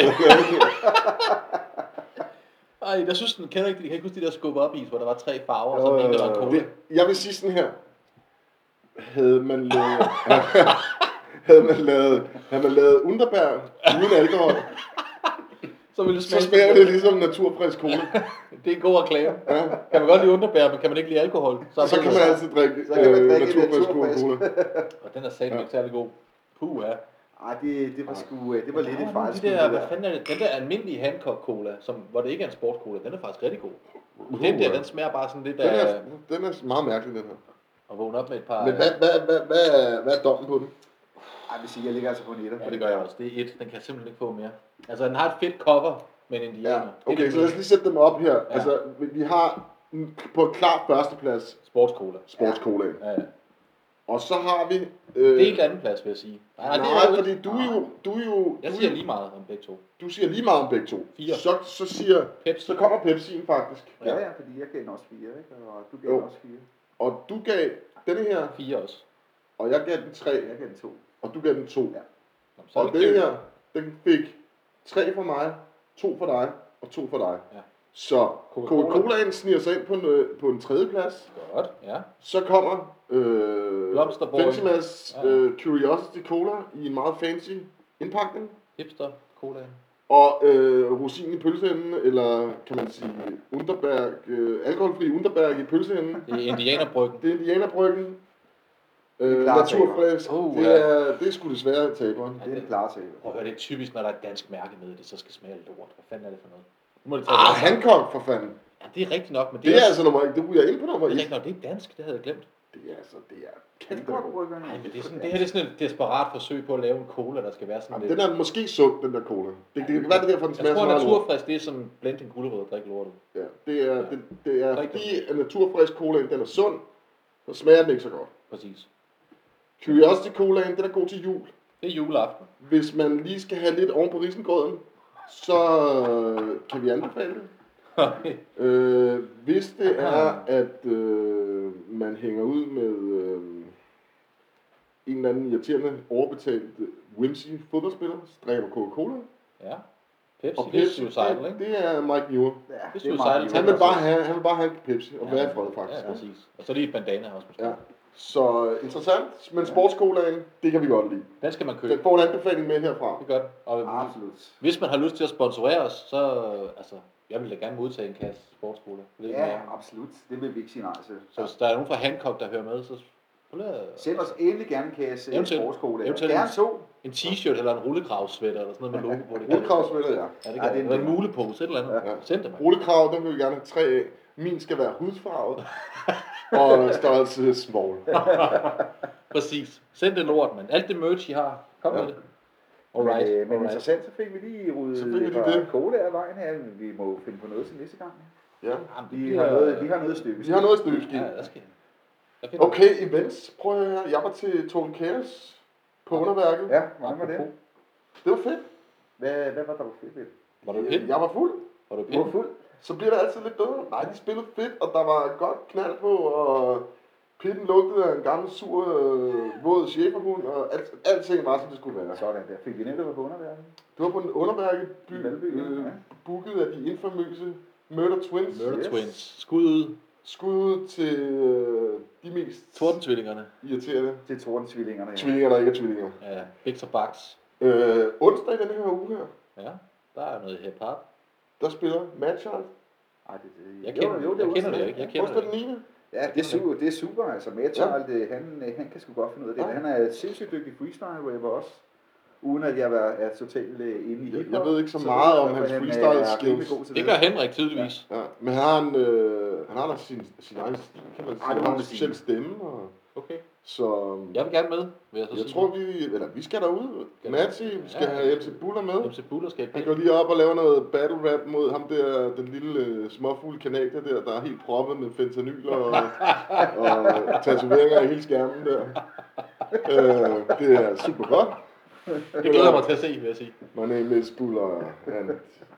Speaker 2: Ej, jeg synes, den kender ikke, jeg kan ikke huske de der skub op is, hvor der var tre farver, og
Speaker 3: Jo,
Speaker 2: så en,
Speaker 3: jo,
Speaker 2: der var en
Speaker 3: jo.
Speaker 2: cola.
Speaker 1: det, Øh, jeg vil sige sådan her. Havde man lavet... havde man lavet, havde man lavet underbær uden alkohol,
Speaker 2: Så ville det
Speaker 1: så
Speaker 2: smage.
Speaker 1: smager det ligesom naturfrisk cola.
Speaker 2: Det er en god reklame.
Speaker 1: Ja.
Speaker 2: Kan man godt lide underbær, men kan man ikke lide alkohol, så, er
Speaker 1: Så
Speaker 2: det-
Speaker 1: kan man altid drikke,
Speaker 3: Så kan man
Speaker 1: øh,
Speaker 3: drikke
Speaker 1: naturfrisk
Speaker 3: naturfrisk.
Speaker 1: cola.
Speaker 2: Og den er satme ikke særlig god. Puh, ja.
Speaker 3: Ej, det, det var sgu, øh, det var lidt et
Speaker 2: Nå,
Speaker 3: fejl.
Speaker 2: de der, hvad fanden er det? Den der almindelige Hancock Cola, som, hvor det ikke er en sport cola, den er faktisk rigtig god. Den der, den smager bare sådan lidt
Speaker 1: Uh. den, er,
Speaker 2: af
Speaker 1: den er meget mærkelig, den her.
Speaker 2: at vågne op med et par...
Speaker 1: Men hvad, hvad, hvad, hvad, er- hvad er dommen på den?
Speaker 3: Ej, hvis ikke, jeg ligger altså på en etter.
Speaker 2: Ja, det gør jeg også. Det er et. Den kan jeg simpelthen ikke få mere. Altså, den har et fedt cover med en
Speaker 1: Ja,
Speaker 2: indianer. Det er ligesom
Speaker 1: okay,
Speaker 2: det
Speaker 1: så lad os lige sætte dem op her.
Speaker 2: Ja.
Speaker 1: Altså, vi vi har en- på en klar førsteplads
Speaker 2: Sportscola.
Speaker 1: sportscola.
Speaker 2: Ja, ja.
Speaker 1: Og så har vi... Øh,
Speaker 2: Det er ikke anden plads, vil jeg sige.
Speaker 1: Nej,
Speaker 2: det
Speaker 1: nej,
Speaker 2: jo-
Speaker 1: fordi du er jo... Du, er jo,
Speaker 2: Jeg
Speaker 1: du,
Speaker 2: siger
Speaker 1: siger
Speaker 2: lige meget om begge to.
Speaker 1: du siger lige meget om begge to.
Speaker 2: Fire.
Speaker 1: Så, så, siger,
Speaker 2: Pepsi.
Speaker 1: så kommer Pepsi'en faktisk.
Speaker 3: Ja, ja, fordi jeg gav den også fire, ikke? Og du gav
Speaker 1: Jo.
Speaker 3: den også fire.
Speaker 1: Og du gav denne her,
Speaker 2: Fire også.
Speaker 1: og jeg gav den
Speaker 3: Jeg
Speaker 1: tre,
Speaker 3: gav den to.
Speaker 1: og du gav den to.
Speaker 3: Ja.
Speaker 2: Nå, så er
Speaker 1: Og
Speaker 2: det
Speaker 1: den
Speaker 2: ikke-
Speaker 1: her, den fik tre fra mig, to fra dig og to fra dig.
Speaker 2: Ja.
Speaker 1: Så
Speaker 2: Coca-Cola.
Speaker 1: Coca-Colaen sniger sig ind på en, øh, på en tredjeplads.
Speaker 2: Godt, ja.
Speaker 1: Så kommer øh,
Speaker 2: Blomsterboy.
Speaker 1: Fentimas
Speaker 2: Ja.
Speaker 1: øh, Curiosity Cola i en meget fancy indpakning.
Speaker 2: Hipster cola.
Speaker 1: Og øh, rosin i pølseenden, eller kan man sige underberg, øh, alkoholfri underberg i pølseenden.
Speaker 2: Det er indianerbryggen.
Speaker 1: Det er Indianerbryggen.
Speaker 3: Det er
Speaker 1: Øh,
Speaker 3: klart
Speaker 1: naturfrisk.
Speaker 2: taber.
Speaker 1: det, er, det er sgu desværre taberen.
Speaker 3: Det er en klar tale.
Speaker 2: Prøv at høre, det er typisk, når der er et dansk mærke med, at det så skal smage af lort. Hvad fanden er det for noget? Nu må det tage
Speaker 1: Ah,
Speaker 2: det.
Speaker 1: Hancock for fanden.
Speaker 2: Ja, det er rigtigt nok, men det,
Speaker 1: Det er
Speaker 2: også-
Speaker 1: altså nummer Det ryger ind på nummer
Speaker 2: det er
Speaker 1: 1.
Speaker 2: rigtigt nok, det er ikke dansk, det havde jeg glemt.
Speaker 1: Det er altså, det er
Speaker 3: Kan
Speaker 1: kæmpe
Speaker 3: du godt
Speaker 1: godt.
Speaker 3: rykke
Speaker 2: Nej, men det, er sådan, det her det er sådan et desperat forsøg på at lave en cola, der skal være sådan
Speaker 1: Jamen,
Speaker 2: lidt...
Speaker 1: den er måske sund, den der cola. Det, det kan være, det er derfor, den
Speaker 2: Jeg
Speaker 1: smager så
Speaker 2: tror,
Speaker 1: meget lort.
Speaker 2: naturfrisk, det er som blend en gulerod og drikke lortet.
Speaker 1: Ja, det er, det, det er
Speaker 2: Rigtig.
Speaker 1: fordi, at naturfrisk cola, den er sund, så smager den ikke så godt.
Speaker 2: Præcis.
Speaker 1: Curiosity cola, den er god til jul.
Speaker 2: Det er juleaften.
Speaker 1: Hvis man lige skal have lidt oven på risengrøden, så øh, kan vi anbefale det. Øh, hvis
Speaker 2: Ah,
Speaker 1: det er, at øh, man hænger ud med øh, en eller anden irriterende, overbetalt, øh, whimsy fodboldspiller, så drikker man Coca-Cola.
Speaker 2: ja. Pepsi,
Speaker 1: Og
Speaker 2: det er
Speaker 1: Pepsi,
Speaker 2: suicidal,
Speaker 1: det,
Speaker 2: ikke?
Speaker 1: det er Mike Newer.
Speaker 3: Ja,
Speaker 2: Det
Speaker 3: det er
Speaker 2: synes jeg
Speaker 3: meget
Speaker 2: altid.
Speaker 1: Han vil bare have, han vil bare have en Pepsi og være i fred,
Speaker 2: Ja,
Speaker 1: faktisk.
Speaker 2: præcis. Og så lige et bandana også, måske.
Speaker 1: Ja. Så øh, interessant, men sportskolaen, det kan vi godt lide.
Speaker 2: Den skal man købe.
Speaker 1: Den Ah. får en anbefaling med herfra.
Speaker 2: Det er godt. Og
Speaker 3: Absolut.
Speaker 2: hvis man har lyst til at sponsorere os, så... øh, Altså, jeg vil da gerne modtage en kasse sportsskoler. Ved du, hvad jeg
Speaker 3: Ja,
Speaker 2: mener?
Speaker 3: absolut. Det vil vi ikke sige nej til.
Speaker 2: Så hvis der er nogen fra Hancock, der hører med, så... prøv lige at-
Speaker 3: Send os endelig gerne en kasse
Speaker 2: Eventuelt-
Speaker 3: sportskole.
Speaker 2: eventuelt-
Speaker 3: Gerne to.
Speaker 2: En t-shirt eller en rullekravsvætter eller sådan noget med logo på. Det
Speaker 1: Rullekravsvætter, ja.
Speaker 2: Ja, det
Speaker 3: Ja,
Speaker 2: kan
Speaker 3: det er
Speaker 2: ja,
Speaker 3: en
Speaker 2: Eller en
Speaker 3: del.
Speaker 2: mulepose, et eller andet.
Speaker 1: Ja.
Speaker 2: Send det, mig.
Speaker 1: Rullekrav, den vil vi gerne have tre af. Min skal være hudfarvet. og størrelse small.
Speaker 2: Præcis. Send det lort, mand. Alt det merch, I har, kom
Speaker 1: Ja.
Speaker 2: med det. Alright,
Speaker 3: Men, øh, men
Speaker 2: alright.
Speaker 3: interessant, så fik vi lige
Speaker 1: Så fik vi
Speaker 3: ryddet
Speaker 1: lige
Speaker 3: fra
Speaker 1: det.
Speaker 3: cola af vejen her. men Vi må jo finde på noget til næste gang.
Speaker 1: Ja.
Speaker 2: Jamen, det
Speaker 3: Vi
Speaker 2: bliver-
Speaker 3: har noget, vi har noget stykke.
Speaker 1: Vi har noget støvskin.
Speaker 2: Ja, der skal der finder
Speaker 1: Okay, events. Prøv at høre. Jeg var til Tone Chaos på underværket.
Speaker 3: Ja,
Speaker 2: vi-
Speaker 3: hvordan var det?
Speaker 2: Apropos.
Speaker 1: Det var fedt.
Speaker 3: Hvad, hvad var der på fedt ved det?
Speaker 2: Var du pind?
Speaker 1: Jeg var fuld.
Speaker 2: Var du
Speaker 3: Du var
Speaker 2: pind?
Speaker 3: fuld.
Speaker 1: Så bliver det altid lidt bedre. Nej, de spillede fedt, og der var godt knald på, og pitten lugtede af en gammel, sur, øh, våd schæferhund, og alt, alting var, som det skulle være.
Speaker 3: Sådan der. Fik vi netop på underværket?
Speaker 1: Det var på en underværkeby,
Speaker 3: I Valby, ja.
Speaker 1: øh, booket af de infamøse Murder Twins.
Speaker 2: Murder
Speaker 3: Yes.
Speaker 2: Twins. Skud ud.
Speaker 1: Skud ud til øh, de mest
Speaker 2: Tordentvillingerne.
Speaker 1: irriterende
Speaker 3: Til Tordentvillingerne. Ja.
Speaker 1: tvillinger, der ikke er tvillinger.
Speaker 2: Ja, Victor Bax.
Speaker 1: Øh, onsdag i denne her uge her,
Speaker 2: Ja, der er noget hip hop.
Speaker 1: der spiller Matchard.
Speaker 3: Ej, det, det,
Speaker 2: Jeg kender, jo, jo, jeg kender det jo ikke. Jeg kender
Speaker 1: Onsdag
Speaker 2: det ikke.
Speaker 1: den 9.
Speaker 3: Ja, det er super, det er super altså. Machal, ja. han, øh, han kan sgu godt finde ud af det.
Speaker 1: Ja.
Speaker 3: Han er sindssygt dygtig freestyle-rapper også. Uden at jeg er, er totalt øh, inde i
Speaker 1: Jeg-
Speaker 3: hiphop,
Speaker 1: jeg ved ikke så meget om
Speaker 3: jeg,
Speaker 1: hans
Speaker 3: at han, øh,
Speaker 1: freestyle
Speaker 3: er
Speaker 1: skills.
Speaker 3: rimelig god til
Speaker 2: Det gør Henrik tydeligvis.
Speaker 1: Ja, men han har, en, øh, han har da sin, sin egen, kan man sige,
Speaker 3: må
Speaker 1: han har
Speaker 3: man
Speaker 1: en
Speaker 3: sige.
Speaker 1: speciel stemme, og,
Speaker 2: Okay.
Speaker 1: så um,
Speaker 2: Jeg vil gerne med, vil jeg så
Speaker 1: jeg
Speaker 2: sige.
Speaker 1: tror, vi, eller, vi skal derud.
Speaker 2: Ja.
Speaker 1: Matti, vi skal
Speaker 2: Ja.
Speaker 1: have MC Buller med.
Speaker 2: MC Buller skal
Speaker 1: Han
Speaker 2: ikke.
Speaker 1: går lige op og laver noget battle rap mod ham der, den lille øh, småfugl kanadier der, der er helt proppet med fentanyl og, og øh, tatoveringer i hele skærmen der. Øh, det er super godt.
Speaker 2: Det glæder jeg mig til at se, vil jeg sige.
Speaker 1: My name is Buller, and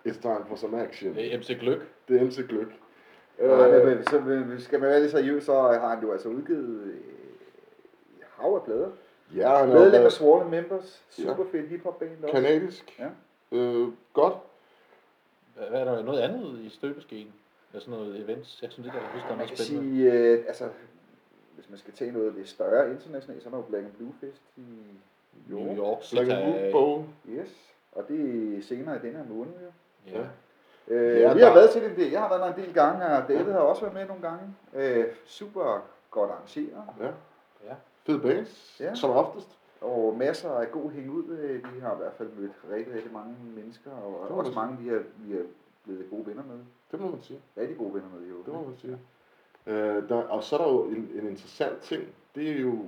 Speaker 1: it's time for some action.
Speaker 2: Det er MC Gløk.
Speaker 1: Det er MC Gløk.
Speaker 3: Ja,
Speaker 1: Øh,
Speaker 3: men, så men, skal man være lidt seriøs, så har han jo altså udgivet øh, hav af plader.
Speaker 1: ja, han er jo
Speaker 3: Medlem af
Speaker 1: været
Speaker 3: Swollen Members, super
Speaker 1: Ja.
Speaker 3: fed hiphop band også.
Speaker 1: kanadisk.
Speaker 3: Ja.
Speaker 1: Øh, godt.
Speaker 2: Hvad hvad er der noget andet i støbeskeen? Med sådan noget events? Jeg synes ikke, jeg husker, der er
Speaker 3: Man
Speaker 2: meget
Speaker 3: kan
Speaker 2: spændende.
Speaker 3: sige, øh, altså, hvis man skal tage noget lidt større internationalt, så er der jo Black and Blue Fest i
Speaker 2: New York
Speaker 1: Black
Speaker 2: City.
Speaker 1: and Blue Bowl.
Speaker 3: Yes, og det er senere i denne her måned jo.
Speaker 2: Ja.
Speaker 3: Øh,
Speaker 1: Ja,
Speaker 3: ja, vi har
Speaker 1: der-
Speaker 3: været til det en del. Jeg har været der en del gange, og David har også været med nogle gange. Øh, super godt arrangeret,
Speaker 1: Ja.
Speaker 2: Ja.
Speaker 1: Fed bands,
Speaker 3: Ja.
Speaker 1: som oftest.
Speaker 3: og masser af god hængud. Øh, Vi har i hvert fald mødt rigtig, rigtig mange mennesker,
Speaker 1: Det
Speaker 3: og
Speaker 1: må
Speaker 3: også
Speaker 1: man
Speaker 3: mange, vi er, vi er blevet gode venner med.
Speaker 1: Det må man sige.
Speaker 3: Rigtig gode venner med, jo.
Speaker 1: Det må man sige. Øh, der, og så er der jo en, en interessant ting. Det er jo,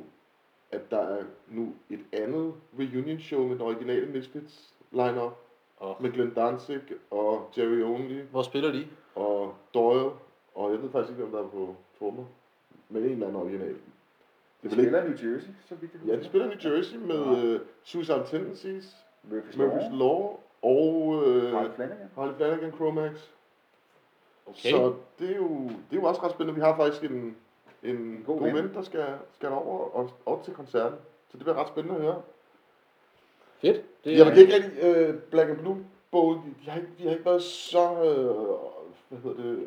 Speaker 1: at der er nu et andet reunion show med den originale Misfits line-up.
Speaker 2: Og
Speaker 1: Med Glenn Danzig og Jerry Only
Speaker 2: hvor spiller de?
Speaker 1: og Doyle. Og jeg ved faktisk ikke, hvem der er på trommer. Men en eller anden original.
Speaker 3: Vi
Speaker 1: Det vil ikke.
Speaker 3: spiller i New Jersey, så vidt jeg
Speaker 1: Ja, de spiller i New Jersey med øh, Suicide Tendencies,
Speaker 3: Memphis
Speaker 1: Murphy's
Speaker 3: Law,
Speaker 1: Law og øh,
Speaker 3: Mark Flanagan.
Speaker 1: Harley Flanagan Chromax.
Speaker 2: Okay.
Speaker 1: Okay. Så det er, jo, det er jo også ret spændende. Vi har faktisk en, en
Speaker 3: god
Speaker 1: god, god
Speaker 3: ven.
Speaker 1: ven, der skal, skal over og, og til koncerten. Så det bliver ret spændende at høre.
Speaker 2: Fedt. Det
Speaker 1: Det, jeg kan ikke rigtig... Øh, Black and Blue Bowl, de, de, har ikke, de har ikke været så... Øh, hvad hedder det?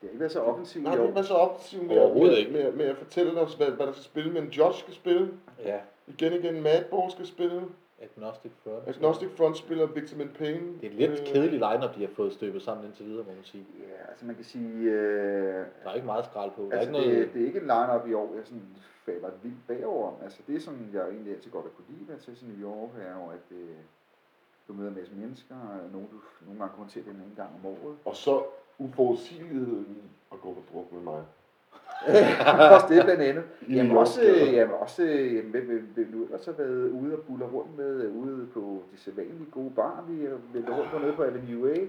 Speaker 3: Det har ikke været så offensivt
Speaker 1: Nej,
Speaker 3: i
Speaker 1: de har ikke
Speaker 3: år.
Speaker 1: været så offensive med,
Speaker 2: Overhovedet
Speaker 1: med,
Speaker 2: ikke.
Speaker 1: med, med, at fortælle os, hvad, hvad der skal spille. Men Josh skal spille.
Speaker 2: Ja.
Speaker 1: Igen igen, Madball skal spille.
Speaker 2: Agnostic Front.
Speaker 1: Agnostic Front spiller Victim in Pain. Øh,
Speaker 2: Det er en lidt kedelig lineup, de har fået støbet sammen indtil videre, må man sige.
Speaker 3: Ja, altså man kan sige, øh,
Speaker 2: Der er ikke meget skrald på. Der er
Speaker 3: altså
Speaker 2: ikke noget...
Speaker 3: det, det, er ikke en line-up i år, jeg sådan falder vildt bagover. om. Altså det, som jeg egentlig altid godt har kunne lide ved at tage til New York, er jo, at øh, du møder en masse mennesker, og nogen du nogle gange kun ser den en gang om året.
Speaker 1: Og så uforudsigeligheden i at gå på druk med mig.
Speaker 3: også det blandt andet.
Speaker 1: I
Speaker 3: Jamen
Speaker 1: New York,
Speaker 3: også,
Speaker 1: ja.
Speaker 3: øh, jamen også, øh, jamen, hvem, hvem, hvem nu ellers har været ude og buller rundt med, øh, ude på de sædvanlige gode bar, vi har været rundt på nede på Avenue A.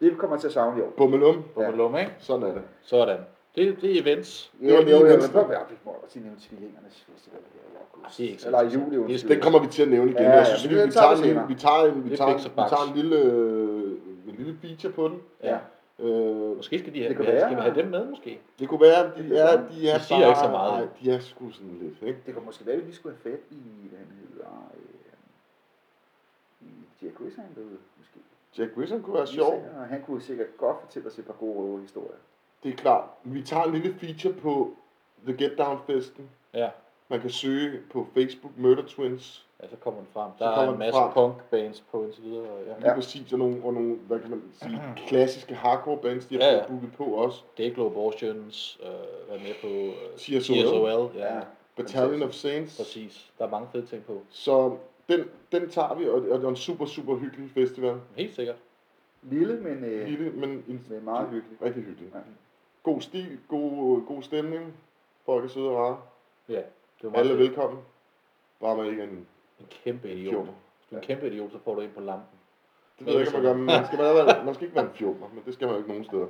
Speaker 3: Det kommer til at savne i år.
Speaker 1: Bummelum.
Speaker 2: Bummelum, ikke?
Speaker 1: Sådan er det.
Speaker 2: Sådan. Det, det er events.
Speaker 3: Ja,
Speaker 1: Det var lige
Speaker 3: jo, jo,
Speaker 1: Venstre.
Speaker 3: men prøv at være, vi må også lige nævne tvillingernes festival her i august.
Speaker 2: Det er ikke så
Speaker 3: Eller i
Speaker 2: interessant.
Speaker 3: juli,
Speaker 2: Det er-
Speaker 3: undskyld.
Speaker 1: Den kommer vi til at nævne igen.
Speaker 3: Ja,
Speaker 1: jeg
Speaker 3: ja,
Speaker 1: synes,
Speaker 3: men
Speaker 1: vi,
Speaker 3: den
Speaker 1: vi,
Speaker 3: tager
Speaker 1: tager
Speaker 3: vi
Speaker 1: en,
Speaker 3: senere.
Speaker 1: vi, tager en, vi,
Speaker 2: Det er
Speaker 1: tager, en-
Speaker 2: fix og
Speaker 1: vi tager
Speaker 2: faks.
Speaker 1: en lille, øh, en lille feature på den.
Speaker 3: Ja.
Speaker 1: Øh,
Speaker 2: Måske skal, de have,
Speaker 3: Det kan
Speaker 2: ja,
Speaker 3: være.
Speaker 2: skal vi have dem med, måske.
Speaker 1: det kunne være, at de er, de er
Speaker 2: De siger ikke så meget.
Speaker 1: Nej, de er sgu sådan lidt. Ikke?
Speaker 3: Det kunne måske være, at vi lige skulle have fat i, hvad han hedder, øh, i Jack Rizan derude, måske.
Speaker 1: Jack Wilson kunne være sjov.
Speaker 3: Og han kunne sikkert godt fortælle os et par gode røve historier.
Speaker 1: Det er klart. Vi tager en lille feature på The Get Down Festen.
Speaker 2: Ja,
Speaker 1: Man kan søge på Facebook Murder Twins,
Speaker 2: ja så kommer den frem.
Speaker 1: Så
Speaker 2: Der er
Speaker 1: kommer
Speaker 2: en
Speaker 1: den
Speaker 2: masse
Speaker 1: frem.
Speaker 2: punk-bands på indtil videre. og Ja.
Speaker 1: lige ja. præcis, og nogle, og nogle, hvad kan man sige, klassiske hardcore bands, de har
Speaker 2: Ja,
Speaker 1: ja,
Speaker 2: ja.
Speaker 1: ja. booket på også.
Speaker 2: Daglo Abortions, øh, være med på øh,
Speaker 1: TSOL.
Speaker 2: TSOL. Ja,
Speaker 3: Ja.
Speaker 1: Battalion of Saints.
Speaker 2: præcis. Der er mange fede ting på.
Speaker 1: Så den, den tager vi, og, og det er en super, super hyggelig festival.
Speaker 2: Helt sikkert.
Speaker 3: Lille, men, øh,
Speaker 1: Lille, men en
Speaker 3: men meget hyggelig.
Speaker 1: rigtig hyggelig.
Speaker 3: Ja.
Speaker 1: God stil, god, god stemning, folk er søde og rare.
Speaker 2: Ja, det var meget
Speaker 1: Alle er
Speaker 2: fedt.
Speaker 1: velkommen. Bare man ikke er en
Speaker 2: En kæmpe idiot.
Speaker 1: fjorter.
Speaker 2: Hvis Du er en kæmpe idiot, så får du en på lampen.
Speaker 1: Det ved jeg ikke, om man gør, men man skal, man, være, man skal ikke være en fjorter, men det skal man jo ikke nogen steder.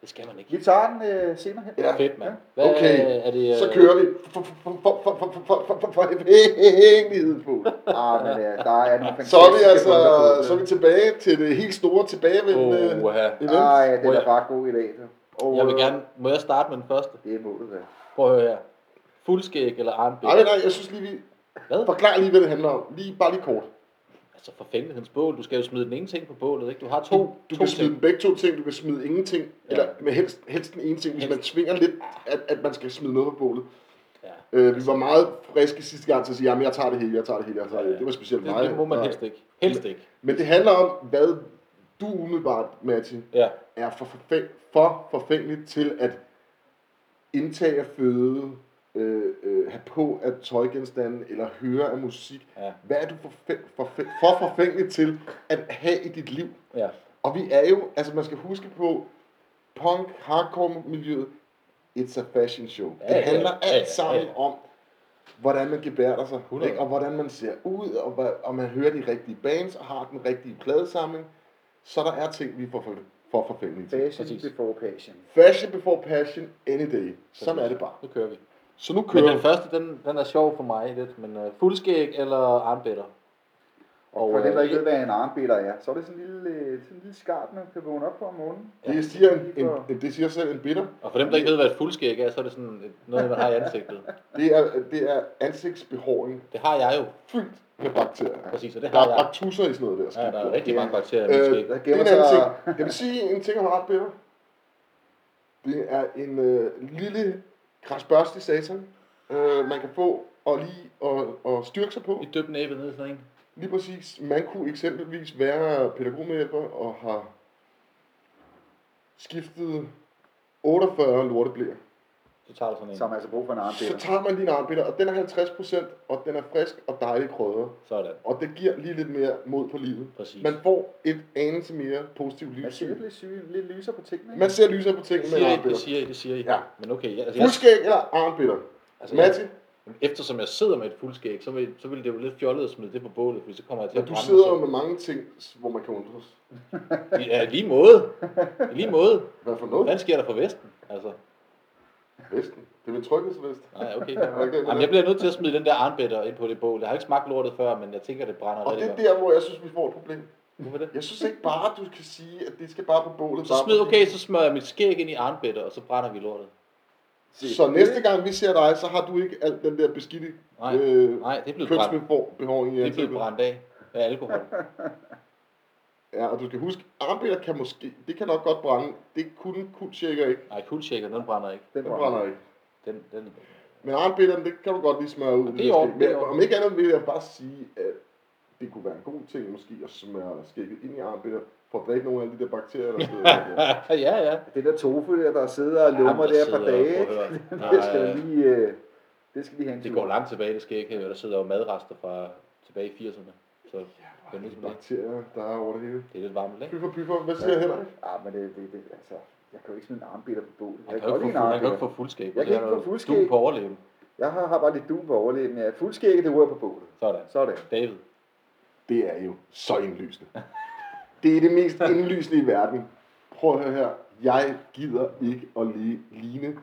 Speaker 2: Det skal man ikke.
Speaker 3: Vi tager den øh, senere hen.
Speaker 1: Ja,
Speaker 2: Fedt, mand.
Speaker 3: Ja.
Speaker 2: Hvad,
Speaker 1: Okay,
Speaker 2: er det, øh,
Speaker 1: Så kører vi. For- for- for- for- for- for- for- for- for- for evighed på.
Speaker 3: Ah, men, øh, der er nogle
Speaker 1: Så er vi
Speaker 3: fantastiske
Speaker 1: altså
Speaker 3: bunker på.
Speaker 1: så er vi tilbage til det helt store tilbagevendende
Speaker 2: Åh, ja.
Speaker 1: event.
Speaker 3: Ej, Ah, den
Speaker 2: Hvor
Speaker 3: er
Speaker 2: jeg-
Speaker 3: bare god i dag. du. Og,
Speaker 2: Jeg vil
Speaker 3: øh,
Speaker 2: gerne... Må jeg starte med den første?
Speaker 3: Det er målet, da.
Speaker 2: Prøv at høre her. Fuldskæg eller armbæk?
Speaker 1: Nej, nej, nej, jeg synes lige, vi
Speaker 2: Hvad?
Speaker 1: forklarer lige, hvad det handler om. Lige, bare lige kort.
Speaker 2: Altså forfængelighedens bål. Du skal jo smide den ene ting på bålet, ikke? Du har to,
Speaker 1: Du, du
Speaker 2: to
Speaker 1: kan
Speaker 2: ting.
Speaker 1: smide begge to ting, du kan smide ingenting,
Speaker 2: Ja.
Speaker 1: ja. eller med helst, helst den ene ting, hvis
Speaker 2: Helst.
Speaker 1: man tvinger lidt, at, at man skal smide noget på bålet.
Speaker 2: Ja.
Speaker 1: Øh, vi var meget friske sidste gang til at sige, jamen jeg tager det hele, jeg tager det hele, jeg tager det hele. Det var specielt
Speaker 2: Det, det må
Speaker 1: mig.
Speaker 2: man helst ikke. Helst ikke.
Speaker 1: Men det handler om, hvad du umiddelbart, Matti,
Speaker 2: Ja.
Speaker 1: er for, forfæng, for forfængeligt til at indtage af føde, øh, øh, have på af tøjgenstande eller høre af musik.
Speaker 2: Ja.
Speaker 1: Hvad er du forfæng, forfæng, for forfængelig til at have i dit liv?
Speaker 2: Ja.
Speaker 1: Og vi er jo, altså man skal huske på, punk, hardcore miljøet, it's a fashion show.
Speaker 2: Ja,
Speaker 1: Ja, det
Speaker 2: ja,
Speaker 1: handler
Speaker 2: ja,
Speaker 1: alt
Speaker 2: ja,
Speaker 1: sammen
Speaker 2: ja.
Speaker 1: om, hvordan man gebærder sig,
Speaker 2: 100.
Speaker 1: ikke? og hvordan man ser ud, og, hvad, og man hører de rigtige bands, og har den rigtige pladesamling. Så der er ting, vi får for, for forfængelige til.
Speaker 3: Passion
Speaker 2: Præcis.
Speaker 3: before passion.
Speaker 1: Fashion before passion, any day. Sådan er det bare.
Speaker 2: Nu kører vi.
Speaker 1: Så nu
Speaker 2: Men
Speaker 1: kører
Speaker 2: den første, den, den er sjov for mig lidt. Men uh, fuldskæg eller armbætter?
Speaker 3: Og for
Speaker 2: øh,
Speaker 3: dem, der ikke ved, hvad en armbiller er, så er det sådan en lille, øh, sådan en lille skarp, man kan vågne op på om morgenen.
Speaker 1: det, siger en, en, en, det siger selv en bitter.
Speaker 2: Og for dem, der ikke ved, hvad et fuldskæg er, så er det sådan et- noget, man har i ansigtet.
Speaker 1: Det er, det er ansigtsbehåring
Speaker 2: Det har jeg jo,
Speaker 1: fyldt med bakterier.
Speaker 2: præcis, og det
Speaker 1: Der
Speaker 2: har
Speaker 1: er
Speaker 2: jeg.
Speaker 1: baktusser i sådan noget der.
Speaker 2: Ja, der er
Speaker 1: skidt.
Speaker 2: rigtig mange bakterier i mit skæg.
Speaker 1: Øh, det
Speaker 3: Der
Speaker 1: er
Speaker 3: gemmer
Speaker 1: en anden
Speaker 3: sig-
Speaker 1: ting. Jeg vil sige en ting om ret bedre. Det er en øh, lille krasbørstig satan, øh, man kan få og lige og, og styrke sig på.
Speaker 2: I dyb næbet ned i sådan en.
Speaker 1: Lige præcis. Man kunne eksempelvis være pædagogmedhjælper og har skiftet 48 lorteblæer.
Speaker 2: Så tager du sådan en.
Speaker 3: Som altså brug for en
Speaker 1: Så
Speaker 3: armbiller.
Speaker 1: tager man lige en armbitter, og den er 50%, og den er frisk og dejlig krydder.
Speaker 2: Sådan.
Speaker 1: Og det giver lige lidt mere mod på livet.
Speaker 2: Præcis.
Speaker 1: Man får et anelse mere positivt
Speaker 3: Man
Speaker 1: livssyn.
Speaker 3: ser lidt, lidt, syge, lidt lysere på tingene. ikke?
Speaker 1: Man ser lysere på tingene
Speaker 2: Det
Speaker 1: med en
Speaker 2: siger I, det
Speaker 1: armbitter.
Speaker 2: siger I, det siger I.
Speaker 1: Ja.
Speaker 2: Men okay, jeg, altså, jeg,
Speaker 1: Fuldskæg eller armbitter?
Speaker 2: altså,
Speaker 1: Altså,
Speaker 2: jeg,
Speaker 1: Matti,
Speaker 2: eftersom jeg sidder med et fuldskæg, så vil, så vil det jo lidt fjollet at smide det på bålet, fordi så kommer jeg til
Speaker 1: men
Speaker 2: at
Speaker 1: du
Speaker 2: brænde
Speaker 1: sidder jo
Speaker 2: mig
Speaker 1: med mange ting, hvor man kan undres.
Speaker 2: selv. Ja, i lige måde. I lige måde.
Speaker 1: Hvad for noget?
Speaker 2: Hvad sker der for Vesten? Altså,
Speaker 1: Vesten. Det er min tryghedsvest.
Speaker 2: nej, okay.
Speaker 1: Okay, men-
Speaker 2: Jamen, jeg bliver nødt til at smide den der armbætter ind på det bål. Jeg har ikke smagt lortet før, men jeg tænker, det brænder
Speaker 1: Og det
Speaker 2: rigtig
Speaker 1: er der, hvor jeg synes, vi får et problem.
Speaker 2: godt. Hvorfor det?
Speaker 1: Jeg synes ikke bare, at du kan sige, at det skal bare på bålet.
Speaker 2: Så
Speaker 1: bare
Speaker 2: smid,
Speaker 1: fordi-
Speaker 2: okay, så smører jeg mit skæg ind i armbætter, og så brænder vi lortet.
Speaker 1: Så næste gang vi ser dig, så har du ikke alt den der beskidte
Speaker 2: Nej,
Speaker 1: øh,
Speaker 2: nej, det er blevet brændt.
Speaker 1: kønsbehåring i
Speaker 2: Det er
Speaker 1: ansigtet.
Speaker 2: blevet brændt af af alkohol.
Speaker 1: Ja, og du skal huske, armbiller kan måske, det kan nok godt brænde. Det kunne kuldshaker ikke.
Speaker 2: Nej, kuldshakeren, den brænder ikke.
Speaker 1: Den brænder ikke.
Speaker 2: Den, den,
Speaker 1: Men armbillerne, det kan du godt lige smøre ud.
Speaker 2: Det er i orden, det er i
Speaker 1: Men
Speaker 2: orden.
Speaker 1: om ikke andet vil jeg bare sige, at det kunne være en god ting måske at smøre skægget ind i armbiller, for at dræbe nogle af de der bakterier, der sidder der.
Speaker 2: ja, ja.
Speaker 3: Det der tofu der, der sidder og lummer der på dage, ikke? det skal
Speaker 2: Nej,
Speaker 3: lige... Øh, det skal lige hen
Speaker 2: det går langt tilbage, det skal ikke. Der sidder jo madrester fra tilbage i 80'erne. Så det er,
Speaker 1: Det er
Speaker 2: lidt,
Speaker 1: bakterier, der er over det hele.
Speaker 2: det er lidt varmt, ikke?
Speaker 1: Pyffer, pyffer, hvad siger Henrik?
Speaker 3: Ja, Ah, men det, det, det, altså, jeg kan jo ikke smide en armbiller på bålet.
Speaker 2: Han kan
Speaker 3: Jeg kan
Speaker 2: jo
Speaker 3: godt
Speaker 2: ikke,
Speaker 3: lide en
Speaker 2: få- han kan jo ikke
Speaker 3: armbiller.
Speaker 2: få fuldskab.
Speaker 3: Jeg kan ikke få fuldskæg.
Speaker 2: Du på overleve.
Speaker 3: Jeg har, har bare lidt duen på overleben. Jeg er fuldskægget, det ryger på bålet.
Speaker 2: Sådan.
Speaker 3: Sådan.
Speaker 2: David.
Speaker 1: Det er jo så indlysende. Det er det mest indlysende i verden. Prøv at høre her. Jeg gider ikke at li- ligne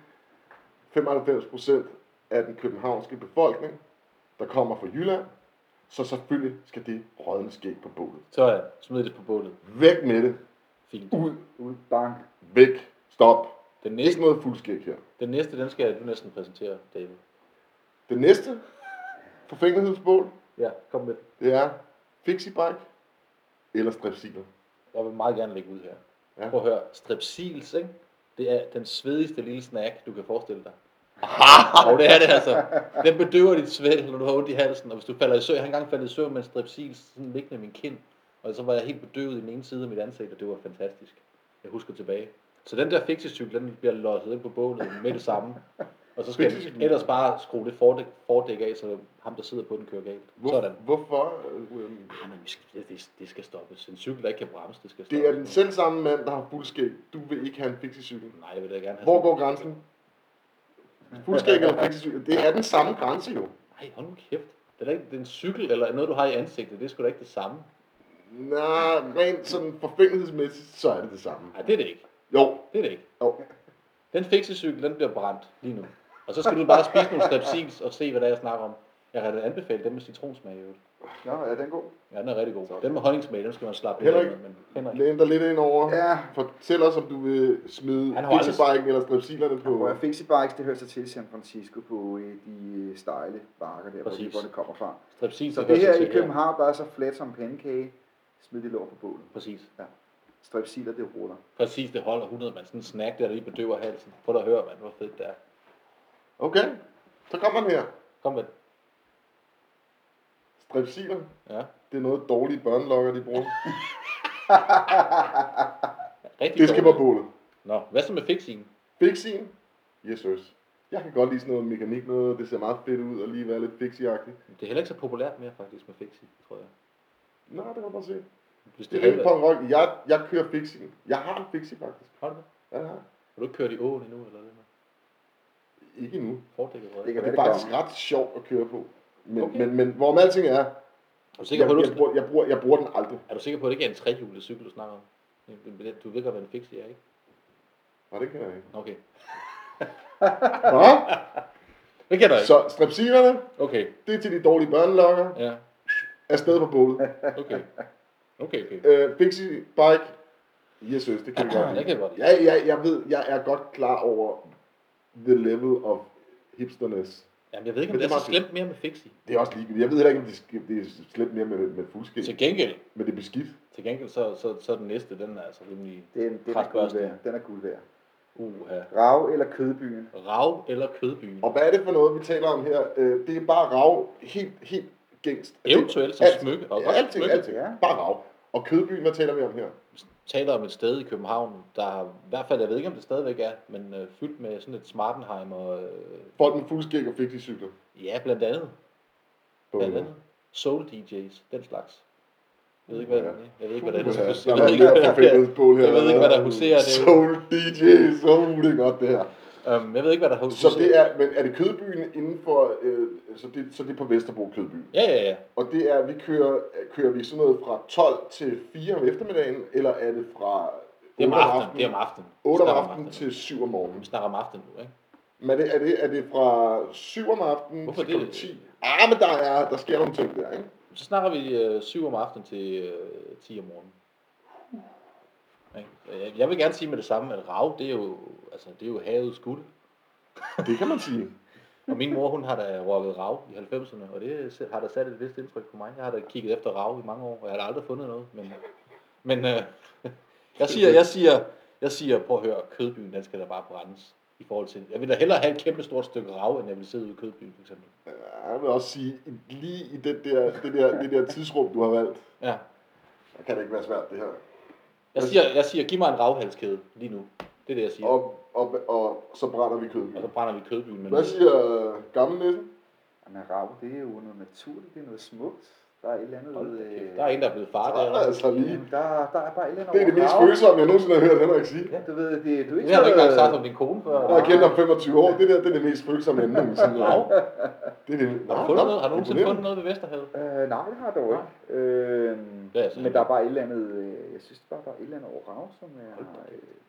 Speaker 1: 95% af den københavnske befolkning, der kommer fra Jylland. Så selvfølgelig skal det rådne skæg på bålet.
Speaker 2: Sådan. Smid det på bålet.
Speaker 1: Væk med det.
Speaker 2: Fint.
Speaker 3: Uh.
Speaker 1: Ud.
Speaker 3: Ud, bang.
Speaker 1: Væk. Stop.
Speaker 2: Den
Speaker 1: Ikke
Speaker 2: næste,
Speaker 1: noget fuldskæg her.
Speaker 2: den næste, den skal du næsten præsentere, David.
Speaker 1: Det næste forfængelighedsbål,
Speaker 2: Ja, kom med den.
Speaker 1: det er fixie-bike eller strepsiler.
Speaker 2: Jeg vil meget gerne lægge ud her.
Speaker 1: Ja.
Speaker 2: Prøv at høre. Strepsils, ikke? Det er den svedigste lille snack, du kan forestille dig. Og det er det altså. Den bedøver dit svæl, når du har ondt i halsen. Og hvis du falder i søvn, jeg har engang faldet i søvn med en strepsil sådan liggende i min kind. Og så var jeg helt bedøvet i den ene side af mit ansigt, og det var fantastisk. Jeg husker tilbage. Så den der fixecykel, den bliver losset ind på bålet med det samme. Og så skal jeg
Speaker 1: Fixecykel?
Speaker 2: ellers bare skrue det fordæk, fordæk af, så ham, der sidder på den, kører galt.
Speaker 1: Hvor,
Speaker 2: Sådan.
Speaker 1: Hvorfor? Øhm,
Speaker 2: Ah, men vi skal, det- det, det, skal stoppes. En cykel, der ikke kan bremse, det skal stoppes.
Speaker 1: Det er den selv samme mand, der har fuldskæg. Du vil ikke have en fixecykel.
Speaker 2: Nej, jeg vil da gerne have
Speaker 1: Hvor
Speaker 2: sådan-
Speaker 1: går grænsen? Fuldskæg og fixecykel. Det er den samme grænse jo.
Speaker 2: Nej, hold nu kæft. Det er, da ikke, det er en cykel eller noget, du har i ansigtet. Det er sgu da ikke det samme.
Speaker 1: Nej, rent sådan forfængelighedsmæssigt, så er det det samme.
Speaker 2: Nej, det er det ikke.
Speaker 1: Jo,
Speaker 2: Det er det ikke.
Speaker 1: jo.
Speaker 2: Den fixecykel, den bliver brændt lige nu. Og så skal du bare spise nogle strepsils og se, hvad der er, jeg snakker om. Jeg kan da anbefale dem med citronsmag i øvrigt.
Speaker 3: Nå, er den god?
Speaker 2: Ja, den er rigtig god. Den med honningsmag, den skal man slappe lidt af
Speaker 1: Henrik,
Speaker 2: med. Men Henrik,
Speaker 1: læn dig lidt ind over.
Speaker 3: Ja.
Speaker 1: Fortæl os, om du vil smide
Speaker 2: Han har aldrig-
Speaker 1: pizzabiken eller strepsilerne
Speaker 3: Hvor
Speaker 1: på.
Speaker 3: jeg fik bikes, det hører sig til San Francisco på øh, de stejle bakker der, hvor
Speaker 2: Præcis.
Speaker 3: det, hvor det kommer fra.
Speaker 2: strepsils
Speaker 3: Så
Speaker 2: der
Speaker 3: det
Speaker 2: hører
Speaker 3: her
Speaker 2: sig
Speaker 3: i
Speaker 2: til
Speaker 3: København, der er så flat som pandekage, smid det lort på bålet.
Speaker 2: Præcis.
Speaker 3: Strepsiler, det ruller.
Speaker 2: Præcis, det holder 100, man. Sådan en snack der, der lige bedøver halsen. Prøv at høre, mand, hvor fedt det er.
Speaker 1: Okay, så kommer den her.
Speaker 2: Kom med. den.
Speaker 1: Strepsiler,
Speaker 2: Ja.
Speaker 1: det er noget dårlige børnelokker, de bruger.
Speaker 2: Rigtig
Speaker 1: Det skal på
Speaker 2: dårligt.
Speaker 1: bålet.
Speaker 2: Nå, hvad så med fixingen?
Speaker 1: Fixien? Yes, sirs. Jeg kan godt lide sådan noget mekanik noget, det ser meget fedt ud, og lige være lidt fixie-agtigt.
Speaker 2: Det er heller ikke så populært mere faktisk med fixing, tror jeg.
Speaker 1: Nå, det kan jeg bare se.
Speaker 2: Hvis
Speaker 1: Det
Speaker 2: det
Speaker 1: er ikke
Speaker 2: havde
Speaker 1: punk
Speaker 2: været-
Speaker 1: rock. Jeg, jeg kører fixie. Jeg har en fixie, faktisk.
Speaker 2: Har du det?
Speaker 1: Ja, det har jeg.
Speaker 2: Har du ikke kørt i åen endnu, eller hvad?
Speaker 1: Ikke endnu.
Speaker 2: Fordækket røg.
Speaker 3: Det
Speaker 1: Men
Speaker 3: kan
Speaker 1: det er
Speaker 3: være,
Speaker 1: faktisk
Speaker 3: kommer.
Speaker 1: ret sjovt at køre på. Men,
Speaker 2: Okay.
Speaker 1: okay. men, men hvorom alting er,
Speaker 2: Er du
Speaker 1: jeg,
Speaker 2: sikker på, at
Speaker 1: jeg,
Speaker 2: du,
Speaker 1: bruger, jeg, bruger, jeg bruger den aldrig.
Speaker 2: er du sikker på, at det ikke er en trehjulet cykel, du snakker om? En- en- Du ved godt, hvad en fixie er, ikke?
Speaker 1: Nej, det kan jeg ikke.
Speaker 2: Okay.
Speaker 1: Nå?
Speaker 2: Det kan du ikke.
Speaker 1: Så strepsilerne,
Speaker 2: Okay,
Speaker 1: det er til de dårlige børnelokker.
Speaker 2: ja.
Speaker 1: Afsted på bålet.
Speaker 2: Okay. Okay, okay.
Speaker 1: Øh, fixie bike. Yes, yes, det kan vi godt lide.
Speaker 2: Ah, Jeg kan godt lide.
Speaker 1: Ja, ja, jeg ved, jeg er godt klar over the level of hipsterness.
Speaker 2: Jamen, jeg ved ikke, om
Speaker 1: Men
Speaker 2: det
Speaker 1: det
Speaker 2: er
Speaker 1: er
Speaker 2: så
Speaker 1: meget
Speaker 2: slemt mere med fixie.
Speaker 1: Det er også ligegyldigt. Jeg ved heller ikke, om det er, det er slemt mere med, med fuldskæg,
Speaker 2: Til gengæld,
Speaker 1: men det er beskidt.
Speaker 2: til gengæld så, så, så den næste, den er altså rimelig
Speaker 3: Den, den er guld
Speaker 2: Kratbørste.
Speaker 3: værd. Den er guld værd.
Speaker 2: uha.
Speaker 3: Rav eller kødbyen.
Speaker 2: Rav eller kødbyen.
Speaker 1: Og hvad er det for noget, vi taler om her? Øh, det er bare rav, helt, helt gængst.
Speaker 2: Eventuelt som smykke. Og
Speaker 1: Og
Speaker 2: også
Speaker 1: alt,
Speaker 2: alt
Speaker 1: ja,
Speaker 2: smykke.
Speaker 1: alt,
Speaker 3: Ja.
Speaker 1: Bare rav. Og kødbyen, hvad taler vi om her?
Speaker 2: taler om et sted i København, der har- i hvert fald, jeg ved ikke, om det stadigvæk er, men øh, fyldt med sådan et Smartenheim og... Øh,
Speaker 1: Folk med fuldskæg og fik de cykler.
Speaker 2: ja, blandt andet. Blandt andet. Soul DJs, den slags. Jeg ved ikke, hvad,
Speaker 1: Ja.
Speaker 2: jeg ved ikke, hvad der ellers
Speaker 1: Ja,
Speaker 2: huserer.
Speaker 1: der
Speaker 2: Jeg
Speaker 1: er
Speaker 2: ved ikke,
Speaker 1: mere
Speaker 2: hvad,
Speaker 1: forfængelighedsbål her.
Speaker 2: jeg ved ikke, hvad der huserer. Det er
Speaker 1: Soul DJ, soul, det er godt det her.
Speaker 2: jo- øhm, jeg ved ikke, hvad der
Speaker 1: Så
Speaker 2: huserer.
Speaker 1: det er, men er det kødbyen inden for, øh, så, det, så det er på Vesterbro kødbyen?
Speaker 2: Ja, ja, ja.
Speaker 1: Og det er, vi kører, kører vi sådan noget fra 12 til 4 om eftermiddagen, eller er det fra
Speaker 2: Det er om
Speaker 1: 8
Speaker 2: aftenen. Det er om aftenen.
Speaker 1: 8 om
Speaker 2: Vi snakker
Speaker 1: aftenen til 7 om morgenen.
Speaker 2: Vi snakker om aftenen nu, ikke?
Speaker 1: Men er det, er det, er det fra 7 om aftenen
Speaker 2: Hvorfor
Speaker 1: til
Speaker 2: det?
Speaker 1: klokken 10? Ah, men der, er, der sker nogle ting der, ikke?
Speaker 2: Så snakker vi øh, 7 om aftenen til øh, 10 om morgenen. Ikke? Jeg- Jeg vil gerne sige med det samme, at rav, det er jo, altså, det er jo havets guld.
Speaker 1: Det kan man sige.
Speaker 2: Og min mor, hun har da rocket rav i 90'erne, og det har da sat et vist indtryk på mig. Jeg har da kigget efter rav i mange år, og jeg har da aldrig fundet noget. Men, men øh, jeg, siger, jeg, siger, jeg siger, prøv at høre, kødbyen, den skal da bare brændes. I forhold til, jeg vil da hellere have et kæmpe stort stykke rav, end jeg vil sidde ude i kødbyen, for eksempel.
Speaker 1: Ja, Jeg vil også sige, i- lige i den der, det, der, det der tidsrum, du har valgt,
Speaker 2: Ja.
Speaker 1: der kan det ikke være svært, det her.
Speaker 2: Jeg siger, jeg siger giv mig en ravhalskæde lige nu. Det er det, jeg siger. Og,
Speaker 1: Og, og, og så brænder vi
Speaker 2: og så
Speaker 1: kødbyen.
Speaker 2: brænder vi kødbyen. Men
Speaker 1: Hvad siger gamle næsen?
Speaker 3: Men rav, det er jo noget naturligt, det er noget smukt. Der er et eller andet...
Speaker 2: Hold da
Speaker 3: øh,
Speaker 2: kæft, der er en, der er blevet far
Speaker 1: Der er
Speaker 2: der.
Speaker 1: altså lige.
Speaker 3: Jamen, der, der er bare et eller andet
Speaker 1: Det er det
Speaker 3: over
Speaker 1: mest
Speaker 3: rav.
Speaker 1: følsomme, jeg nogensinde har hørt Henrik sige.
Speaker 3: Du ved, det, du er ikke
Speaker 2: Det har du ikke engang
Speaker 3: noget-
Speaker 2: sagt om din kone før.
Speaker 1: Jeg har kendt ham 25 år. Det der, det er det mest følsomme emne. med sådan
Speaker 2: Rav?
Speaker 1: noget. Det er det.
Speaker 2: Har du fundet noget? Har du nogensinde fundet noget ved Vesterhavet?
Speaker 3: Øh, nej, det har jeg dog ikke. Øh,
Speaker 2: Det er altså
Speaker 3: men der er bare et eller andet... Øh, jeg synes bare, der er et eller andet over rav, som jeg
Speaker 2: Hold
Speaker 3: har...
Speaker 2: da
Speaker 3: Øh,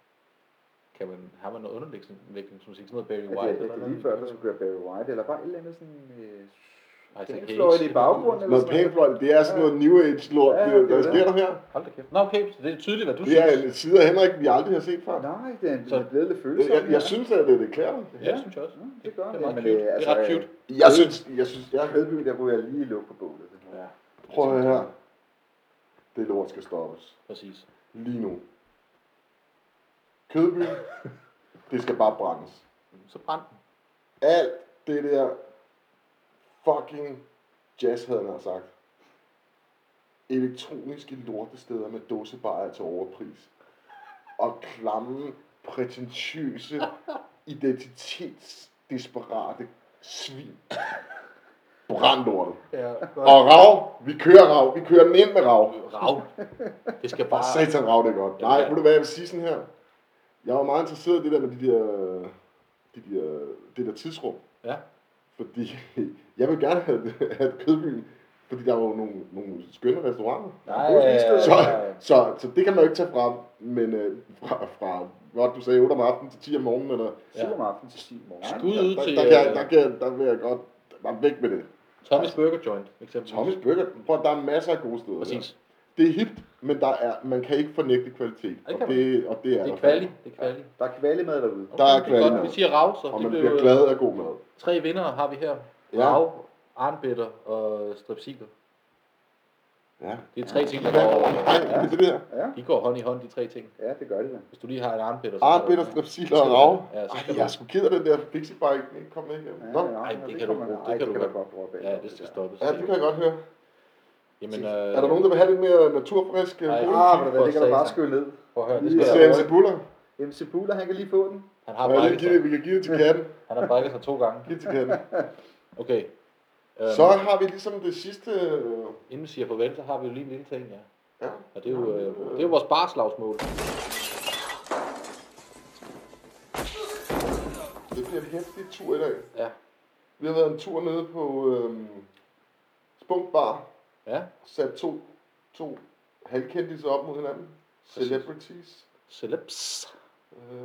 Speaker 2: Kan man, har man noget underlægningsmusik? Sådan noget Barry
Speaker 3: at
Speaker 2: White?
Speaker 3: det, det er lige før, der skulle køre Barry White, eller bare et eller andet sådan... Øh,
Speaker 2: Isaac Hayes.
Speaker 3: Pænfløjte i baggrunden, eller
Speaker 1: Noget
Speaker 3: sådan
Speaker 1: pænfløjt, det er sådan noget new age lort,
Speaker 3: Ja,
Speaker 1: det,
Speaker 3: det
Speaker 1: der
Speaker 3: er
Speaker 1: sker der her.
Speaker 2: Hold da kæft. Nå, okay, så det er tydeligt, hvad du
Speaker 1: Det er
Speaker 2: synes.
Speaker 1: en side af Henrik, vi aldrig har set før.
Speaker 3: Nej, den,
Speaker 2: Så-
Speaker 3: den er blevet lidt
Speaker 1: Jeg,
Speaker 3: følsom.
Speaker 1: jeg, jeg synes, at det, det klæder dig.
Speaker 2: Ja, det synes jeg også.
Speaker 3: Ja,
Speaker 1: Mm,
Speaker 3: det gør
Speaker 2: Det er
Speaker 3: det.
Speaker 2: meget
Speaker 3: men,
Speaker 2: cute.
Speaker 3: øh,
Speaker 1: altså-
Speaker 2: Det er ret cute.
Speaker 1: Jeg synes, jeg synes, jeg
Speaker 3: Kødby, der ryger jeg lige luk på bålet.
Speaker 2: Ja,
Speaker 1: prøv at høre her. Det lort skal stoppes.
Speaker 2: præcis.
Speaker 1: Lige nu. Kødby, det skal bare brændes.
Speaker 2: Så Mm, brænd den.
Speaker 1: Alt det der fucking jazz, havde han sagt. Elektroniske lortesteder med dåsebarer til overpris. Og klamme, prætentiøse, identitetsdesperate svin. Brandorte.
Speaker 2: Ja,
Speaker 1: Og Rav, vi kører Rav, vi kører den ind med Rav.
Speaker 2: Rav. Det skal
Speaker 1: Bare
Speaker 2: bare...
Speaker 1: satan rav, det er godt.
Speaker 2: Ja,
Speaker 1: Nej,
Speaker 2: ja.
Speaker 1: ved du hvad, jeg vil sige sådan her. Jeg var meget interesseret i det der med de der, de der, det der tidsrum.
Speaker 2: Ja.
Speaker 1: Fordi jeg vil gerne have, have Kødbyen, fordi der var jo nogle, nogle skønne restauranter.
Speaker 2: Nej,
Speaker 1: Så,
Speaker 2: øh,
Speaker 1: så, så det kan man jo ikke tage fra, men øh, fra, fra hvad du sagde, 8 om aftenen til 10 om morgenen, eller,
Speaker 2: Ja.
Speaker 3: Syv om aftenen til 10 morgen.
Speaker 2: skud
Speaker 1: der,
Speaker 2: ud
Speaker 1: der,
Speaker 2: til
Speaker 1: der, kan, jeg- der,
Speaker 2: øh,
Speaker 1: kan, jeg- der vil jeg godt bare væk med det.
Speaker 2: Tommy's Burger Joint, eksempelvis.
Speaker 1: Thomas Burger, prøv, at- der er masser af gode steder.
Speaker 2: Præcis.
Speaker 1: Det er hipt, men der er, man kan ikke fornægte kvalitet.
Speaker 2: kan
Speaker 1: og,
Speaker 2: man.
Speaker 1: det, og det er
Speaker 2: Det
Speaker 1: der
Speaker 2: er kvali, det er kvali.
Speaker 3: Der er kvalemad derude.
Speaker 1: Der er
Speaker 2: det er
Speaker 1: kvalimad.
Speaker 2: godt, vi siger rav, så
Speaker 1: Og
Speaker 2: det
Speaker 1: man
Speaker 2: blev
Speaker 1: bliver glad af god mad.
Speaker 2: tre vinder har vi her.
Speaker 1: Ja.
Speaker 2: Rav, armbitter og strepsiler.
Speaker 1: Ja.
Speaker 2: Det er tre ting, der
Speaker 1: Hvad
Speaker 2: går over.
Speaker 1: er det der?
Speaker 3: Ja,
Speaker 2: De går hånd i hånd, de tre ting.
Speaker 3: ja det gør det da.
Speaker 2: Hvis du lige har en armbitter, så...
Speaker 1: Arne Peter Strepsiler og Rav.
Speaker 2: Ja, så
Speaker 1: Ej,
Speaker 2: skal
Speaker 1: jeg er
Speaker 2: du-
Speaker 1: sgu ked af den der pixie bike. Den kom ikke. Nå,
Speaker 2: Ej, det kan
Speaker 3: kommer-
Speaker 2: du- det
Speaker 3: ej,
Speaker 2: kan du
Speaker 3: man
Speaker 2: godt.
Speaker 3: godt droppe af.
Speaker 2: Ja, det skal stoppes.
Speaker 1: ja, det kan jeg godt høre.
Speaker 2: Jamen, øh,
Speaker 1: Er der nogen, der vil have lidt mere naturfrisk? øh,
Speaker 2: Ej.
Speaker 1: brun?
Speaker 3: Ah, men det
Speaker 2: For
Speaker 3: det kan du bare
Speaker 2: satan.
Speaker 3: skylle ned.
Speaker 2: prøv at høre, det
Speaker 1: Vi
Speaker 2: skal Ah,
Speaker 1: ser
Speaker 2: jeg
Speaker 1: en buller.
Speaker 3: MC Buller, han kan lige få den.
Speaker 2: Han har
Speaker 1: Og jeg vil
Speaker 2: brækket
Speaker 1: give det-
Speaker 2: sig.
Speaker 1: Vi kan give det til katten.
Speaker 2: Han har brækket sig to gange.
Speaker 1: Giv det til katten.
Speaker 2: Okay. Øhm,
Speaker 1: Så har vi ligesom det sidste... øh,
Speaker 2: Inden vi siger farvel, så har vi jo lige en lille ting, ja.
Speaker 1: Ja.
Speaker 2: Og det er jo, øh, det er jo vores barslagsmål.
Speaker 1: Det bliver en hæftig tur i dag.
Speaker 2: Ja.
Speaker 1: Vi har været en tur nede på øhm, Spunk Bar.
Speaker 2: Ja.
Speaker 1: Sat to, to halvkendte op mod hinanden.
Speaker 2: Præcis.
Speaker 1: Celebrities.
Speaker 2: Celebs.
Speaker 1: Øh,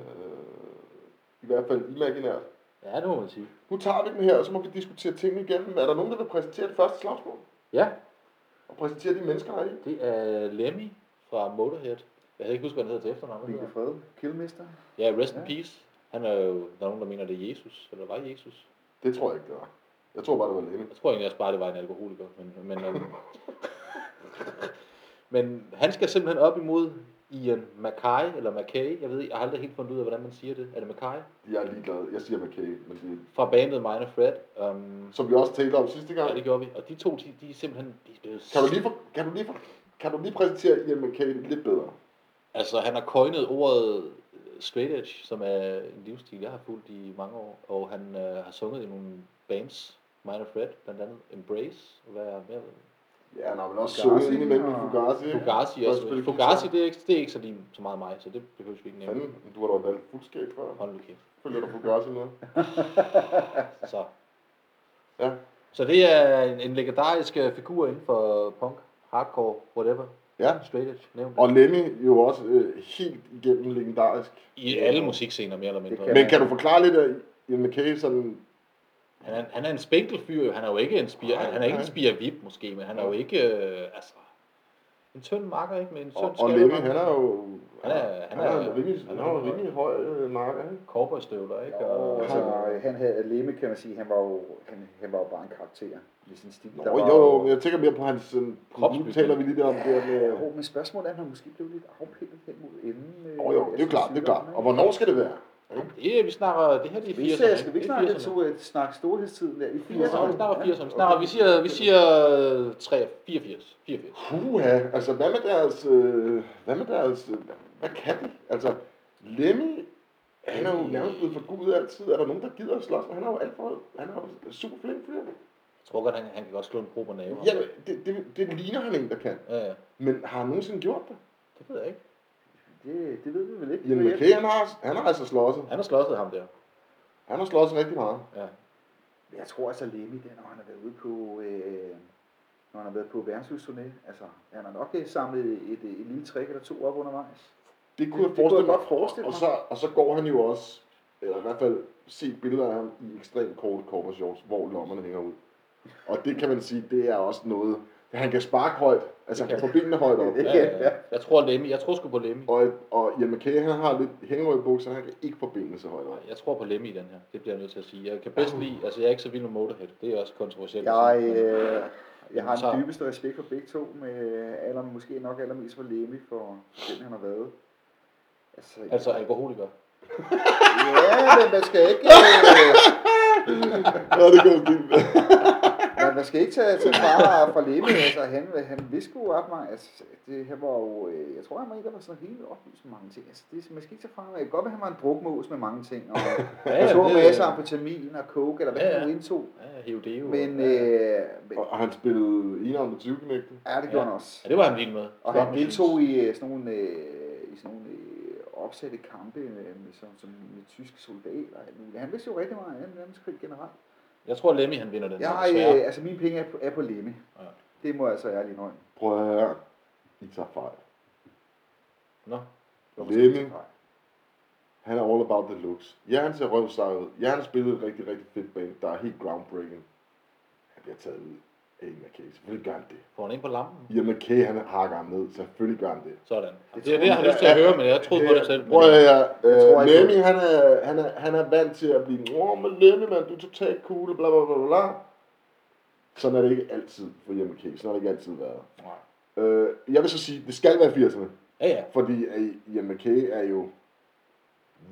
Speaker 1: I hvert fald imaginært.
Speaker 2: Ja, det må man sige.
Speaker 1: Nu tager vi den her, og så må vi diskutere tingene igennem. Er der nogen, der vil præsentere det første slagsmål?
Speaker 2: Ja,
Speaker 1: Og præsentere de mennesker, der er i?
Speaker 2: det er Lemmy fra Motorhead. Jeg kan ikke huske, hvad han hedder til efternavn. hvad
Speaker 3: Mikkel
Speaker 2: hedder han?
Speaker 3: Fred, Killmister.
Speaker 2: Ja, rest in
Speaker 3: Ja.
Speaker 2: peace. Han er jo, der er nogen, der mener, det er Jesus, eller var Jesus.
Speaker 1: Det tror jeg ikke, det var. Jeg tror bare, det var Lenny.
Speaker 2: Jeg tror egentlig også bare, det var en alkoholiker. Men, men, øhm, men han skal simpelthen op imod Ian Mackay, eller Mackay, jeg ved ikke, jeg har aldrig helt fundet ud af, hvordan man siger det. Er det Mackay?
Speaker 1: Jeg er ligeglad. Jeg siger McKay, men det
Speaker 2: Fra bandet Minor Fred. Um,
Speaker 1: som vi også talte om sidste gang.
Speaker 2: ja, det gjorde vi. Og de to, de, de er simpelthen... De er blevet
Speaker 1: Kan du lige, for, kan du lige, for, kan du lige præsentere Ian McKay lidt bedre?
Speaker 2: Altså, han har coinet ordet øh, straight edge, som er en livsstil, jeg har fulgt i mange år. Og han øh, har sunget i nogle bands, Minor Fred, blandt andet Embrace, og hvad er mere?
Speaker 1: Ja, han har vel også
Speaker 3: Fugazi,
Speaker 1: sunget ind imellem i
Speaker 3: og-
Speaker 1: Fugazi. ikke?
Speaker 2: Fugazi
Speaker 1: Og
Speaker 2: også.
Speaker 1: spillet
Speaker 2: Fugazi,
Speaker 1: guitar.
Speaker 2: det er, ikke, det er ikke så, lige, så meget mig, så det behøver vi ikke nævne.
Speaker 1: Fanden, du har da valgt fuldskab før.
Speaker 2: Hold nu kæft.
Speaker 1: Følger du Fugazi med?
Speaker 2: Så.
Speaker 1: Ja.
Speaker 2: så det er en, en legendarisk øh, figur inden for punk, hardcore, whatever,
Speaker 1: Ja.
Speaker 2: straight edge, nævn det.
Speaker 1: Og Lenny jo også øh, helt igennem legendarisk.
Speaker 2: I alle musikscener, mere eller mindre.
Speaker 3: kan
Speaker 1: Men kan du forklare lidt af Ian McKay sådan
Speaker 2: Han er, han er en spinkel fyr, jo. han er jo ikke en spire,
Speaker 1: Nej,
Speaker 2: han, han er ikke en
Speaker 1: nej.
Speaker 2: spire vip måske, men han er jo ikke, øh, altså, en tynd makker, ikke? Med en tynd
Speaker 1: Og, og
Speaker 2: skaldet
Speaker 1: Lenny,
Speaker 2: makker.
Speaker 1: han er jo...
Speaker 2: Han er- han
Speaker 1: han er,
Speaker 2: er-
Speaker 1: rimelig,
Speaker 2: han
Speaker 1: han
Speaker 2: er
Speaker 1: er jo
Speaker 2: rimelig
Speaker 1: rimelig høj øh, marker, ikke?
Speaker 2: Cowboystøvler, ikke?
Speaker 3: Og
Speaker 2: Og,
Speaker 3: altså, han havde Lemme, kan man sige, han var jo, han, han var jo bare en karakter med sin stil.
Speaker 1: Nå,
Speaker 3: Der
Speaker 1: jo,
Speaker 3: var
Speaker 1: jo, men jeg tænker mere på hans... sådan, Nu
Speaker 2: Kropsbygning.
Speaker 1: taler vi lige der om det der med...
Speaker 3: Jo, men spørgsmålet er, om han måske blev lidt afpillet hen mod enden. øh,
Speaker 1: Jo, jo, det er jo
Speaker 3: altså,
Speaker 1: klart, det er klart.
Speaker 3: sygdommen,
Speaker 1: Og
Speaker 3: ikke?
Speaker 1: hvornår skal det være?
Speaker 2: det, er- vi snakker, det her det er
Speaker 3: Skal vi ikke
Speaker 2: 80'erne,
Speaker 3: snakke- skal vi ikke
Speaker 2: Det er 80'erne.
Speaker 3: snakke lidt to- øh, snakke storhedstiden der i
Speaker 2: Vi snakker-
Speaker 3: 80'erne?
Speaker 2: vi snakker 80'erne, vi
Speaker 3: Ja, okay.
Speaker 2: snakker, vi siger, vi siger øh, 3, 84, 84.
Speaker 1: Puha, altså hvad med deres... Øh, hvad med deres... Øh, hvad kan de? Altså, Lemmy, han er jo nærmest blevet forgudet altid. Er der nogen, der gider at slås? med? Han er jo alt for... Han er jo super flink fyr.
Speaker 2: Jeg tror godt, han, han kan godt slå en prober nave.
Speaker 1: Ja, det, det, det, ligner han en, der kan.
Speaker 2: ja, ja.
Speaker 1: Men har han nogensinde gjort det?
Speaker 2: det ved jeg ikke.
Speaker 3: Det, det ved vi vel ikke.
Speaker 1: Ian McKay, han har, han har altså slåsset.
Speaker 2: Han har slåsset ham der.
Speaker 1: Han har slåsset rigtig meget.
Speaker 2: Ja.
Speaker 3: Men Jeg tror altså, Lemmy, det er, når han har været ude på... Øh, når han har været på verdensudturné, altså, han har nok øh, samlet et, et, et lille trick eller to op undervejs.
Speaker 1: Det kunne jeg
Speaker 3: Det- det kunne
Speaker 1: forestille
Speaker 3: jeg
Speaker 1: mig.
Speaker 3: godt forestille
Speaker 1: og,
Speaker 3: mig.
Speaker 1: så, og så går han jo også, eller i hvert fald set billeder af ham i ekstremt korte korpershorts, hvor lommerne hænger ud. Og det kan man sige, det er også noget, han kan sparke højt, altså han kan få benene højt op.
Speaker 2: Ja, ja, ja. Jeg tror Lemmy, jeg tror sgu på Lemmy.
Speaker 1: Og, og Ian McKay, han har lidt hængerøje bukser, han kan ikke få benene så højt op.
Speaker 2: Jeg tror på Lemmy i den her. Det bliver jeg nødt til at sige. Jeg kan bedst lide, altså jeg er ikke så vild med Motorhead. Det er også kontroversielt. at
Speaker 3: Jeg,
Speaker 2: sige, men-
Speaker 3: øh, jeg har
Speaker 2: Så-
Speaker 3: den dybeste respekt for begge to, med øh, aller, måske nok allermest for Lemmy, for den han har været. Altså,
Speaker 2: Altså alkoholiker.
Speaker 3: Ja, men man skal ikke, øh,
Speaker 1: Ja, det går fint.
Speaker 3: man, man skal ikke tage, tage far fra lemme. Altså, han, han vidste jo ret meget. Altså, det her var jo, øh, jeg tror, han var en, der var sådan helt oplyst med mange ting. Altså, det, man skal ikke tage far. Det kan godt være, han var en drukmås med mange ting. Og
Speaker 2: Ja,
Speaker 3: han tog
Speaker 2: det-
Speaker 3: masser af amfetamin og coke, eller hvad
Speaker 2: Ja,
Speaker 3: ja,
Speaker 2: ja.
Speaker 3: han nu indtog.
Speaker 2: Ja, Heodeo.
Speaker 3: Men,
Speaker 2: ja.
Speaker 3: øh, men
Speaker 1: Og, og han spillede enarmet med 20 knægte.
Speaker 3: ja, det gjorde
Speaker 2: Ja.
Speaker 3: ja. han også.
Speaker 2: ja, det var han vild med.
Speaker 3: Og han deltog i øh, sådan nogle, øh, i sådan nogle øh, opsatte kampe med, med, som, som med tyske soldater. og alt muligt. Han vidste jo rigtig meget af 2. verdenskrig generelt.
Speaker 2: Jeg tror, Lemmy han vinder den.
Speaker 3: Jeg
Speaker 2: her,
Speaker 3: har,
Speaker 2: desværre.
Speaker 3: øh, altså mine penge er på, er på Lemme.
Speaker 2: Ja.
Speaker 3: Ja. Det må jeg altså ærligt indrømme.
Speaker 1: Prøv at høre. I tager fejl.
Speaker 2: Nå.
Speaker 1: Lemming, han er all about the looks. Ja, han ser røvsejret ud. Ja, han spillede et rigtig, rigtig fedt band, der er helt groundbreaking. Han bliver taget ud af Ian McKay. Selvfølgelig gør han det.
Speaker 2: Får han ind på lampen?
Speaker 1: Ian McKay, han hakker ham ned. Selvfølgelig gør han det.
Speaker 2: Sådan. Det,
Speaker 3: tror
Speaker 2: er det, jeg har lyst til at høre, men jeg troede på det selv. men-
Speaker 1: Prøv at høre,
Speaker 3: Jeg tror
Speaker 1: øh,
Speaker 3: ikke på
Speaker 1: Lemmy, han er, han, er, han er vant til at blive, åh, men Lemmy, mand, du er totalt cool, bla bla bla bla. Sådan er det ikke altid for Ian McKay. Sådan har det ikke altid været.
Speaker 2: Nej.
Speaker 1: Øh, jeg vil så sige, det skal være 80'erne,
Speaker 2: Ja, ja.
Speaker 1: fordi øh, Ian McKay er jo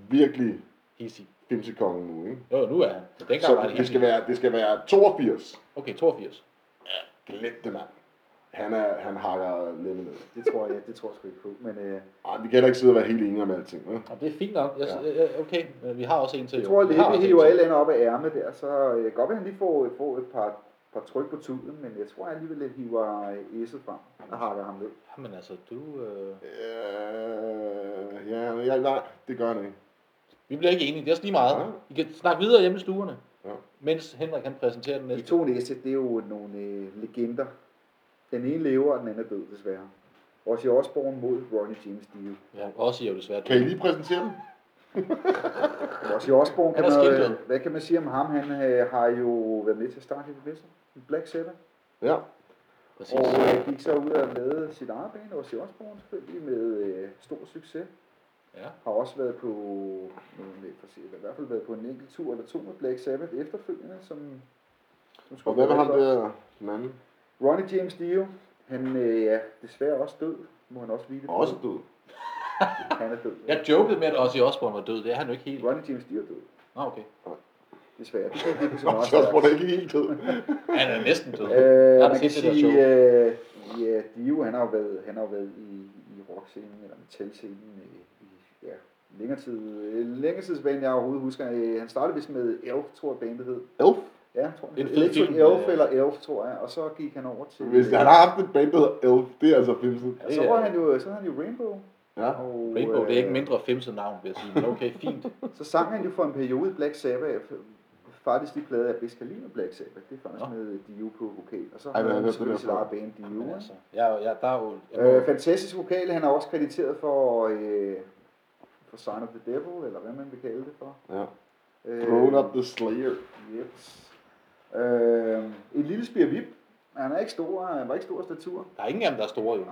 Speaker 1: virkelig
Speaker 2: Easy.
Speaker 1: filmsekongen nu, ikke?
Speaker 2: Jo, nu er han. Men dengang var
Speaker 1: Så
Speaker 2: han
Speaker 1: det
Speaker 2: helt
Speaker 1: skal,
Speaker 2: vild.
Speaker 1: være, det skal være 82.
Speaker 2: Okay, 82.
Speaker 1: Glem det, mand. Han, er, han hakker lidt ned.
Speaker 3: Det tror jeg, det tror jeg sgu ikke på. Men øh,
Speaker 1: Ej, vi kan heller ikke sidde og være helt enige om alting, vel?
Speaker 2: Og det er fint nok. Jeg,
Speaker 1: Ja.
Speaker 2: ja. Okay, men vi har også en til.
Speaker 3: jeg
Speaker 2: jo.
Speaker 3: tror, at
Speaker 2: Vi har også
Speaker 3: Lemme
Speaker 2: en
Speaker 3: hiver
Speaker 2: til.
Speaker 3: alle andre op af ærmet der, så øh, godt vil han lige få, få et par, par tryk på tuden, men jeg tror alligevel, at hiver øh, Esset frem og hakker ham ned.
Speaker 2: Jamen altså, du... Øh...
Speaker 1: Øh, ja, men jeg, nej, det gør han ikke.
Speaker 2: Vi bliver ikke enige. Det er også lige meget.
Speaker 1: Nej.
Speaker 2: I kan snakke videre hjemme i stuerne.
Speaker 1: Ja.
Speaker 2: Mens Henrik han præsenterer den
Speaker 3: De
Speaker 2: næste.
Speaker 3: to næste, det er jo nogle øh, legender. Den ene lever, og den anden er død, desværre. Ozzy Osbourne mod Ronnie James Dio.
Speaker 2: Ja, også er jo desværre.
Speaker 1: Kan I lige præsentere dem?
Speaker 3: Ozzy Osbourne, kan
Speaker 2: Han er
Speaker 3: man,
Speaker 2: skildret.
Speaker 3: øh, hvad kan man sige om ham? Han øh, har jo været med til at starte Heavy Metal, Black Sabbath.
Speaker 1: Ja.
Speaker 2: Præcis.
Speaker 3: Og øh, gik så ud og lavede sit eget band, Ozzy Osbourne selvfølgelig, med øh, stor succes.
Speaker 2: Ja.
Speaker 3: Har også været på, nogle, for se, i hvert fald været på en enkelt tur eller to med Black Sabbath efterfølgende, som, som
Speaker 1: Og hvad med
Speaker 3: være
Speaker 1: ham
Speaker 3: godt.
Speaker 1: der, den anden?
Speaker 3: Ronnie James Dio, han øh, er desværre også død, må han også hvile på.
Speaker 1: Også død.
Speaker 3: Han er død.
Speaker 2: Jeg jokede med, at Ozzy Osbourne var død. Det er han jo ikke helt.
Speaker 3: Ronnie James Dio er død,
Speaker 2: Nå, okay.
Speaker 3: desværre. Det kan ikke så
Speaker 1: Nå,
Speaker 3: meget.
Speaker 1: så er
Speaker 3: stærkt.
Speaker 1: det ikke helt død.
Speaker 2: Han er næsten død.
Speaker 3: Øh,
Speaker 2: har
Speaker 3: man
Speaker 2: set
Speaker 3: kan
Speaker 2: det der
Speaker 3: sige, øh, ja, Dio, han har jo været, han har jo været i, i rockscenen, eller metalscenen, øh, i, ja, længere tid, øh, længere tidsbane, jeg overhovedet husker. Øh, han startede vist med Elf, tror jeg bandet hed.
Speaker 1: Elf?
Speaker 3: Ja, jeg tror
Speaker 2: En
Speaker 3: han.
Speaker 2: fed
Speaker 3: Electric
Speaker 2: film,
Speaker 3: Elf
Speaker 2: øh.
Speaker 3: eller Elf, tror jeg. Og så gik han over til...
Speaker 1: Hvis han har haft et band, der hedder Elf, det er altså filmsen.
Speaker 2: Ja,
Speaker 3: og så
Speaker 2: det er-
Speaker 3: var han jo, så havde han jo Rainbow.
Speaker 1: Ja.
Speaker 3: Og,
Speaker 2: Rainbow, det er ikke
Speaker 3: øh,
Speaker 2: mindre femset navn, vil jeg sige. Men okay, fint.
Speaker 3: Så sang han jo for en periode i Black Sabbath. øh, Faktisk de plader af Biskalin og Black Sabbath. Det er faktisk
Speaker 2: Nå.
Speaker 3: med Dio på vokal. Og så
Speaker 1: Ej,
Speaker 3: har
Speaker 1: hvad er
Speaker 3: han
Speaker 1: det
Speaker 3: selvfølgelig
Speaker 1: for
Speaker 3: sit eget band Dio.
Speaker 2: Men
Speaker 3: ikke?
Speaker 2: altså, jeg, jeg, der er jo... Jeg må,
Speaker 3: Øh, fantastisk vokal. Han er også krediteret for, øh, for Sign of the Devil, eller hvad man vil kalde det for.
Speaker 1: ja.
Speaker 3: Øh,
Speaker 1: Grown Up the Slayer.
Speaker 3: Yep. Øh, en lille spirvip. Han er ikke stor, han var ikke stor af statur.
Speaker 2: der er ingen af dem, der er store, jo.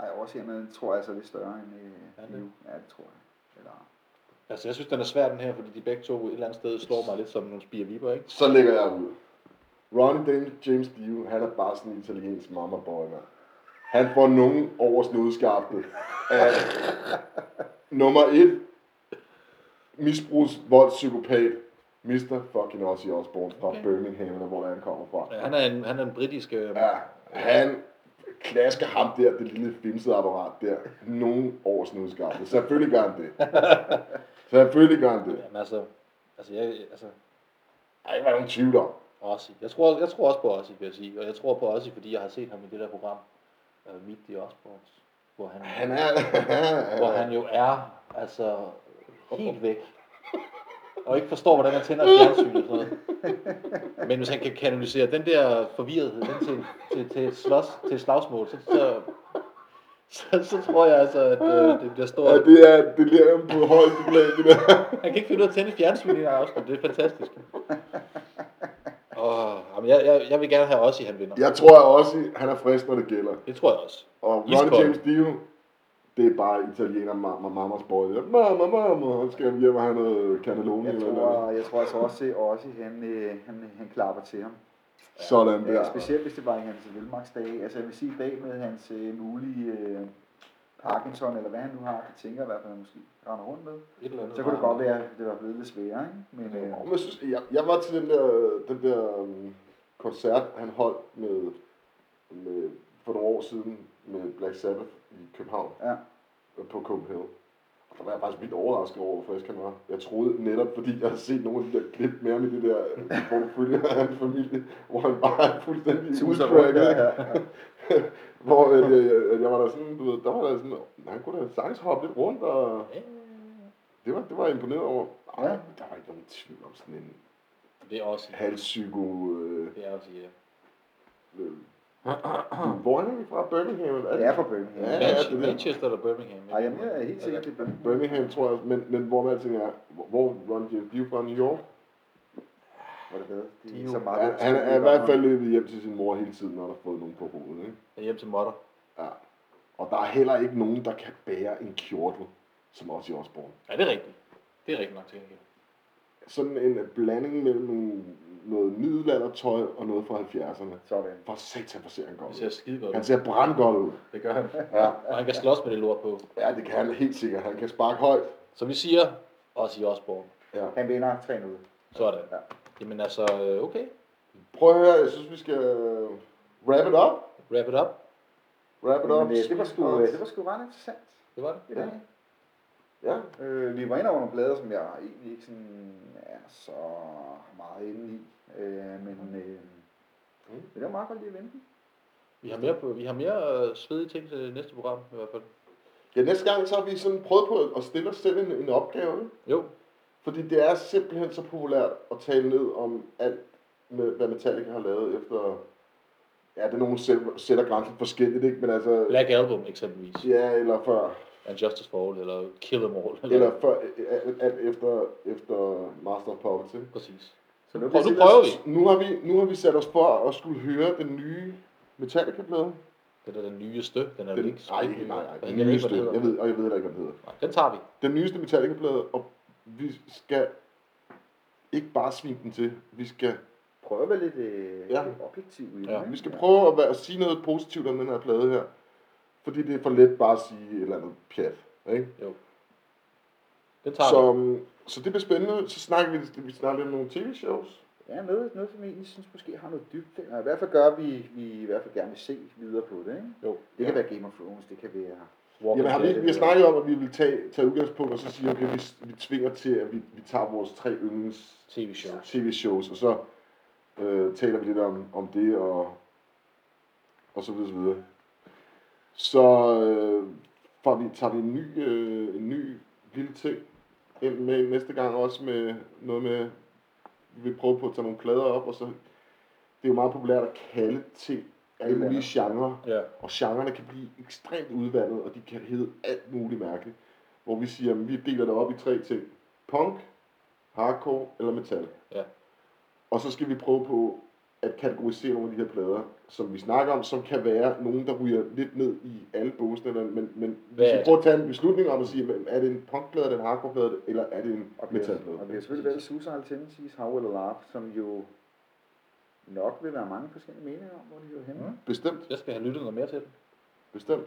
Speaker 3: Ej, overseende tror jeg altså er lidt større end øh,
Speaker 2: Er det?
Speaker 3: Dio. Ja, det tror jeg. Eller,
Speaker 2: Altså, jeg synes, den er svær, den her, fordi de begge to et eller andet sted slår mig lidt som nogle spirviber, ikke?
Speaker 1: Så lægger jeg ud. Ronnie Dan- James Dio, han er bare sådan en italiensk mama boy, mand. Han får nogen over snudskaftet af nummer et, misbrugs, vold, psykopat, Mr. fucking Ozzy Osbourne fra
Speaker 2: Okay.
Speaker 1: Birmingham, eller hvor han kommer fra.
Speaker 2: Ja, Han er en, han er en britisk... Øh,
Speaker 1: Ja, han klasker ham der, det lille fimsede apparat der, nogen over snudskaftet. Selvfølgelig gør han det. Selvfølgelig gør han det.
Speaker 2: men altså, altså, jeg, altså,
Speaker 1: Ej, hvor er nogen tvivl om.
Speaker 2: Ozzy. Jeg tror, jeg tror også på Ozzy, vil jeg sige. Og jeg tror på Ozzy, fordi jeg har set ham i det der program, uh, Meet the Osbournes, hvor han,
Speaker 1: Han er...
Speaker 2: hvor han jo er altså helt væk. Og ikke forstår, hvordan man tænder et fjernsyn og sådan noget. Men hvis han kan kanalisere den der forvirrethed den til, til, til, et slås, til et slagsmål, så, så, så, så tror jeg altså, at øh, det bliver
Speaker 1: Ja,
Speaker 2: stort.
Speaker 1: det er delirium på højeste plan, det der.
Speaker 2: Han kan ikke finde ud af at tænde et fjernsyn i en afsnit. Det er fantastisk. Og, jamen, jeg, jeg, jeg vil gerne have også, at han vinder.
Speaker 1: Jeg tror også, han er frisk, når det gælder.
Speaker 2: Det tror jeg også.
Speaker 1: Og Ronnie
Speaker 2: Iskold.
Speaker 1: James Dio, det er bare italiener mamma, mammas boy. Mamma, mamma, han skal hjem og have noget cannelloni
Speaker 3: jeg,
Speaker 1: eller noget.
Speaker 3: tror, jeg tror altså også, at Ozzy, han, øh, han, han klapper til ham.
Speaker 1: Sådan
Speaker 3: Ja,
Speaker 1: der.
Speaker 3: specielt hvis det var i hans velmagsdage. Altså jeg vil sige, i dag med hans øh, mulige øh, Parkinson, eller hvad han nu har, de tænker i hvert fald, at han måske render rundt med.
Speaker 2: Et eller andet
Speaker 3: Så kunne det
Speaker 2: bare-
Speaker 3: godt være, at det var blevet lidt sværere, ikke? Men øh,
Speaker 1: Og jeg, synes, jeg, jeg var til den der, den der um, koncert, han holdt med, med, for nogle år siden med Black Sabbath i København
Speaker 3: ja,
Speaker 1: øh, på Copenhagen. Og der var jeg faktisk vildt overrasket over, hvor frisk han var. Jeg troede netop, fordi jeg havde set nogle af de der klip med ham i det der, øh, hvor du følger hans familie, hvor han bare er fuldstændig
Speaker 3: tusind rundt. Ja,
Speaker 1: udcracket.
Speaker 3: ja, ja.
Speaker 1: Hvor at, øh, at jeg var der sådan, du ved, der var der sådan, han kunne da sagtens hoppe lidt rundt, og
Speaker 2: Ja, ja,
Speaker 1: det var, det var jeg imponeret over. Ej,
Speaker 3: Ja.
Speaker 1: der var ikke nogen tvivl om sådan en
Speaker 2: ja. Det er også
Speaker 1: halvpsyko... Øh,
Speaker 2: det er også ja.
Speaker 1: øh, hvor er han egentlig fra? Birmingham? Eller?
Speaker 3: Det er fra Birmingham.
Speaker 1: Ja,
Speaker 3: Ja,
Speaker 1: ja,
Speaker 3: ja.
Speaker 1: det er det.
Speaker 2: Manchester eller Birmingham.
Speaker 3: Ej, jamen, jeg er helt sikkert, det er Birmingham.
Speaker 1: Birmingham, tror jeg, men, men hvor man tænker, hvor- hvor Ron James Dio fra New York?
Speaker 3: Hvor det været. Det er
Speaker 2: De er
Speaker 3: så
Speaker 1: Han,
Speaker 3: meget.
Speaker 1: han er i hvert fald løbet hjem til sin mor hele tiden, når der har fået nogen på hovedet. Ikke?
Speaker 2: Jeg er hjem til Motter.
Speaker 1: Ja. Og der er heller ikke nogen, der kan bære en kjortel, som også i Osborne.
Speaker 2: Ja, det er rigtigt. Det er rigtigt nok til gengæld.
Speaker 1: Sådan en blanding mellem nogle- noget middelaldertøj og noget fra 70'erne.
Speaker 3: Sådan.
Speaker 1: For satan, hvor ser han godt
Speaker 2: Det ser
Speaker 1: ud.
Speaker 2: skide godt
Speaker 1: Han
Speaker 2: ud.
Speaker 1: ser brandgodt ud.
Speaker 2: Det gør han.
Speaker 1: Ja.
Speaker 2: Og han kan slås med det lort på.
Speaker 1: ja, det kan han helt sikkert. Han kan sparke højt.
Speaker 2: Så vi siger også i Osborne.
Speaker 1: Ja.
Speaker 3: Han vinder 3 ud.
Speaker 2: Sådan.
Speaker 3: Ja.
Speaker 2: Jamen altså, øh, okay.
Speaker 1: Prøv at høre, jeg synes, vi skal wrap it up.
Speaker 2: Wrap it up.
Speaker 1: Wrap it up.
Speaker 3: Men, øh, det var sgu, øh, det var sgu ret interessant
Speaker 2: Det var det.
Speaker 3: i dag.
Speaker 1: Ja,
Speaker 3: Øh, vi var inde over nogle blader, som jeg egentlig ikke sådan er så meget inde i. Øh, men, øh,
Speaker 1: Mm.
Speaker 3: men det var meget godt lige at vente.
Speaker 2: Vi har mere, på, vi har mere øh, svedige ting til næste program i hvert fald.
Speaker 1: Ja, næste gang så har vi sådan prøvet på at stille os selv en, en opgave, ikke?
Speaker 2: Jo,
Speaker 1: Fordi det er simpelthen så populært at tale ned om alt, med, hvad Metallica har lavet efter... Ja, det er nogen selv, sætter grænsen forskelligt, ikke? Men altså...
Speaker 2: Black Album eksempelvis.
Speaker 1: Ja, eller før,
Speaker 2: And Justice for All, eller Kill Em All. Eller,
Speaker 1: eller før, alt, alt efter, efter Master of Puppets, ikke?
Speaker 2: Præcis.
Speaker 3: Så nu,
Speaker 2: Prøv,
Speaker 3: vi
Speaker 2: nu
Speaker 3: sætte
Speaker 2: prøver
Speaker 3: os-
Speaker 2: vi.
Speaker 1: Nu har vi, nu har vi sat os for at skulle høre den nye Metallica-plade.
Speaker 2: Det er den nyeste. Den er
Speaker 1: Den,
Speaker 2: den, ikke
Speaker 1: nej,
Speaker 2: spritny.
Speaker 1: nej, nej,
Speaker 2: Jeg
Speaker 1: den
Speaker 2: ved ikke,
Speaker 1: nyeste.
Speaker 2: hvad den hedder.
Speaker 1: Jeg ved, og jeg ved heller ikke, hvad den hedder.
Speaker 2: Nej, den tager vi.
Speaker 1: Den nyeste Metallica-plade, og vi skal ikke bare svine den til. Vi skal
Speaker 3: prøve at være lidt, øh,
Speaker 1: Ja.
Speaker 3: ja. lidt objektiv i
Speaker 2: Ja,
Speaker 3: det.
Speaker 1: Vi skal prøve at, være, at sige noget positivt om den her plade her. Fordi det er for let bare at sige et eller andet pjat. Ikke?
Speaker 2: Den tager så... vi.
Speaker 1: Så, um, så det bliver spændende. Så snakker vi, vi snakker lidt om nogle tv-shows.
Speaker 3: Ja, noget, noget som jeg egentlig synes måske har noget dybde. Og i hvert fald gør, at vi, vi i hvert fald gerne vil se videre på det. Ikke?
Speaker 2: Jo.
Speaker 3: Det kan være Game of Thrones, det kan være...
Speaker 2: Walking
Speaker 1: Jamen, har vi,
Speaker 2: Dead,
Speaker 1: ikke- vi har
Speaker 2: eller-
Speaker 1: snakket om, at vi vil tage, tage udgangspunkt og så sige, okay, vi, vi tvinger til, at vi, vi tager vores tre yndlings
Speaker 2: TV-shows.
Speaker 1: tv-shows, og så øh, taler vi lidt om, om det, og, og så videre, så videre. Så øh, får vi, tager vi en ny, øh, en ny lille ting ind med næste gang, også med noget med, vi vil prøve på at tage nogle plader op, og så, det er jo meget populært at kalde ting alle mulige genrer,
Speaker 2: Ja.
Speaker 1: og genrerne kan blive ekstremt udvandet, og de kan hedde alt muligt mærkeligt, hvor vi siger, at vi deler det op i tre ting. Punk, hardcore eller metal.
Speaker 2: Ja.
Speaker 1: Og så skal vi prøve på at kategorisere nogle af de her plader, som vi snakker om, som kan være nogen, der ryger lidt ned i alle båsene, men, men, men
Speaker 2: Hvad
Speaker 1: hvis
Speaker 2: er
Speaker 1: vi
Speaker 2: det?
Speaker 1: prøver at tage en beslutning om at sige, men er det en punkplade, er det en hardcoreplade, eller er det en
Speaker 3: Og vi, har, og vi
Speaker 1: metalplade?
Speaker 3: har selvfølgelig valgt Suicidal Tendencies, How Will Love, som jo nok vil være mange forskellige meninger om, hvor de hører henne. Mm.
Speaker 1: Bestemt,
Speaker 2: Jeg skal have lyttet noget mere til den.
Speaker 1: bestemt.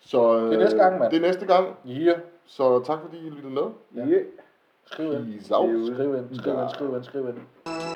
Speaker 1: Så, øh,
Speaker 2: Det er næste gang, mand.
Speaker 1: Det er næste gang,
Speaker 2: Ja.
Speaker 1: så tak fordi I lyttede med.
Speaker 3: Yeah.
Speaker 2: Skriv ind.
Speaker 1: Peace out.
Speaker 2: Skriv ind, skriv ind, skriv ind, skriv ind.